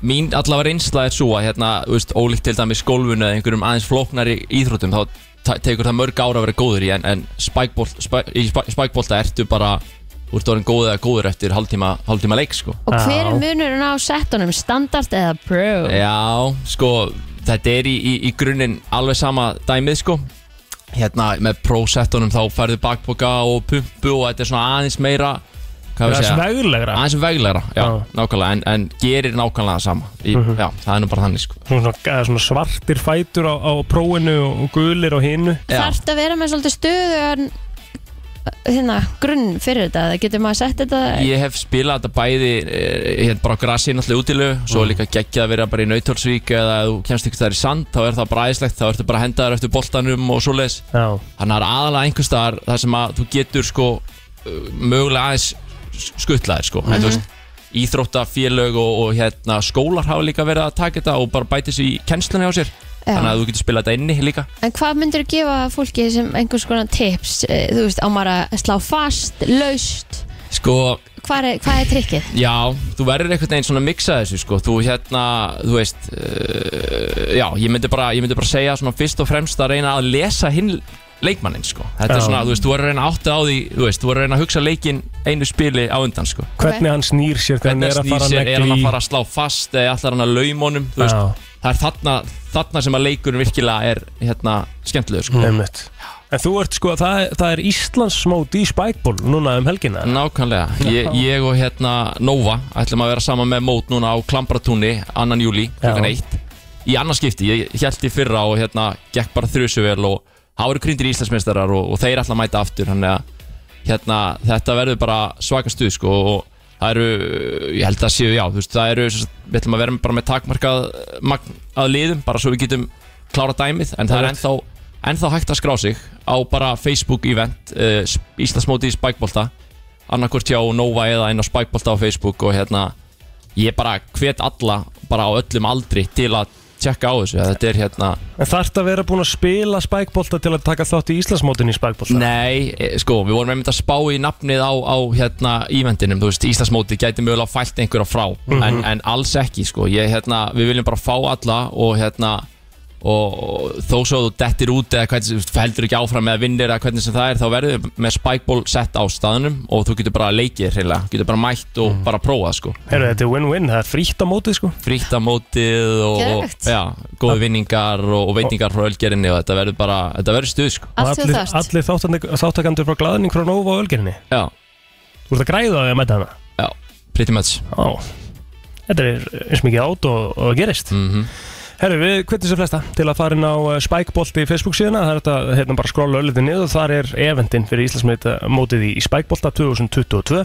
Speaker 19: mín allavega reynsla er svo að hérna, þú veist, ólíkt til dæmis golfinu eða einhverjum aðeins flóknari íþróttum, þá ta- tekur það mörg ára að vera góður í en, en spækbolt, spæ, í spæ, spækbolta ertu bara úr dórinn góð eða góður eftir hálftíma, hálftíma leik sko.
Speaker 3: Og hver er munurinn á settunum, standard eða pro?
Speaker 19: Já, sko, þetta er í, í, í grunninn alveg sama dæmið, sko Hérna, með prósettunum þá færðu bakboka og pumpu og þetta er svona aðeins meira hvað á ég að
Speaker 4: Aðeins
Speaker 19: segja?
Speaker 4: veglegra.
Speaker 19: Aðeins veglegra, já, nákvæmlega en, en gerir nákvæmlega það sama í,
Speaker 4: Mhm.
Speaker 19: Já, það er nú bara þannig, sko
Speaker 4: Svona, eða svona svartir fætur á, á próinu og gulir á hinu
Speaker 3: Þarftu að vera með svolítið stöðugan hérna, grunn fyrir þetta getur maður sett þetta
Speaker 19: Ég hef spilað þetta bæði eh, hérna bara á grasi náttúrulega útilegu
Speaker 4: Mm.
Speaker 19: svo er líka geggjað að vera bara í Nautalsvík eða ef þú kemst ykkur þar í sand þá er það bara æðislegt þá ertu bara hendaður eftir boltanum og svoleiðis
Speaker 4: Já.
Speaker 19: þannig að það er aðalega einhvers staðar þar sem að þú getur sko eh, mögulega aðeins skuttlaðir sko en
Speaker 4: Mhm.
Speaker 19: þú veist íþróttafélög og, og hérna skólar hafa líka verið að taka þetta og bara bæti sér í kennslunni á sér
Speaker 3: Já.
Speaker 19: þannig að þú getur spilað þetta inni líka
Speaker 3: En hvað myndir þú gefa fólki sem einhvers konar tips, eh, þú veist, á maður að slá fast, laust,
Speaker 19: sko
Speaker 3: hvað er, hvað er trikkið?
Speaker 19: Já, þú verður einhvern veginn svona að mixa þessu sko. Þú hérna, þú veist uh, Já, ég myndi, bara, ég myndi bara segja svona fyrst og fremst að reyna að lesa hinn leikmannin sko. Þetta er
Speaker 4: Já.
Speaker 19: svona, þú veist, þú verður að reyna að átta á því Þú veist, þú verður að reyna að hugsa leikin einu spili á undan sko.
Speaker 4: Hvernig hann snýr sér, hvernig
Speaker 19: Hvernig
Speaker 4: hann er að
Speaker 19: snýr
Speaker 4: fara að
Speaker 19: sér, er
Speaker 4: leggja
Speaker 19: hann
Speaker 4: í
Speaker 19: að fara að slá fast eða allar hann að laum honum þú
Speaker 4: Já.
Speaker 19: veist, Það er þarna, þarna sem að leikurinn virkilega er hérna, skemmtilegur sko.
Speaker 4: Einmitt. En þú ert sko, það, er- það er Íslandsmót í spækból núna um helgina
Speaker 19: Nákvæmlega, ég, ég og hérna Nova ætlum að vera saman með mót núna á Klambratúni annan júli klukkan
Speaker 4: Já.
Speaker 19: eitt í annarskipti, ég held í fyrra og hérna gekk bara þrjusuvel og það voru kryndir Íslandsmeistarar og, og þeir ætla að mæta aftur þannig að hérna, þetta verður bara svaka stuð sko og það eru, ég held að séu já þú veist, það eru, sem sagt, við ætlum að vera bara með takmarkað magn að liðum bara svo við getum klára dæmið en það er ennþá, ennþá hægt að skrá sig á bara Facebook event uh, Íslandsmóti í spækbolta annarkvort hjá Nova eða inn á Spikebolta á Facebook og hérna ég bara hvet alla bara á öllum aldri til að tjekka á þessu þetta er hérna
Speaker 4: En þarf það að vera búin að spila spækbólta til að taka þátt í Íslandsmótin í spækbólta?
Speaker 19: Nei, e, sko, við vorum einmitt að spá í nafnið á, á hérna ívendinum, þú veist, Íslandsmóti gæti mögulega fælt einhverja frá,
Speaker 4: Mhm.
Speaker 19: en, en alls ekki, sko, ég, hérna, við viljum bara fá alla og hérna, og, og þó svo að þú dettir út eða hvernig, þú heldur ekki áfram eða vinnir eða hvernig sem það er, þá verður með spikeball sett á staðnum og þú getur bara leikið hreinlega, getur bara mætt og bara prófað, sko.
Speaker 4: Heru, þetta er win-win, það er frítt á mótið sko
Speaker 19: Frítt á mótið og, og
Speaker 4: Geðvegt.
Speaker 19: já, góð vinningar og, og veitingar frá ölgerinni og þetta verður bara, þetta verður stuð, sko.
Speaker 4: Og Allir, allir þáttandi- þáttakendur frá glaðning frá Nova og Ölgerinni
Speaker 19: Já.
Speaker 4: Þú ert að græða á því að mæta hana
Speaker 19: Já, pretty much
Speaker 4: Já, þetta er eins mikið átt og, og gerist
Speaker 19: mm -hmm.
Speaker 4: Herru, við kvittum sér flesta til að fara inn á eh, Spikebolti í Facebook síðuna Það er þetta hérna bara skróla öllitið niður og þar er eventin fyrir Íslandsmótið í, í Spikebolta 2022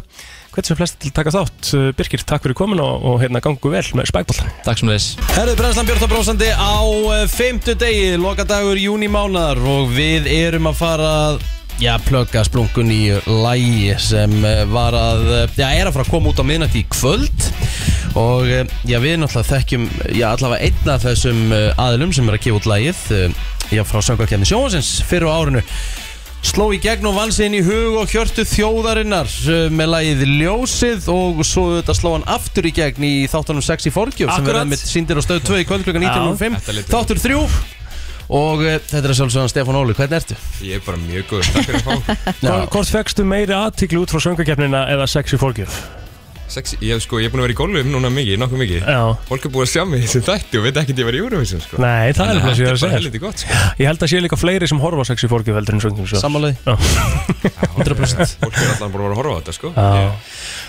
Speaker 4: Hvern sem flesta til að taka þátt Eh, Birgir, takk fyrir komin og, og hérna gangu vel með Spikeboltan
Speaker 19: Takk sem leis
Speaker 2: Herðu Brennslan Björn Brósandi á eh, fimmtu degi, lokadagur júni mánar og við erum að fara að já, plugga splunkun í lægi sem eh, var að eh, já, er að fara að koma út á miðnætti í kvöld og eh, já, við náttúrulega þekkjum já, allavega einn af þessum eh, aðilum sem er að gefa út lægið eh, já, frá söngvarkjarni sjóhansins fyrir á árinu sló í gegn og vann sig inn í hug og hjörtu þjóðarinnar uh, með lagið Ljósið og svo þetta sló hann aftur í gegn í þáttunum 6 í Forgjöf sem
Speaker 4: Akkurat.
Speaker 2: verður með síndir á stöð 2 í kvöld klukkan
Speaker 4: Já.
Speaker 2: 19.05 þáttur 3 og
Speaker 18: eh,
Speaker 2: uh, þetta er sjálfsögðan Stefán Óli, hvernig ertu?
Speaker 18: Ég er bara mjög góð, takk fyrir að fá
Speaker 4: Hvort hvort fegstu meiri aðtikli út frá söngakefnina eða sexy forgjöf?
Speaker 18: Sex, ég, sko, ég er búin að vera í golfum núna mikið, nokkuð mikið
Speaker 4: Já.
Speaker 18: Fólk er búin að sjá mig í þessum þætti og veit ekki að ég var í Eurovision sko.
Speaker 4: Nei, það er
Speaker 18: Þannig
Speaker 4: nefnilega sem ég er að
Speaker 18: Þetta er bara
Speaker 4: segja
Speaker 18: helviti gott sko.
Speaker 4: Ég held að sé líka fleiri sem horfa á sexy forgjöf heldur en sko. söngum sjálf
Speaker 2: Sammálaði.
Speaker 18: Fólk er alltaf bara að horfa á þetta sko.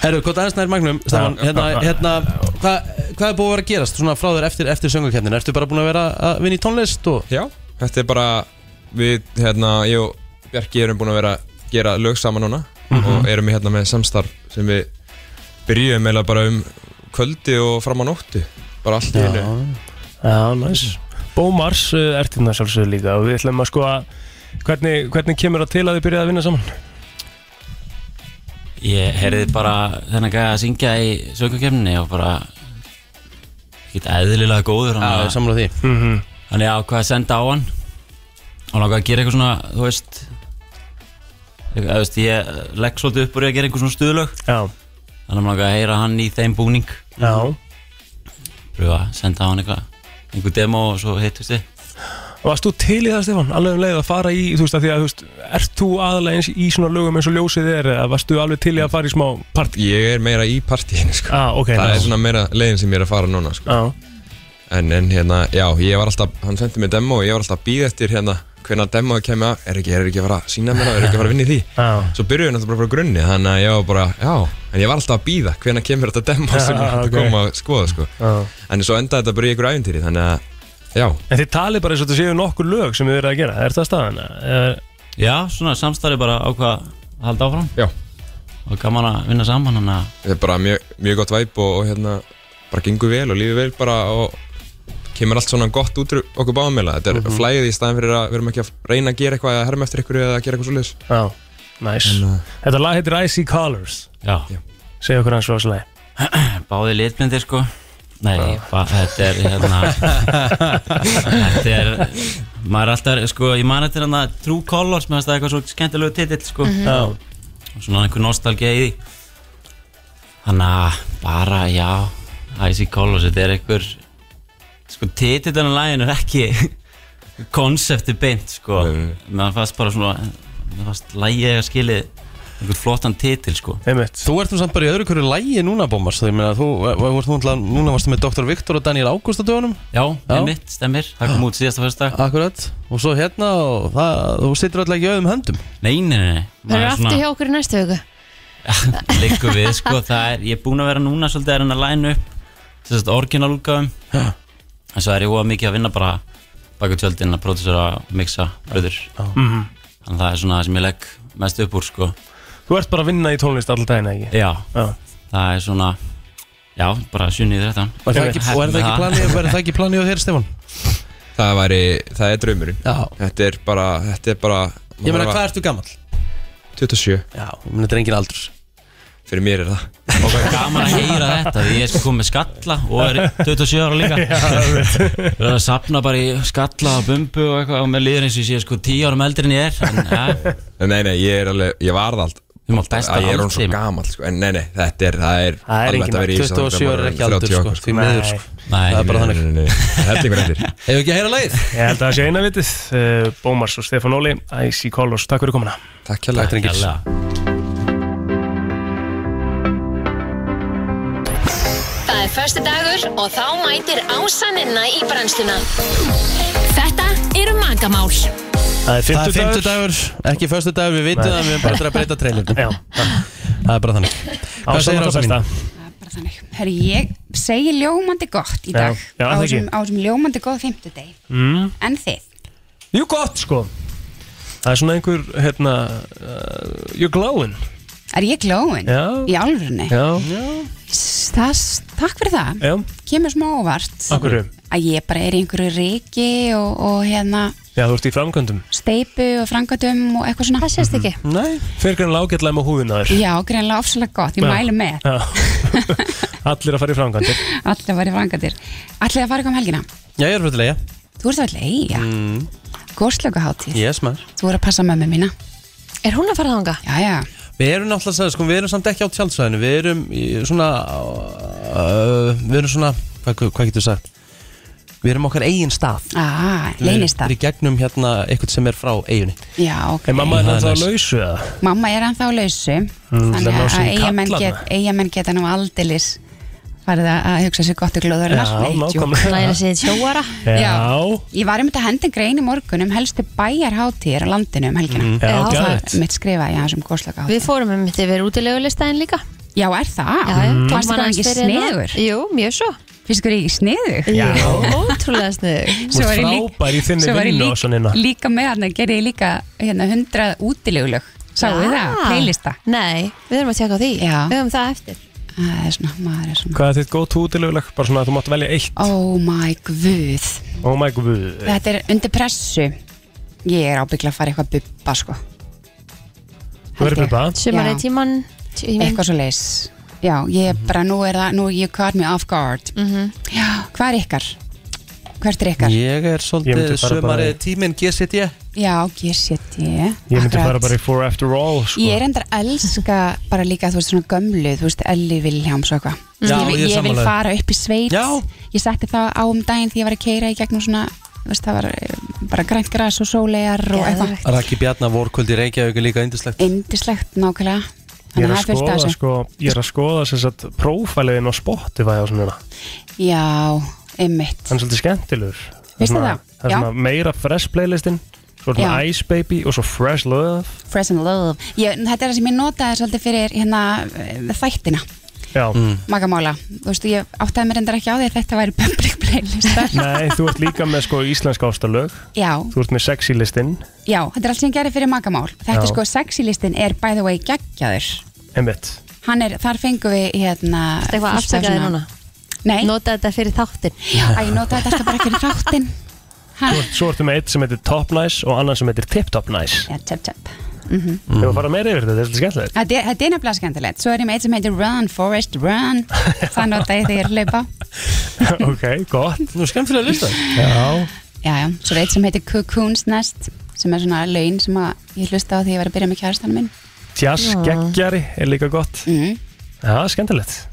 Speaker 2: Herru, hvort aðeins nær magnum, Stefán,
Speaker 18: Já.
Speaker 2: hérna, hérna hvað hva er búið að vera að gerast svona frá þér eftir, eftir söngakefnin? Ertu bara búin að vera að vinna í tónlist og...
Speaker 18: Já, þetta er bara við, hérna, ég og Bjarki erum búin að vera að gera lög saman núna
Speaker 4: Mhm.
Speaker 18: og erum hérna með samstarf sem við byrjuðum eiginlega bara um kvöldi og fram á nóttu bara allt í
Speaker 4: Já.
Speaker 18: einu
Speaker 4: Já, næs Bómars uh, ert þarna sjálfsögur líka og við ætlum að sko að hvernig, hvernig kemur það til að þið byrjaði að vinna saman?
Speaker 20: Ég heyrði bara þennan gæði að syngja í söngakefninni og bara ekkert eðlilega góður
Speaker 2: Já, ég er sammála því.
Speaker 4: Mhm.
Speaker 20: Þannig að ákvað að senda á hann og langaði að gera eitthvað svona, þú veist eitthvað, þú veist, ég legg svolítið upp úr í að gera einhver svona stuðlög
Speaker 4: Já
Speaker 20: Þannig að mig langaði að heyra hann í þeim búning
Speaker 4: Já
Speaker 20: Pröfa að senda á hann eitthvað einhver demo og svo hittust þið
Speaker 4: Varst þú til í það Stefán, alveg um leið að fara í þú veist að því að, þú veist, ert þú aðalega eins í svona lögum eins og ljósið er eða varst þú alveg til í að fara í smá partí?
Speaker 21: Ég er meira í partíinu sko.
Speaker 4: ah, ok,
Speaker 21: Það
Speaker 4: nice. Ah.
Speaker 21: er svona meira leiðin sem ég er að fara núna sko. en, en hérna, já, ég var alltaf Hann sendi mér demo og ég var alltaf að býða eftir hérna Hvenær demoðu kemur af, er ekki, er ekki að fara að sína mér það, Er ekki að fara að vinna í því
Speaker 4: Já.
Speaker 21: Svo byrjuðu náttúrulega bara frá grunni Þannig að ég var bara, já, en ég var alltaf að býða Hvenær kemur þetta demo sem ég hætti að
Speaker 4: Já, Ah, ok. Ah.
Speaker 21: koma að skoða sko.
Speaker 4: Já.
Speaker 21: En svo endaði þetta bara í ykkur æfintýri Þannig að, já,
Speaker 4: En þið talið bara eins og þetta séu nokkur lög sem þið eru að gera, er það staðan?
Speaker 20: Já, svona samstarfi bara ákvað að halda áfram
Speaker 21: Já
Speaker 20: Og gaman að vinna saman hann að
Speaker 21: þetta er bara mjög, mjög gott væp og, og hérna bara gengur vel og lífið vel bara og kemur allt svona gott út úr okkur báðamila þetta er mm
Speaker 4: Mhm.
Speaker 21: flæðið í staðin fyrir að við erum ekki að reyna að gera eitthvað eða herma eftir ykkur eða að gera eitthvað svoleiðis
Speaker 4: Já, næs
Speaker 21: En, uh,
Speaker 4: Þetta lag heitir Icy Colors
Speaker 20: Já
Speaker 4: Segja okkur hans frá þessu lagi
Speaker 20: Báði litblindir sko Nei, ba, þetta er hérna Þetta er Maður er alltaf, sko, ég man þetta hérna True Colors, mér finnst það eitthvað svo skemmtilegu titill sko.
Speaker 4: Mhm. Já.
Speaker 20: Og Svona einhver nostalgía í því Þannig að bara, já Icy Colors, þetta er einhver Sko, titillinu lægin er ekki Konsepti beint, sko Mér fannst bara svona Mér fannst lægið að skilið Einhvern flottan titil, sko
Speaker 4: Einmitt.
Speaker 2: Þú ert nú samt bara í öðru hverju lægi núna, Bómars Þú, ég meina, þú, þú, ert nú, náttúrulega- núna varstu með Dr. Viktor og Daniel Ágúst á dögunum
Speaker 20: Já, einmitt, stemmir Það kom út síðasta fyrsta
Speaker 2: Akkurat, og svo hérna og það, þú situr alltaf ekki í auðum höndum
Speaker 20: Nei, nei, nei
Speaker 3: Það eru aftur hjá okkur í næstu hugu
Speaker 20: Liggur við, sko, það er, ég er búinn að vera núna svolítið að reyna að læna upp þessast orginalúlgafum en svo er ég óa mikið að vinna bara baka tjöldin að pródúsera, mixa, bröður
Speaker 4: Mhm.
Speaker 20: þannig að það er svona það sem ég legg mest upp úr, sko
Speaker 4: Þú ert bara að vinna í tónlist alltaf daginn, ekki?
Speaker 20: Já, það er svona já, bara sjunnið þetta
Speaker 2: Og er það ekki, og er það ekki planið, er það ekki planið á þér, Stefán?
Speaker 21: það væri, það er draumurinn
Speaker 2: Já.
Speaker 21: þetta er bara, þetta er bara
Speaker 2: Ég meina, hvað ertu gamall?
Speaker 21: 27
Speaker 2: Já, menn þetta er engin aldur
Speaker 21: Fyrir mér er það
Speaker 20: og hvað er gaman að heyra þetta því ég er sko komið með skalla og er 27 ára líka
Speaker 4: Já,
Speaker 20: við erum að sapna bara í skalla og bumbu og eitthvað og með liður eins og ég sé sko 10 árum eldri en ég er en, ja,
Speaker 21: Nei, nei, ég er alveg, ég varð allt
Speaker 20: Þú mátt besta
Speaker 21: Ég er hún svo
Speaker 20: aldri.
Speaker 21: gamall, sko En nei, nei, þetta er, það er
Speaker 2: Það er
Speaker 21: alveg
Speaker 2: engin
Speaker 21: hægt að vera í
Speaker 2: aldur.
Speaker 21: þessu þangað
Speaker 2: 27
Speaker 21: maður
Speaker 2: er
Speaker 21: er
Speaker 2: ekki
Speaker 21: 30
Speaker 2: aldur, sko,
Speaker 21: okkar,
Speaker 2: því miður, sko.
Speaker 20: Nei.
Speaker 2: Það er bara
Speaker 21: Nei,
Speaker 2: þannig.
Speaker 21: nei, nei, nei. Það er hellingur eftir
Speaker 2: Hefur ekki að heyra lagið?
Speaker 4: Ég held að það sé eina vitið uh, Bómars og Stefán Óli, Icy Colors, takk fyrir komuna
Speaker 21: Takk hérlega.
Speaker 4: Takk drengir.
Speaker 20: Hérlega.
Speaker 11: Það er förstu dagur og þá mætir ásaninna í brennsluna. Þetta eru magamál.
Speaker 4: Það er
Speaker 2: Það er
Speaker 4: fimmtudagur.
Speaker 2: fimmtudagur, ekki föstudagur, við veitum
Speaker 4: Nei.
Speaker 2: það, við erum bara eftir að breyta trailernum
Speaker 4: Já
Speaker 2: Það er bara þannig Hvað
Speaker 4: Ása,
Speaker 2: segir
Speaker 4: hvað
Speaker 2: Ása mín?
Speaker 4: besta?
Speaker 22: Herri, ég segi ljómandi gott í dag
Speaker 4: Já, já,
Speaker 22: á
Speaker 4: það
Speaker 22: þessum
Speaker 4: ekki.
Speaker 22: á þessum ljómandi góð fimmtudegi
Speaker 4: mm.
Speaker 22: en þið,
Speaker 4: Jú, gott, sko Það er svona einhver, hérna uh, You're glowing
Speaker 22: er ég glóin
Speaker 4: Já.
Speaker 22: í álfurni
Speaker 4: Já. Já.
Speaker 22: Það, takk fyrir það
Speaker 4: Já.
Speaker 22: kemur smá óvart
Speaker 4: Af hverju?
Speaker 22: að ég bara er í einhverju reiki og, og hérna
Speaker 4: Já, þú ert í framkvæmdum
Speaker 22: steipu og frangatum og eitthvað svona það sést ekki
Speaker 4: Mhm. Nei. Fyrir grannlega ágætlega með húðina þér
Speaker 22: já, greinlega ofsalega gott, ég
Speaker 4: Já.
Speaker 22: mælu með
Speaker 4: Já. Allir að fara í framkvæmdir
Speaker 22: allir að fara í frangatir allir að fara eitthvað um helgina
Speaker 2: Já, ég er fyrir til eiga
Speaker 22: þú ert allir, ei, já,
Speaker 2: Mm.
Speaker 22: góðslöku hátíð
Speaker 2: Yes, maður
Speaker 22: þú voru að passa mömmu mína er hún að fara þanga? já, já,
Speaker 2: Við erum náttúrulega, sagði, sko, við erum samt ekki á tjaldsvæðinu Við erum í svona uh, Við erum svona, hvað, hvað getur sagt Við erum okkar eigin stað
Speaker 22: ah, leynistað
Speaker 2: Við erum í gegnum hérna eitthvað sem er frá eiginni
Speaker 22: já, ok
Speaker 4: lausu eða?
Speaker 22: Mamma er ennþá lausu
Speaker 2: Mm,
Speaker 22: þannig
Speaker 2: það ná
Speaker 22: að
Speaker 2: sínum
Speaker 22: eigamenn
Speaker 2: kallana.
Speaker 22: get, eigamenn geta nú aldilis farið að að hugsa sér gott og glóðurinnar Já, nákvæmlega. Læra sig sjóara. Já.
Speaker 4: Já.
Speaker 22: Ég var um þetta hendin grein í morgun um helstu bæjarháttíðir á landinu um helgina
Speaker 3: Mm, já, Já, geðveikt.
Speaker 22: það er mitt skrifa í aðeins um góðslöka
Speaker 3: Við fórum um þetta yfir útilegulistæðin líka
Speaker 22: Já, er það?
Speaker 3: Já, já,
Speaker 22: Mm.
Speaker 3: tók
Speaker 22: Fannst þér
Speaker 3: maður
Speaker 22: það
Speaker 3: aðeins
Speaker 22: ekki
Speaker 3: fyrir hérna.
Speaker 22: sniðugur?
Speaker 3: Jú, mjög svo
Speaker 22: Fyrst ykkur ekki sniður?
Speaker 3: Já Ótrúlega sniður
Speaker 22: Svo var ég lík-
Speaker 4: frábær í þinni
Speaker 22: svo var ég
Speaker 4: vinnu,
Speaker 22: lík-
Speaker 4: Ása Nína.
Speaker 22: Líka með hann gerði ég líka hérna, 100 útilegulög Sáðu
Speaker 3: Já.
Speaker 22: þið það? Playlista
Speaker 3: Ah. Nei, við erum að tjekka á því
Speaker 22: Já.
Speaker 3: Við höfum það eftir
Speaker 22: Það er svona, maður er svona
Speaker 4: Hvað er þitt góð tútileguleg? Bara svona að þú mátt velja eitt
Speaker 22: Oh my guð
Speaker 4: Oh my god
Speaker 22: Þetta er undir pressu Ég er ábyggla að fara eitthvað bubba sko
Speaker 4: Þú verður bubba
Speaker 22: Já.
Speaker 3: Sumarið tíman
Speaker 22: Eitthvað svo leis Já, ég er bara, nú er það, nú you caught me off guard
Speaker 3: Mhm.
Speaker 22: Já, hvað er ykkar? Hvert er ykkar?
Speaker 2: Ég er
Speaker 4: Ég
Speaker 2: svolítið
Speaker 4: myndi fara bara í-
Speaker 2: sömarið Eh, tíminn GCT
Speaker 22: Já, GCT
Speaker 4: Ég myndi fara bara í For After All sko.
Speaker 22: Ég er endar elska bara líka, þú veist, svona gömlu, þú veist, Elli Viljáms og eitthvað.
Speaker 4: Já,
Speaker 22: vil-
Speaker 4: ég er
Speaker 22: ég vil
Speaker 4: sammála þér.
Speaker 22: fara upp í sveit. Já. Ég setti það á um daginn því ég var að keira í gegnum svona, þú veist, það var eh, bara grænt græs og sólegar og eitthvað
Speaker 2: Raki Bjarnar vorkvöld í Reykjavík er líka yndislegt
Speaker 22: Indislegt nákvæmlega
Speaker 4: Ég
Speaker 22: Þannig
Speaker 4: er
Speaker 22: að það
Speaker 4: að
Speaker 22: er fullt af
Speaker 4: skoða,
Speaker 22: þessu
Speaker 4: sko, ég er að skoða sem sagt prófæliðin á Spotify og svona
Speaker 22: Já, einmitt
Speaker 4: Hann er svolítið skemmtilegur
Speaker 22: Veistu
Speaker 4: svona-
Speaker 22: það?
Speaker 4: Það er
Speaker 22: Já.
Speaker 4: svona meira fresh playlistin Svo er svona
Speaker 22: Já.
Speaker 4: Ice Baby og svo Fresh Love
Speaker 22: Fresh and Love ég, Þetta er það sem ég notaði svolítið fyrir hérna, eh, þættina
Speaker 4: Já
Speaker 2: Mm.
Speaker 22: Magamála, þú veistu, ég áttaði mér endur ekki á því að þetta væri public playlistar
Speaker 4: Nei, þú ert líka með sko íslenska ástalög
Speaker 22: Já,
Speaker 4: Þú ert með sexy listin
Speaker 22: já, þetta er allt sem ég gerði fyrir magamál Þetta er
Speaker 4: Já.
Speaker 22: sko, sexylistin er by the way geggjaður
Speaker 4: Einmitt
Speaker 22: Hann er, þar fengum við hérna
Speaker 3: Ertu eitthvað að
Speaker 22: fullt af
Speaker 3: afsaka þig
Speaker 22: svona-
Speaker 3: núna?
Speaker 22: Nei
Speaker 3: Nota þetta fyrir þáttin
Speaker 22: Já, æ, ég nota þetta alltaf bara fyrir þáttin
Speaker 4: Svo, ert- svo ertu með eitt sem heitir Top Nice og annan sem heitir Tip Top Nice
Speaker 22: Já, tjöp, tjöp Mhm.
Speaker 4: Ef að fara meira yfir þetta, þetta er svolítið skemmtilegt
Speaker 22: Þetta er- þetta er nefnilega skemmtilegt Svo er ég með eitt sem heitir Run, Forest, Run Það nota ég þegar ég er að hlaupa
Speaker 4: Ok, gott
Speaker 2: Nú, skemmtilega listar
Speaker 4: Já
Speaker 22: Já, já, svo er eitt sem heitir Cocoons Nest sem er svona laun sem að ég hlusta á því ég var að byrja með kjærastanum minn
Speaker 4: Tjass,
Speaker 22: Já.
Speaker 4: geggjari er líka gott
Speaker 22: Mhm.
Speaker 4: Já, skemmtilegt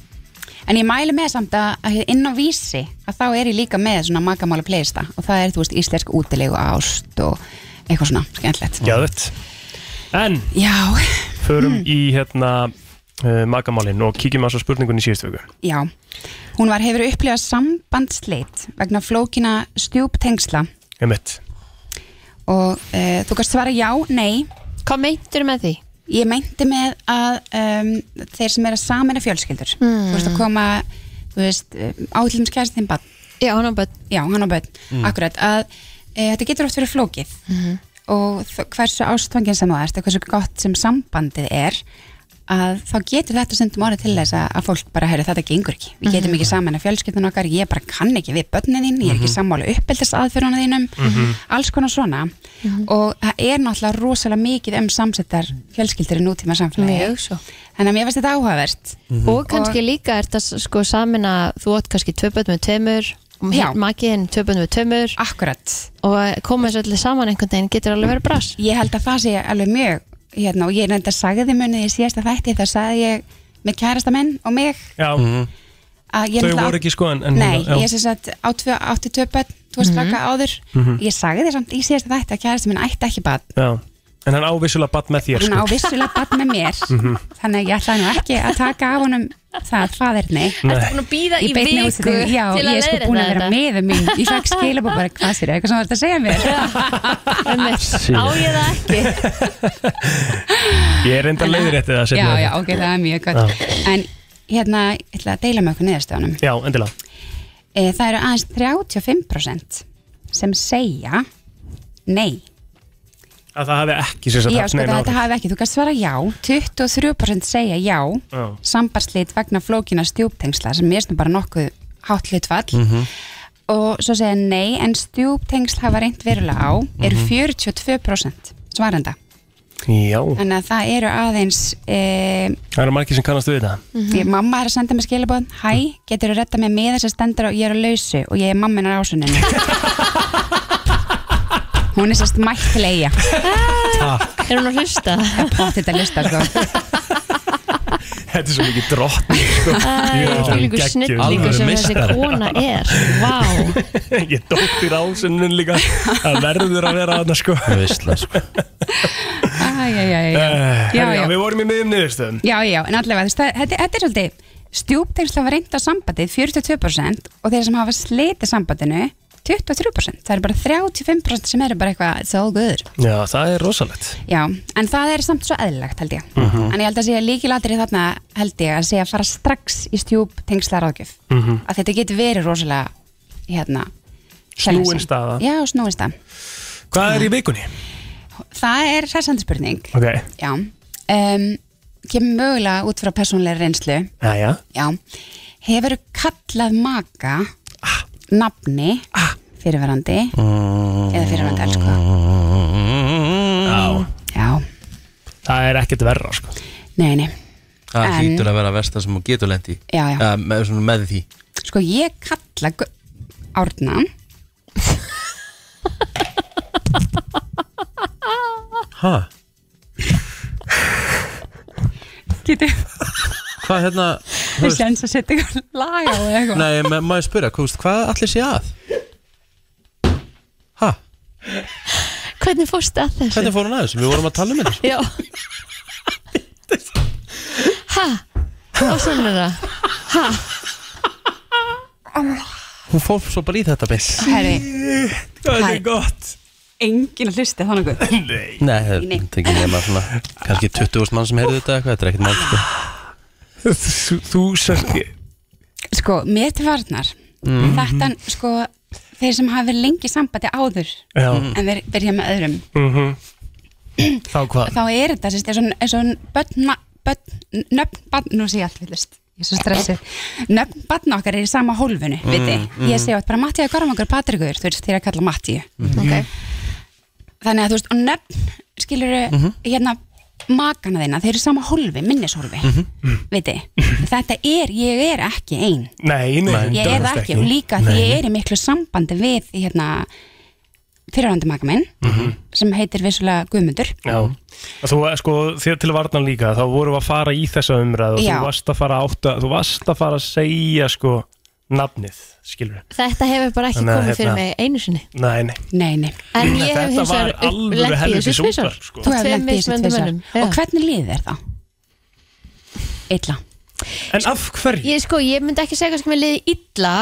Speaker 22: En ég mæli með samt að að inn á vísi að þá er ég líka með svona magamála playlista og það er, þú veist, íslensk útilegu ást og eitthvað svona skemmtilegt
Speaker 4: Gæðvett En
Speaker 22: Já, Mm.
Speaker 4: Förum í hérna uh, magamálin og kíkjum að svo spurningun í síðustu viku
Speaker 22: já Hún var hefur upplifað sambandsleit vegna flókina stjúptengsla
Speaker 4: Einmitt
Speaker 22: og uh, þú kannst svara já, nei
Speaker 3: Hvað meintur með því?
Speaker 22: Ég meinti með að um, þeir sem eru að samina fjölskyldur
Speaker 3: Hmm.
Speaker 22: þú veist að koma þú veist, eh, átlum skæðast þinn bann
Speaker 3: Já, hann á bönn
Speaker 22: Já, hann á bönn,
Speaker 3: Mm.
Speaker 22: akkurat að e, þetta getur oft verið flókið
Speaker 3: Mhm.
Speaker 22: og þ- hversu ástfangin sem þú ert og hversu gott sem sambandið er að þá getur þetta stundum orðið til þess að, að fólk bara, heyrðu, þetta gengur ekki við getum ekki saman að fjölskyldun okkar, ég bara kann ekki við börnin þín, ég er ekki sammála uppeldis aðferðuna þínum,
Speaker 12: Mhm.
Speaker 22: alls konar svona
Speaker 3: Mhm.
Speaker 22: og það er náttúrulega rosalega mikið um samsettar fjölskyldur í nútíma samfélagi
Speaker 3: Mjög svo.
Speaker 22: þannig að mér finnst þetta áhugavert
Speaker 3: Og kannski líka er þetta sko samin að þú átt kannski tvö bönn með tveimur
Speaker 22: Já.
Speaker 3: og makiðin tvö bönn með tveimur
Speaker 22: Akkurat
Speaker 3: Og koma þessu allir saman einhvern veginn getur alveg verið brass
Speaker 22: Ég held að það sé alveg mjög hérna, og ég reynda að sagði þið munið í síðasta þætti það sagði ég með kærasta menn og mig
Speaker 4: Já
Speaker 2: Mm.
Speaker 22: að ég
Speaker 4: Þau
Speaker 22: náttúrulega-
Speaker 4: voru ekki sko en, en
Speaker 22: Nei,
Speaker 4: já.
Speaker 22: ég sem sagt á tvö, átti tvö börn, þú varst mm áður
Speaker 4: Mhm.
Speaker 22: ég sagði þið samt í síðasta þætti að kærasta minn ætti ekki bad
Speaker 4: Já, en hann ávissulega badd með þér sko.
Speaker 22: hann á vissulega bad með mér
Speaker 4: Mhm.
Speaker 22: þannig að ég ætlaði nú ekki að taka af honum það faderni
Speaker 4: Nei. Ertu búin
Speaker 3: að bíða
Speaker 22: Ég
Speaker 3: í
Speaker 22: beit mig út
Speaker 3: viku
Speaker 22: því- Já,
Speaker 3: til að
Speaker 22: ég er sko
Speaker 3: leiðrétta
Speaker 22: búin að vera
Speaker 3: þetta?
Speaker 22: með mín Ég fekk skilabóð bara hvað sér eitthvað sem þú ert að segja mér
Speaker 4: Shit. Á ég
Speaker 3: það ekki
Speaker 4: Ég er enda leiðréttið það hérna. seinna.
Speaker 22: Já, já, ok, það er mjög gott En hérna, ég ætla að deila með okkur niðurstöðunum
Speaker 4: Já, endilega
Speaker 22: e, Það eru aðeins 35% sem segja nei
Speaker 4: Að það hafi ekki sér
Speaker 22: Já, sko, þetta hafi ekki, þú kannst svara já 23% segja já
Speaker 4: Já.
Speaker 22: Sambarslit vegna flókina stjúptengsla sem ég er bara nokkuð hátt hlutfall
Speaker 2: Mhm.
Speaker 22: og svo segja nei en stjúptengsl hafa reynd verulega á eru
Speaker 4: Mhm.
Speaker 22: 42% svarenda
Speaker 4: Já,
Speaker 22: Þannig að það eru aðeins e,
Speaker 4: það eru margir sem kannast við þetta
Speaker 3: Mhm.
Speaker 22: Mm Mamma er að senda mér skilabóð
Speaker 3: Mm.
Speaker 22: Hæ, getur þú retta mér með þess að stendur og ég er á lausu og ég er mamminar ásuninu Hún er sérst mætt til eiga Ah.
Speaker 3: Er hún að hlusta?
Speaker 22: Það pátt þetta að hlusta sko
Speaker 4: Þetta er svo mikið drottni sko.
Speaker 22: Ah,
Speaker 3: Æ, þvílíkur snillingur sem þessi kona er Vá
Speaker 4: Ég dótt í rásunum líka Það verður að vera þarna sko Vistla sko
Speaker 22: Æ, já, já, já Já,
Speaker 4: Eh, Herri, já,
Speaker 22: já.
Speaker 4: við vorum í miðjum niðurstöðum
Speaker 22: Já, já, en allavega, þú veist, það- þetta, þetta er svolítið stjúptengsl hafa reynd á sambandið 42% og þeir sem hafa slitið sambandinu 23%, það eru bara 35% sem eru bara eitthvað, it's all good
Speaker 4: Já, það er rosalegt
Speaker 22: Já, en það er samt svo eðlilegt held ég
Speaker 4: Mhm.
Speaker 22: En ég held að sé líkilatri þarna held ég að sé að fara strax í stjúp tengsla ráðgjöf
Speaker 4: Mhm.
Speaker 22: að þetta getur verið rosalega hérna
Speaker 4: Snúin
Speaker 22: challenging.
Speaker 4: staða.
Speaker 22: Já, snúin staða
Speaker 4: Hvað er í vikunni?
Speaker 22: Það er hressandi spurning
Speaker 4: Ok,
Speaker 22: Já um, Kemur mögulega út frá persónlega reynslu
Speaker 4: já,
Speaker 22: Já Hefur kallað maka nafni fyrirverandi eða fyrirverandi elska
Speaker 4: Já
Speaker 22: Já
Speaker 4: Það er ekkert verra sko
Speaker 22: Nei, nei
Speaker 2: Það
Speaker 22: En-
Speaker 2: hlýtur að vera versta sem hún getur lendi
Speaker 22: Já, já.
Speaker 2: með, svona með því
Speaker 22: Sko ég kalla Gu- Árna
Speaker 2: Hæ?
Speaker 22: Getur
Speaker 2: Hvað hérna þú
Speaker 22: Við
Speaker 2: veist-
Speaker 22: sens að setja eitthvað lag á eða eitthvað
Speaker 2: Nei, ma- maður spyrja, hvað, hvað allir sé að?
Speaker 3: hvernig fórstu að þessu?
Speaker 2: Hvernig fór hann aðeins? Við vorum að tala um þetta
Speaker 3: Já Hæ? Og svona er það Hæ?
Speaker 2: Hún fór svo bara í þetta biss
Speaker 22: Herri,
Speaker 4: Hvað
Speaker 22: er
Speaker 4: gott
Speaker 22: enginn að hlusta þannig að
Speaker 4: Nei
Speaker 2: Nei, það er ekki nema svona kannski 20.000 mann sem heyrðu þetta eitthvað Þetta er ekkert mál sko.
Speaker 4: Þú, þú sagði
Speaker 22: Sko, mér til varnar
Speaker 4: Mhm.
Speaker 2: Mm.
Speaker 22: Þetta, sko, þeir sem hafa verið lengi í sambandi áður
Speaker 4: Já.
Speaker 22: En þeir byrja með öðrum
Speaker 4: Mhm. Þá hvað?
Speaker 22: Þá er þetta, sérst, eins og bönn, bönn, nöfn, barn, nú sé ég allt villist Ég er svo stressuð. Nöfn barna okkar er í sama hólfinu,
Speaker 12: Mm,
Speaker 22: mm, viti. Ég
Speaker 12: mm.
Speaker 22: segi oft bara Mattíu Gormangur Patrikur, þú veist, þeir eru að kalla Mattíu.
Speaker 12: Ok.
Speaker 22: Þannig að þú veist, og nöfn skilur
Speaker 12: Mhm.
Speaker 22: hérna makana þeina, þeir eru í sama hólfi, minnishólfi,
Speaker 4: Mhm.
Speaker 22: viti. Þetta er, ég er ekki ein.
Speaker 4: Nei, nei,
Speaker 22: ég er það ekki og líka því ég er í miklu sambandi við hérna fyrirhandi maka minn sem heitir vissulega Guðmundur
Speaker 4: Mhm. Já, Og þú, eh, sko, þér til varnan líka þá vorum við að fara í þessa umræð og
Speaker 22: Já.
Speaker 4: þú varst að fara að átta, þú varst að fara að segja sko nafnið, skilur við
Speaker 3: Þetta hefur bara ekki
Speaker 4: Þannig að
Speaker 3: komið fyrir
Speaker 4: hérna-
Speaker 3: mig einu sinni
Speaker 4: Nei, nei
Speaker 22: Nei, nei
Speaker 3: En ég hef
Speaker 4: Þetta
Speaker 3: hins
Speaker 4: var
Speaker 3: vegar
Speaker 4: alvöru
Speaker 3: lent í þessu
Speaker 4: helvítis
Speaker 3: tvisvar
Speaker 4: útvarp, sko.
Speaker 22: Þú hefur lent í þessu
Speaker 3: mismunandi
Speaker 22: tvisvar.
Speaker 3: mönnum.
Speaker 22: Og hvernig líð þér þá? Illa
Speaker 4: En af hverju?
Speaker 3: Ég sko, ég myndi ekki segja kannski mér liði illa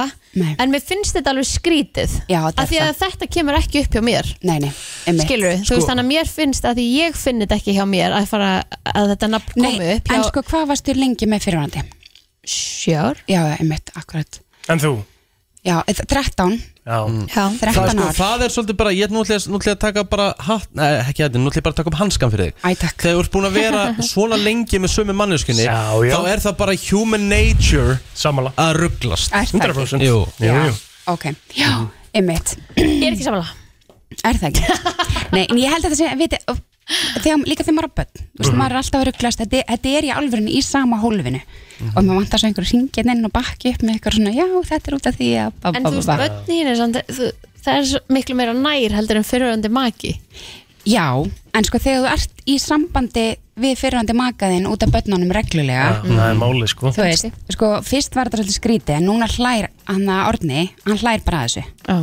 Speaker 3: En mér finnst þetta alveg skrítið
Speaker 22: Já,
Speaker 3: Af því að þetta kemur ekki upp hjá mér
Speaker 22: Nei, nei, einmitt.
Speaker 3: Skilur, þú
Speaker 22: Sko-
Speaker 3: veist þannig að mér finnst að því ég finn þetta ekki hjá mér að fara að þetta nafn komi upp hjá
Speaker 22: En sko, hvað varstu lengi með fyrirhandi?
Speaker 3: Sjár
Speaker 22: Já, einmitt, akkurat
Speaker 4: En þú?
Speaker 22: Já, eh, 13
Speaker 4: Já,
Speaker 22: Já, 13
Speaker 2: það, sko,
Speaker 22: ár.
Speaker 2: það er svolítið bara, ég er nú ætla, nú ætla ég að taka bara hatt, nei, ekki hætti, nú ætla ég bara að taka upp hanskan fyrir þig
Speaker 22: Æ, takk
Speaker 2: Þegar þú ert búin að vera svona lengi með sömu manneskunni
Speaker 4: Já, já.
Speaker 2: Þá er það bara human nature
Speaker 4: Samala
Speaker 2: Að rugglast
Speaker 22: Er það ekki? 100%.
Speaker 2: Jú,
Speaker 22: Já, ok, já, einmitt Ég
Speaker 3: er ekki samanlega
Speaker 22: Er það ekki? Nei, en ég held að það sé, viti og þegar, líka þegar maður er bönn, þú veist,
Speaker 12: Mhm.
Speaker 22: maður er alltaf að rugglast þetta, þetta er í alvörinu í sama hólfinu
Speaker 3: Mhm.
Speaker 22: og maður vantar svo einhverju syngin inn og bakki upp með eitthvað svona, já, þetta er út af því að ba,
Speaker 3: En þú veist, börnin þín er samt þú- Það er svo miklu meira nær heldur en fyriröndi maki
Speaker 22: Já, en sko þegar þú ert í sambandi við fyrirhandi makaðinn út af bönnunum reglulega
Speaker 4: það er málið sko
Speaker 22: þú veist, sko, fyrst var þetta svolítið skrítið en núna hlær hann að orni hann hlær bara að þessu
Speaker 3: Já.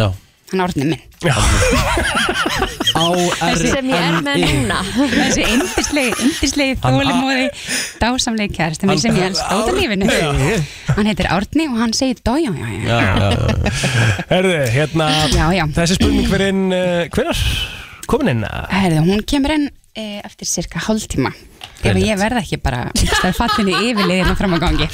Speaker 2: Já.
Speaker 22: hann orni minn
Speaker 2: á E.
Speaker 22: Þessi sem ég er
Speaker 5: E.
Speaker 22: með núna Þessi indislegi, indislegi
Speaker 12: Hann-
Speaker 22: þólimóði dásamlegi kærasti minn sem ég elst át af lífinu
Speaker 4: Nei.
Speaker 22: Hann heitir Árni og hann segir dójá, já, já,
Speaker 4: Já, já, Herðu, hérna
Speaker 22: Já, já.
Speaker 4: Þessi spurning fyrir inn, uh, hvenar komin inn?
Speaker 22: já Herðu, hún kemur inn e, eftir cirka hálftíma Ef ég verð ekki bara Það er fallinu yfirliðina fram á gangi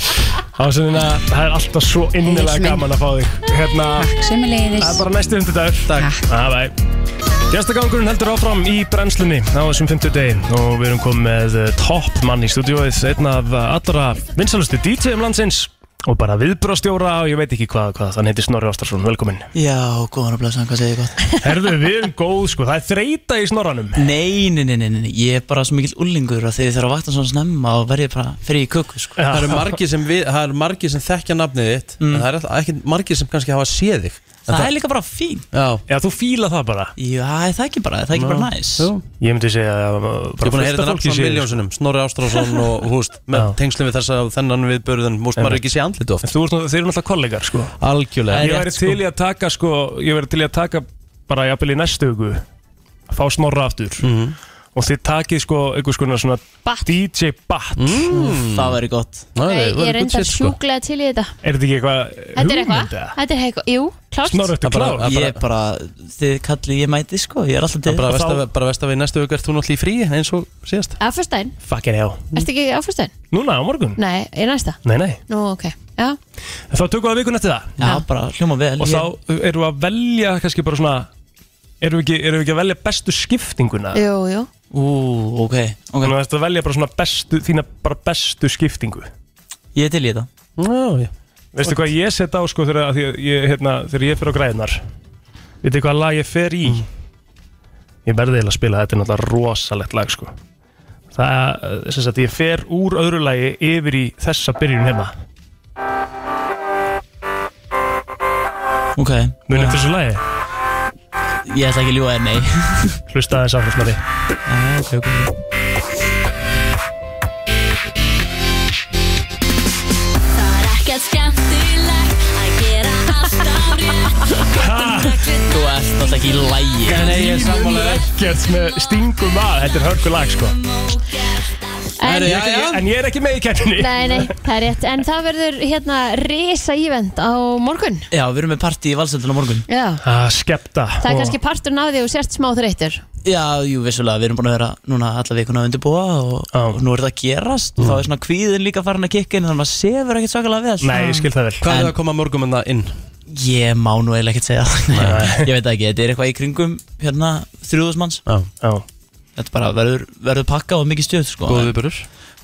Speaker 4: Ásinina, það er alltaf svo innilega
Speaker 22: Egill minn.
Speaker 4: gaman að fá þig Hérna,
Speaker 22: Sumulegis
Speaker 4: það er bara næstu hundudagur Takk Bye bye Gestagangurinn heldur áfram í brennslunni á þessum 50 degi og við erum komið með eh, topp mann í stúdíóið, einn af eh, allra vinsalustu DJ-um landsins og bara viðbrastjóra og ég veit ekki hvað, hvað þann heitir Snorri Ástarsson, velkomin
Speaker 6: Já, góðan og blessan, hvað segir ég gott?
Speaker 4: Herðu, við erum góð sko, það er þreita í snorranum
Speaker 6: Nei, nei, nei, nei, nei, ég er bara svo mikill ullingur að þegar ég þarf að vakna svona snemma og verði bara fyrir í köku sko.
Speaker 2: Það eru margir sem, við, það eru margir sem þekkja nafnið þitt
Speaker 4: Mm.
Speaker 2: En það eru ekki margir sem kannski hafa séð þig En
Speaker 6: Það er líka bara fín
Speaker 2: Já.
Speaker 4: Já, þú fíla það bara
Speaker 6: Já, er það ekki bara, er það ekki bara
Speaker 4: Já.
Speaker 6: næs
Speaker 4: Ég myndi segja að uh,
Speaker 2: Ég er
Speaker 4: bara
Speaker 2: búin að heyra
Speaker 4: fullt af fólki
Speaker 2: þetta nafn
Speaker 4: sé
Speaker 2: svona miljónsunum Snorri Ástrásson og húst með tengslum við þessa og þennan viðbörðun múst maður
Speaker 4: Einmitt.
Speaker 2: ekki sé andlit oft
Speaker 4: Þú ert nú- Þeir eru náttúrulega kollegar sko
Speaker 2: Algjörlega
Speaker 4: Ég væri til í að taka sko Ég væri til í að taka bara jafnvel í næstu hugu að fá snorra aftur
Speaker 6: Mhm.
Speaker 4: og þið takið sko einhvers konar svona DJ Bat
Speaker 6: Mm. Það væri gott sko.
Speaker 3: Ég er reyndar
Speaker 4: sko.
Speaker 3: sjúklega til í þetta
Speaker 4: Er þetta ekki eitthvað
Speaker 3: Þetta er eitthvað, þetta er eitthvað, jú, klárt
Speaker 6: Það bara- Ég er bara, þið kallið ég mæti sko, ég er alltaf til
Speaker 2: Það er bara verst að- bara vest að við næstu auðvitað þú náttúrulega í frí eins og síðast
Speaker 3: Afröstaðin,
Speaker 4: Fucking hell
Speaker 2: Mm.
Speaker 3: ertu ekki afröstaðin?
Speaker 4: Núna á morgun?
Speaker 3: Nei, er næsta?
Speaker 4: Nei, nei
Speaker 3: Nú, ok,
Speaker 2: Ah.
Speaker 3: já
Speaker 4: En Þá tökum við að vikun eftir það
Speaker 6: Já, bara hljóma vel
Speaker 4: Og þá erum við að velja kannski bara svona Erum við ekki, erum við ekki að velja bestu skiptinguna?
Speaker 3: Jú, jú
Speaker 6: Ú, ok, ok
Speaker 4: Þannig að þetta velja bara svona bestu, þína bara bestu skiptingu
Speaker 6: Ég er til í þetta
Speaker 2: Já, já
Speaker 4: Veistu hvað ég set á sko þegar, að því að ég, hérna, þegar ég fer á græðnar Veitu hvað lag ég fer í?
Speaker 6: Mm.
Speaker 4: Ég verði eiginlega að spila, þetta er náttúrulega rosalegt lag sko Það, eh, sem sagt, ég fer úr öðru lagi yfir í þessa byrjun hérna
Speaker 6: Ok
Speaker 4: Munið eftir þessu lagi?
Speaker 6: Ég ætla ekki að ljúa þér, nei
Speaker 4: Hlusta aðeins áfram smári
Speaker 6: Ok, ok
Speaker 11: Það er ekkert skemmtilegt að gera alltaf rétt Þetta
Speaker 6: Þú ert alltaf ekki í lægi
Speaker 4: En ég er sammálega ekkert með stingum að Þetta er hörkulag sko
Speaker 3: En-
Speaker 4: en, ég er ekki, en ég er ekki með í kettinni
Speaker 3: Nei, nei, það er rétt En það verður hérna risa ívend á morgun
Speaker 6: Já, við erum með partí í valsöldun á morgun
Speaker 3: Já,
Speaker 4: ah, Skepta
Speaker 3: það er kannski partur náði og sért smá þreytur
Speaker 6: Já, jú, vissulega, við erum búin að vera núna alla vikuna að undirbúa og, og nú er það að gerast og þá er svona kvíðin líka farin að kikka inn þannig að maður sefur ekkert svakalega vel
Speaker 4: Nei, ég skil það vel. Hvað er að
Speaker 6: koma morgum en það inn? Ég má nú eiginlega ekkert segja það Ég veit það ekki, þetta er eitthvað í kringum hérna þrjúðusmanns
Speaker 4: Já, já
Speaker 6: Þetta bara verður, verður pakka og mikið stjöð sko.
Speaker 2: Góð
Speaker 6: viðbörur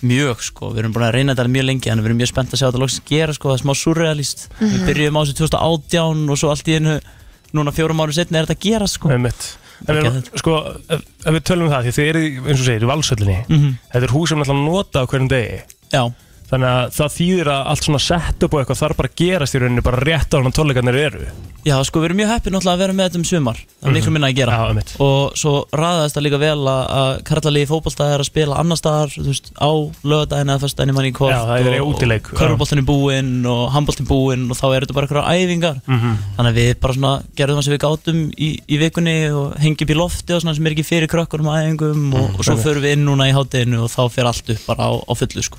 Speaker 6: Mjög sko, við erum búin að reyna þetta mjög lengi en við erum mjög spennt að sjá þetta loksins gera sko, það er smá surrealist Við
Speaker 4: Mhm.
Speaker 6: byrjum á þessu 2018 og svo allt í einu núna fjórum árum setna er þetta að gera sko.
Speaker 4: En við, erum- sko, ef, ef við tölum um það, því þið eru, í- eins og segir, í valsöllinni
Speaker 6: Mhm.
Speaker 4: Þetta er hús sem við ætlum að nota á hverjum degi
Speaker 6: Já
Speaker 4: Þannig að það þýðir að allt svona sett upp og eitthvað þarf bara að gerast í rauninni bara rétt á hann að tónleikarnir eru
Speaker 6: Já, sko, við erum mjög heppið náttúrulega að vera með þetta um sumar Það er miklu
Speaker 4: Mhm.
Speaker 6: minna að gera
Speaker 4: Já,
Speaker 6: Og svo raðaðist það líka vel að, að karlalegi fótbolta er að spila annar staðar Þú veist, á lögadaginn eða fyrst manni í kvort
Speaker 4: Já, það er í útileik, já.
Speaker 6: Og körfuboltin er búinn og handboltin búinn Og þá eru þetta bara eitthvað æfingar
Speaker 4: Mhm.
Speaker 6: Þannig að við bara svona gerðum það sem við gátum í, í vikunni Og hengjum upp í lofti og svona sem er ekki fyrir krökkunum á æfingum og, og svo
Speaker 4: Mm, einmitt.
Speaker 6: förum við inn núna í hátteginu Og þá fer allt upp bara á, á fullu, sko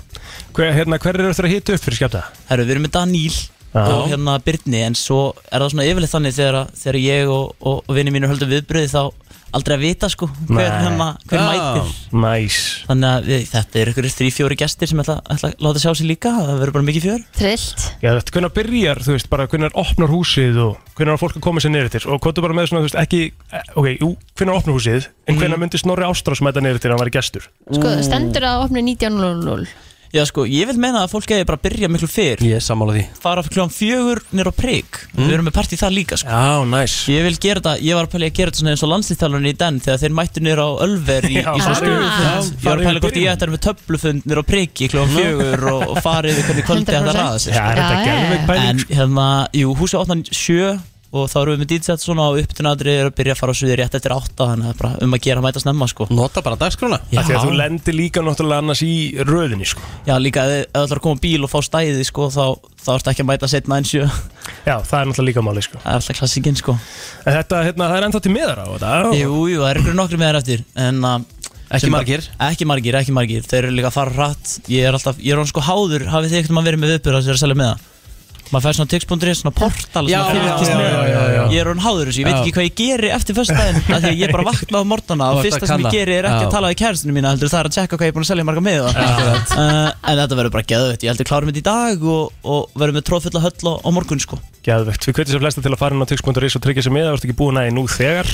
Speaker 4: Hver, hérna, hver eru þetta að hita upp fyrir skepta?
Speaker 6: Herru, við erum með Daníl og hérna Byrni en svo er það svona yfirleitt þannig þegar, að- þegar ég og, og, og vinni mínur höldum viðbröði þá aldrei að vita sko hver,
Speaker 4: Nei.
Speaker 6: hérna, hver
Speaker 4: Já.
Speaker 6: mætir
Speaker 4: Næs
Speaker 6: Þannig að við, þetta er ykkur þrý, fjóri gestir sem ætla, ætla að láta sjá sér líka það verður bara mikið fjör
Speaker 3: Trillt
Speaker 4: Já, þetta, hvernig byrjar, þú veist, bara hvernig opnar húsið og hvernig er fólk að koma sér niður til og hvort er bara með svona, þú veist, ekki, eh, ok, jú, hvernig opnar húsið,
Speaker 6: Mhm.
Speaker 4: en hvernig myndi Snorri Ástrás mæta niður til að hann væri gestur?
Speaker 3: Sko,
Speaker 2: Mm.
Speaker 3: stendur að opna 19.00
Speaker 6: Já sko, ég vil meina að fólk eigi bara að byrja miklu fyrr
Speaker 2: Ég er sammála því
Speaker 6: fara fyrir kljóðan fjögur nýra á prik við erum með partí það líka sko.
Speaker 4: Mm. Já, nice.
Speaker 6: Ég vil gera þetta, ég var að pæli að gera þetta svona eins og landslýttalunni í den þegar þeir mættu nýra á Ölver í,
Speaker 4: Já,
Speaker 6: í svona
Speaker 4: farið
Speaker 6: stöðufund
Speaker 4: yfir- já,
Speaker 6: Ég var að pæli
Speaker 4: farið yfir
Speaker 6: hvort ég ætti að vera með töflufund nýra á priki kljóðan
Speaker 4: Já.
Speaker 6: fjögur og, og farið við hvernig kvöldi þetta
Speaker 4: 100%.
Speaker 6: raða sér sko.
Speaker 4: Já, er þetta Já, já, geðveik já. pæling, sko.
Speaker 6: En hérna, jú, húsið opnar sjö og þá erum við með dýtsett svona á upptunadri er að byrja að fara á suði rétt eftir átta þannig að bara um að gera að mæta snemma sko
Speaker 2: Nota bara dagskrána
Speaker 6: Já.
Speaker 4: Því að þú lendir líka náttúrulega annars í röðinni, sko.
Speaker 6: Já, líka ef ef þú ætlar að koma á bíl og fá stæði sko, þá, þá ertu ekki að mæta setna en sjö
Speaker 4: Já, það er náttúrulega líka máli sko.
Speaker 6: Það er alltaf klassikinn sko
Speaker 4: En þetta, hérna, það er ennþá til miðar á þetta
Speaker 6: Jú, jú, það er ykkur nokkri með þær eftir en, uh,
Speaker 2: Ekki
Speaker 6: sem-
Speaker 2: margir.
Speaker 6: Ekki margir, ekki margir Þeir eru líka að fara hratt Ég er alltaf, ég er hann sko háður Hafið þið ekkert að verið með viðbyrða sem er að selja með það Maður fær svona tix.is, svona portal
Speaker 2: Já,
Speaker 6: svona fylgist
Speaker 2: já,
Speaker 6: með.
Speaker 2: já, já, já.
Speaker 6: Ég er hann háður þessu, ég veit
Speaker 2: Já.
Speaker 6: ekki hvað ég geri eftir föstudaginn af Því að ég bara vakna á morgnana
Speaker 2: Þú
Speaker 6: Og
Speaker 2: ert
Speaker 6: fyrsta sem
Speaker 2: að
Speaker 6: ég
Speaker 2: kanna.
Speaker 6: geri er ekki
Speaker 2: Já.
Speaker 6: að tala við kæristinu mína Heldur það er að checka hvað ég er búin að selja marga með
Speaker 2: Akkurat.
Speaker 6: En þetta verður bara geðvett Ég heldur klárum þetta í dag og, og verðum með tróðfulla höll á, á morgun sko
Speaker 4: Gæðvegt, við kveitum sér flesta til að fara inn á tix.is og tryggja sér með, það varst ekki búin aðeins nú þegar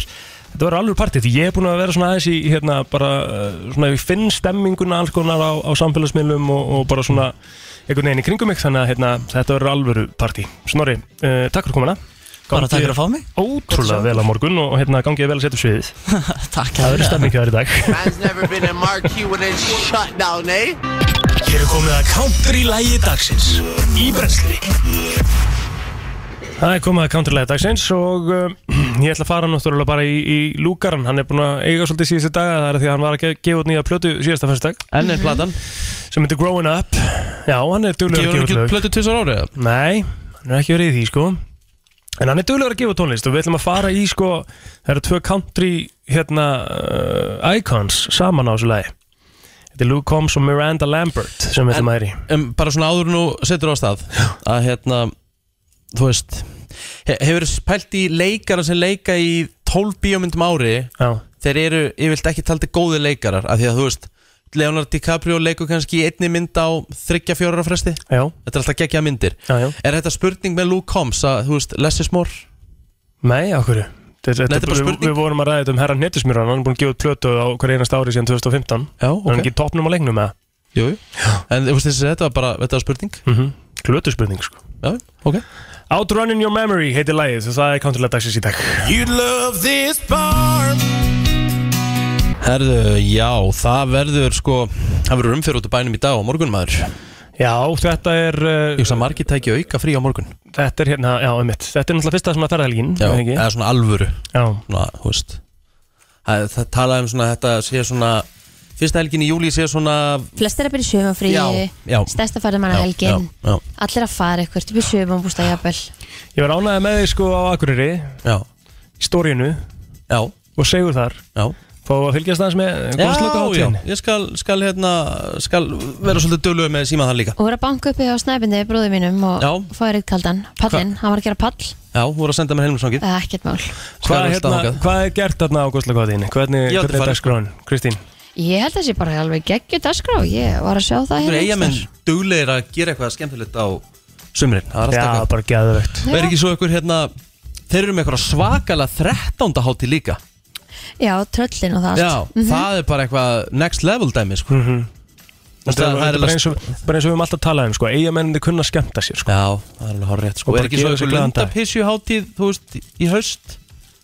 Speaker 4: Þetta var alveg partí, því ég er búin að vera svona aðeins í hérna bara, uh, svona ég finn stemminguna alls konar á, á samfélagsmiðlum og, og bara svona einhvern veginn í kringum mig þannig að hérna, þetta var alvöru partí Snorri, uh, takk fyrir komuna
Speaker 6: Bara takk fyrir að fá mig.
Speaker 4: Ótrúlega
Speaker 6: Gott sjá.
Speaker 4: vel á morgun og, og hérna gangið vel að setja upp sviðið
Speaker 6: Takk
Speaker 4: Það verður stemming hjá þér í dag
Speaker 9: Man's never been in marquee with a shutdown, eh?
Speaker 4: Hér er komið að counter í lægi dagsins Í brensli Það er komið að counterlega dagsins og um, ég ætla að fara náttúrulega bara í, í lúkaran hann er búin að eiga svolítið síðustu daga það er því að hann var að ge- gefa út nýja plötu síðasta fyrstdag
Speaker 2: Enn er platan
Speaker 4: sem heitir Growing Up Já, hann er duglegur
Speaker 2: Gefur
Speaker 4: að gefa
Speaker 2: hann
Speaker 4: út
Speaker 2: ekki út
Speaker 4: lög
Speaker 2: plötu tvisar árið?
Speaker 4: Nei, hann er ekki verið í því sko En hann er duglegur að gefa út tónlist og við ætlum að fara í sko það eru tvö country hérna uh, icons saman á þessu lagi Þetta er Luke Combs og Miranda Lambert sem við ætlum að er í
Speaker 2: um, bara svona áður nú setur á stað að hérna þú veist he, hefur pælt í leikara sem leika í 12 bíómyndum ári
Speaker 4: Já.
Speaker 2: þeir eru yfirlt ekki taldi góði leikarar af því að þú veist Leonardo DiCaprio leikur kannski í einni mynd á 34 ára fresti
Speaker 4: já.
Speaker 2: þetta er alltaf geggja myndir
Speaker 4: já, já.
Speaker 2: er þetta spurning með Luke Combs að þú veist less is more
Speaker 4: Nei, á hverju? Þetta,
Speaker 2: Nei, þetta er bara
Speaker 4: við-
Speaker 2: spurning.
Speaker 4: Við vorum að ræða þetta um herran Nettismjörn Hann er búin að gefa út plötu á hverju einast ári síðan 2015 Já, ok Hann er ekki í topnum á leiknum eða?
Speaker 2: Jú, jú En þú veist þessi, þetta var bara, þetta var spurning
Speaker 4: mm -hmm. Glötuspurning, sko
Speaker 2: Já, ok
Speaker 4: Outrunning Your Memory heitir lagið og það er counterlega dagsins í dag
Speaker 1: You love this bar
Speaker 2: Herðu, já, það verður sko Það verður umfyrir út af bænum í dag og morgun maður
Speaker 4: Já, þetta er uh,
Speaker 2: Ég veist að margir tæki auka frí á morgun
Speaker 4: Þetta er hérna, já, um Þetta er náttúrulega fyrsta svona ferðalgin
Speaker 2: Já, eða svona alvöru
Speaker 4: Já
Speaker 2: Svona, þú veist Það, það talaði um svona, þetta sé svona Fyrsta helgin í júli sé svona
Speaker 3: Flestir að byrja sjöfumfrí
Speaker 2: Já, já.
Speaker 3: Stærsta ferðamanna helgin
Speaker 2: Já, já, já.
Speaker 3: Allir að fara ykkur, við sjöfum bústa um jafnvel
Speaker 4: Ég var ánægði með því sko á Akureyri
Speaker 2: Já
Speaker 4: stóriðinu
Speaker 2: Já
Speaker 4: Og segur þar
Speaker 2: Já
Speaker 4: Fá að fylgjast aðeins með góðslöku
Speaker 2: Eh, Já, já,
Speaker 4: hátíðin
Speaker 2: ég skal, skal, hérna, skal vera svolítið dölug með síma það líka
Speaker 3: og voru að banka uppi á snæpindi bróði mínum og
Speaker 2: Já.
Speaker 3: fáið eitt kaldan, pallinn, hann var að gera pall
Speaker 2: Já, þú voru að senda mér heilmsangið
Speaker 3: það er ekkert mál
Speaker 4: Hvað, hérna, hvað er gert þarna á góðslöku hátíðin? Hvernig, hvernig
Speaker 2: Ég átti að
Speaker 4: er
Speaker 2: fara.
Speaker 4: dagskráin? Kristín
Speaker 3: ég held að það sé bara alveg geggju dagskrá ég var að sjá það
Speaker 2: Þú er eiga
Speaker 3: hérna
Speaker 2: menn duglegir að gera eitthvað skemmtilegt á sumrin Það er alltaf
Speaker 4: Já,
Speaker 2: eitthvað.
Speaker 4: bara geðvegt
Speaker 2: Og er ekki svo ykkur hérna Þeir eru með eitthvað svakalega 13. hátíð líka
Speaker 3: já, tröllin og það allt.
Speaker 2: Já,
Speaker 3: Mhm.
Speaker 2: það er bara eitthvað next level dæmi sko. mm -hmm.
Speaker 4: Mhm. Þetta er bara eins og bara eins og við höfum alltaf talað um sko, Eigamennandi kunna skemmta sér sko.
Speaker 2: Já, það er alveg horrið rétt
Speaker 4: Og
Speaker 2: Og er
Speaker 4: bara
Speaker 2: ekki svo
Speaker 4: gefa sér
Speaker 2: eitthvað
Speaker 4: glæðan dag
Speaker 2: lundapissju hátíð Þú veist, í haust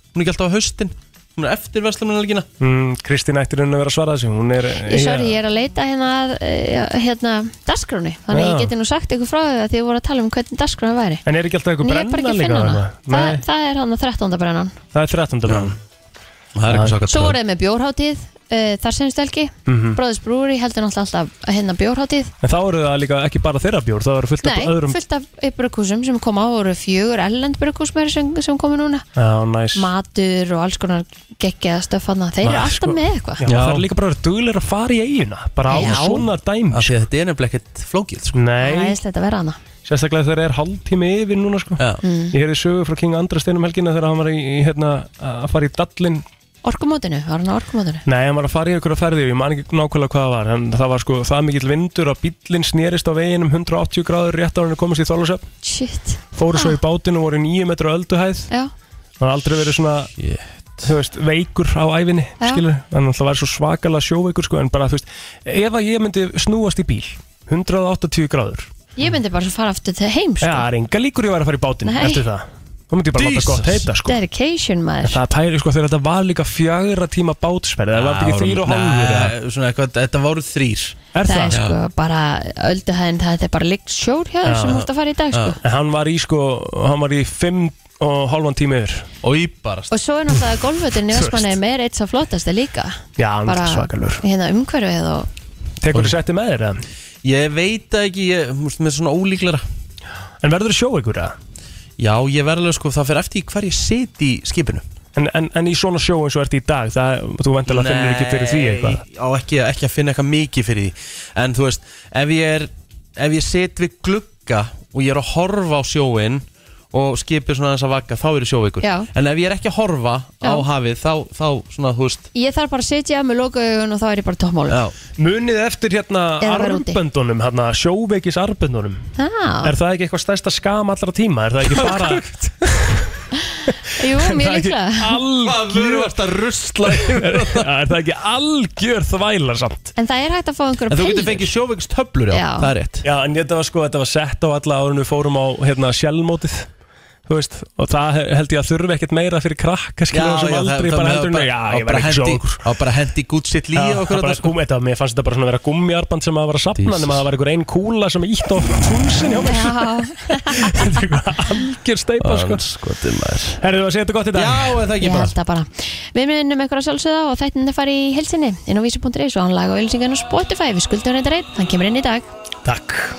Speaker 2: Hún er ekki alltaf á haustin Hún er eftir versluminalgina
Speaker 4: Mm, Kristín ættir hún að vera að svara þessu Hún er
Speaker 3: Ég, sorry, ég er að leita hérna að eh, hérna, dasgráni, þannig að
Speaker 4: Já.
Speaker 3: ég geti nú sagt ykkur frá því að þið voru að tala um hvernig dasgráni væri
Speaker 4: En er ekki alltaf eitthvað
Speaker 3: En ég er bara
Speaker 4: brenna
Speaker 3: ekki að
Speaker 4: líka
Speaker 3: finna
Speaker 4: þarna?
Speaker 3: Þa,
Speaker 4: Nei,
Speaker 3: það er hann að 13. brennan
Speaker 4: það er 13. brenna
Speaker 2: Það er eitthvað
Speaker 3: Svo voruð þið með bjórhátíð, uh, þar sem stelgi mm
Speaker 4: Mhm.
Speaker 3: Bróðis Brúri heldur náttúrulega alltaf hérna bjórhátíð
Speaker 4: En þá eru það líka ekki bara þeirra bjór Það eru fullt af
Speaker 3: Nei,
Speaker 4: öðrum
Speaker 3: fullt af brukkúsum sem koma á voru fjögur ellend brukkúsmæri sem, sem komu núna
Speaker 4: Já, næs
Speaker 3: Matur og alls konar geggjaða stöfanna Þeir eru
Speaker 4: Nei,
Speaker 3: alltaf
Speaker 4: sko.
Speaker 3: með eitthvað
Speaker 4: Já, það er líka bara að vera duglegur að fara í eiguna Bara á
Speaker 3: Já.
Speaker 4: svona dæmi Af
Speaker 2: því að þetta er nefnilega ekkert flókið sko.
Speaker 4: Nei,
Speaker 3: Æðislegt að vera hana
Speaker 4: sérstaklega þegar er hálftími yfir núna sko.
Speaker 3: Mm.
Speaker 4: Ég heyrði sögu frá King Andra steinum helgina Þegar hann var í, í, hérna, að fara í dallin
Speaker 3: Orkumótinu, var hann á orkumótinu
Speaker 4: Nei, hann var að fara í einhverja ferði og ég man ekki nákvæmlega hvað það var en það var sko það mikill vindur að bíllinn snerist á veginn um 180 gráður rétt á hann komast í Þólusöfn
Speaker 3: Shit Ah.
Speaker 4: fóru svo í bátinn og voru í 9 metra ölduhæð
Speaker 3: Já.
Speaker 4: hann hafði aldrei verið svona þú veist, veikur á æfinni
Speaker 3: Já.
Speaker 4: skilur, hann alltaf var svo svakalega sjóveikur sko, en bara þú veist, ef að ég myndi snúast í bíl 180 gráður
Speaker 3: Ég myndi bara svo fara aftur til heim sko.
Speaker 4: Já, það er enga líkur ég var að fara í bátinn
Speaker 3: Nei.
Speaker 4: eftir það þá myndi ég bara láta
Speaker 2: Jesus.
Speaker 4: gott heita sko.
Speaker 3: Dedication
Speaker 4: En
Speaker 3: maður
Speaker 4: það pæri sko þegar þetta var líka fjagra tíma bátsferð það var þetta ekki þrýr og hálfur eða?
Speaker 2: Nei, svona eitthvað, þetta voru þrýr
Speaker 4: Er
Speaker 3: það er
Speaker 4: það?
Speaker 3: sko bara ölduhæðin það er bara líkt sjór hjá þér sem þú ert að fara í dag sko.
Speaker 4: En Hann var í sko, hann var í 5 og hálfan tíma yfir
Speaker 2: Og í bara
Speaker 3: og svo er náttúrulega golfvöldin í Vestmannaeyjum er eitt svo flottasta líka
Speaker 4: Já, hann
Speaker 3: bara
Speaker 4: er svakalur
Speaker 3: hérna umhverfið og
Speaker 4: Tekur þú setti með þér eða?
Speaker 2: Ég veit það ekki, ég múst með svona ólíklara
Speaker 4: En verður þú sjó ykkur eða?
Speaker 2: Já, ég verður alveg sko, það fyrir eftir í hvar ég sit í skipinu
Speaker 4: En, en, en í svona sjó eins og ert í dag, það, þú vendilega finnir ekki fyrir því eitthvað
Speaker 2: Nei, á ekki, ekki að finna eitthvað mikið fyrir því En þú veist, ef ég er Ef ég sit við glugga Og ég er að horfa á sjóin Og skipið svona þess að vagga, þá er ég sjóveikur
Speaker 3: Já.
Speaker 2: En ef ég er ekki að horfa á
Speaker 3: Já.
Speaker 2: hafið Þá, þá svona, þú veist
Speaker 3: ég þarf bara að sitja með lokaaugun og þá er ég bara toppmál
Speaker 2: Já.
Speaker 4: Munið eftir hérna
Speaker 3: Eða vera úti.
Speaker 4: arböndunum, hérna sjóveikis arböndunum
Speaker 3: ah,
Speaker 4: Er það ekki eitthvað stærsta skam allra tíma? Er það ekki bara
Speaker 3: jú,
Speaker 4: Það
Speaker 3: mjög
Speaker 4: er ekki
Speaker 3: líklega
Speaker 4: algjör
Speaker 2: Þú ert að rusla yfir
Speaker 4: þetta Er það ekki algjör þvæla samt?
Speaker 3: en það er hægt að fá einhverja
Speaker 4: En þú getur
Speaker 3: peyjur.
Speaker 2: Ekki sjóveiks töflur, já,
Speaker 3: Já.
Speaker 2: það er rétt
Speaker 4: Já, en þetta var sko, þetta var sett á alla árunum við fórum á hérna sjálfmótið Þú veist, og það he- held ég að þurfi ekkert meira fyrir krakka skilja sem aldrei bara heldur en- Já, ég var ekki sjókur
Speaker 2: Á bara hendi gútsitt líi
Speaker 4: Já,
Speaker 2: okkur
Speaker 4: bara
Speaker 2: þarna, sko.
Speaker 4: gúmi, þetta, mér fannst þetta bara svona að vera gummiarband sem að vera að sapna nema að það var einhver ein kúla sem ítt á túnsin hjá mér algjör steipa sko
Speaker 2: Skotin maður
Speaker 4: Herðu, að segja þetta gott í dag
Speaker 2: Já, eða
Speaker 3: Ég held það bara Við minnum einhverja sjálfsögða og þættin er farið í helsinni inn á vísi.is og hann laga og ylsingan á Spotify við skuldum reyndar einn, hann kemur inn í dag
Speaker 4: Takk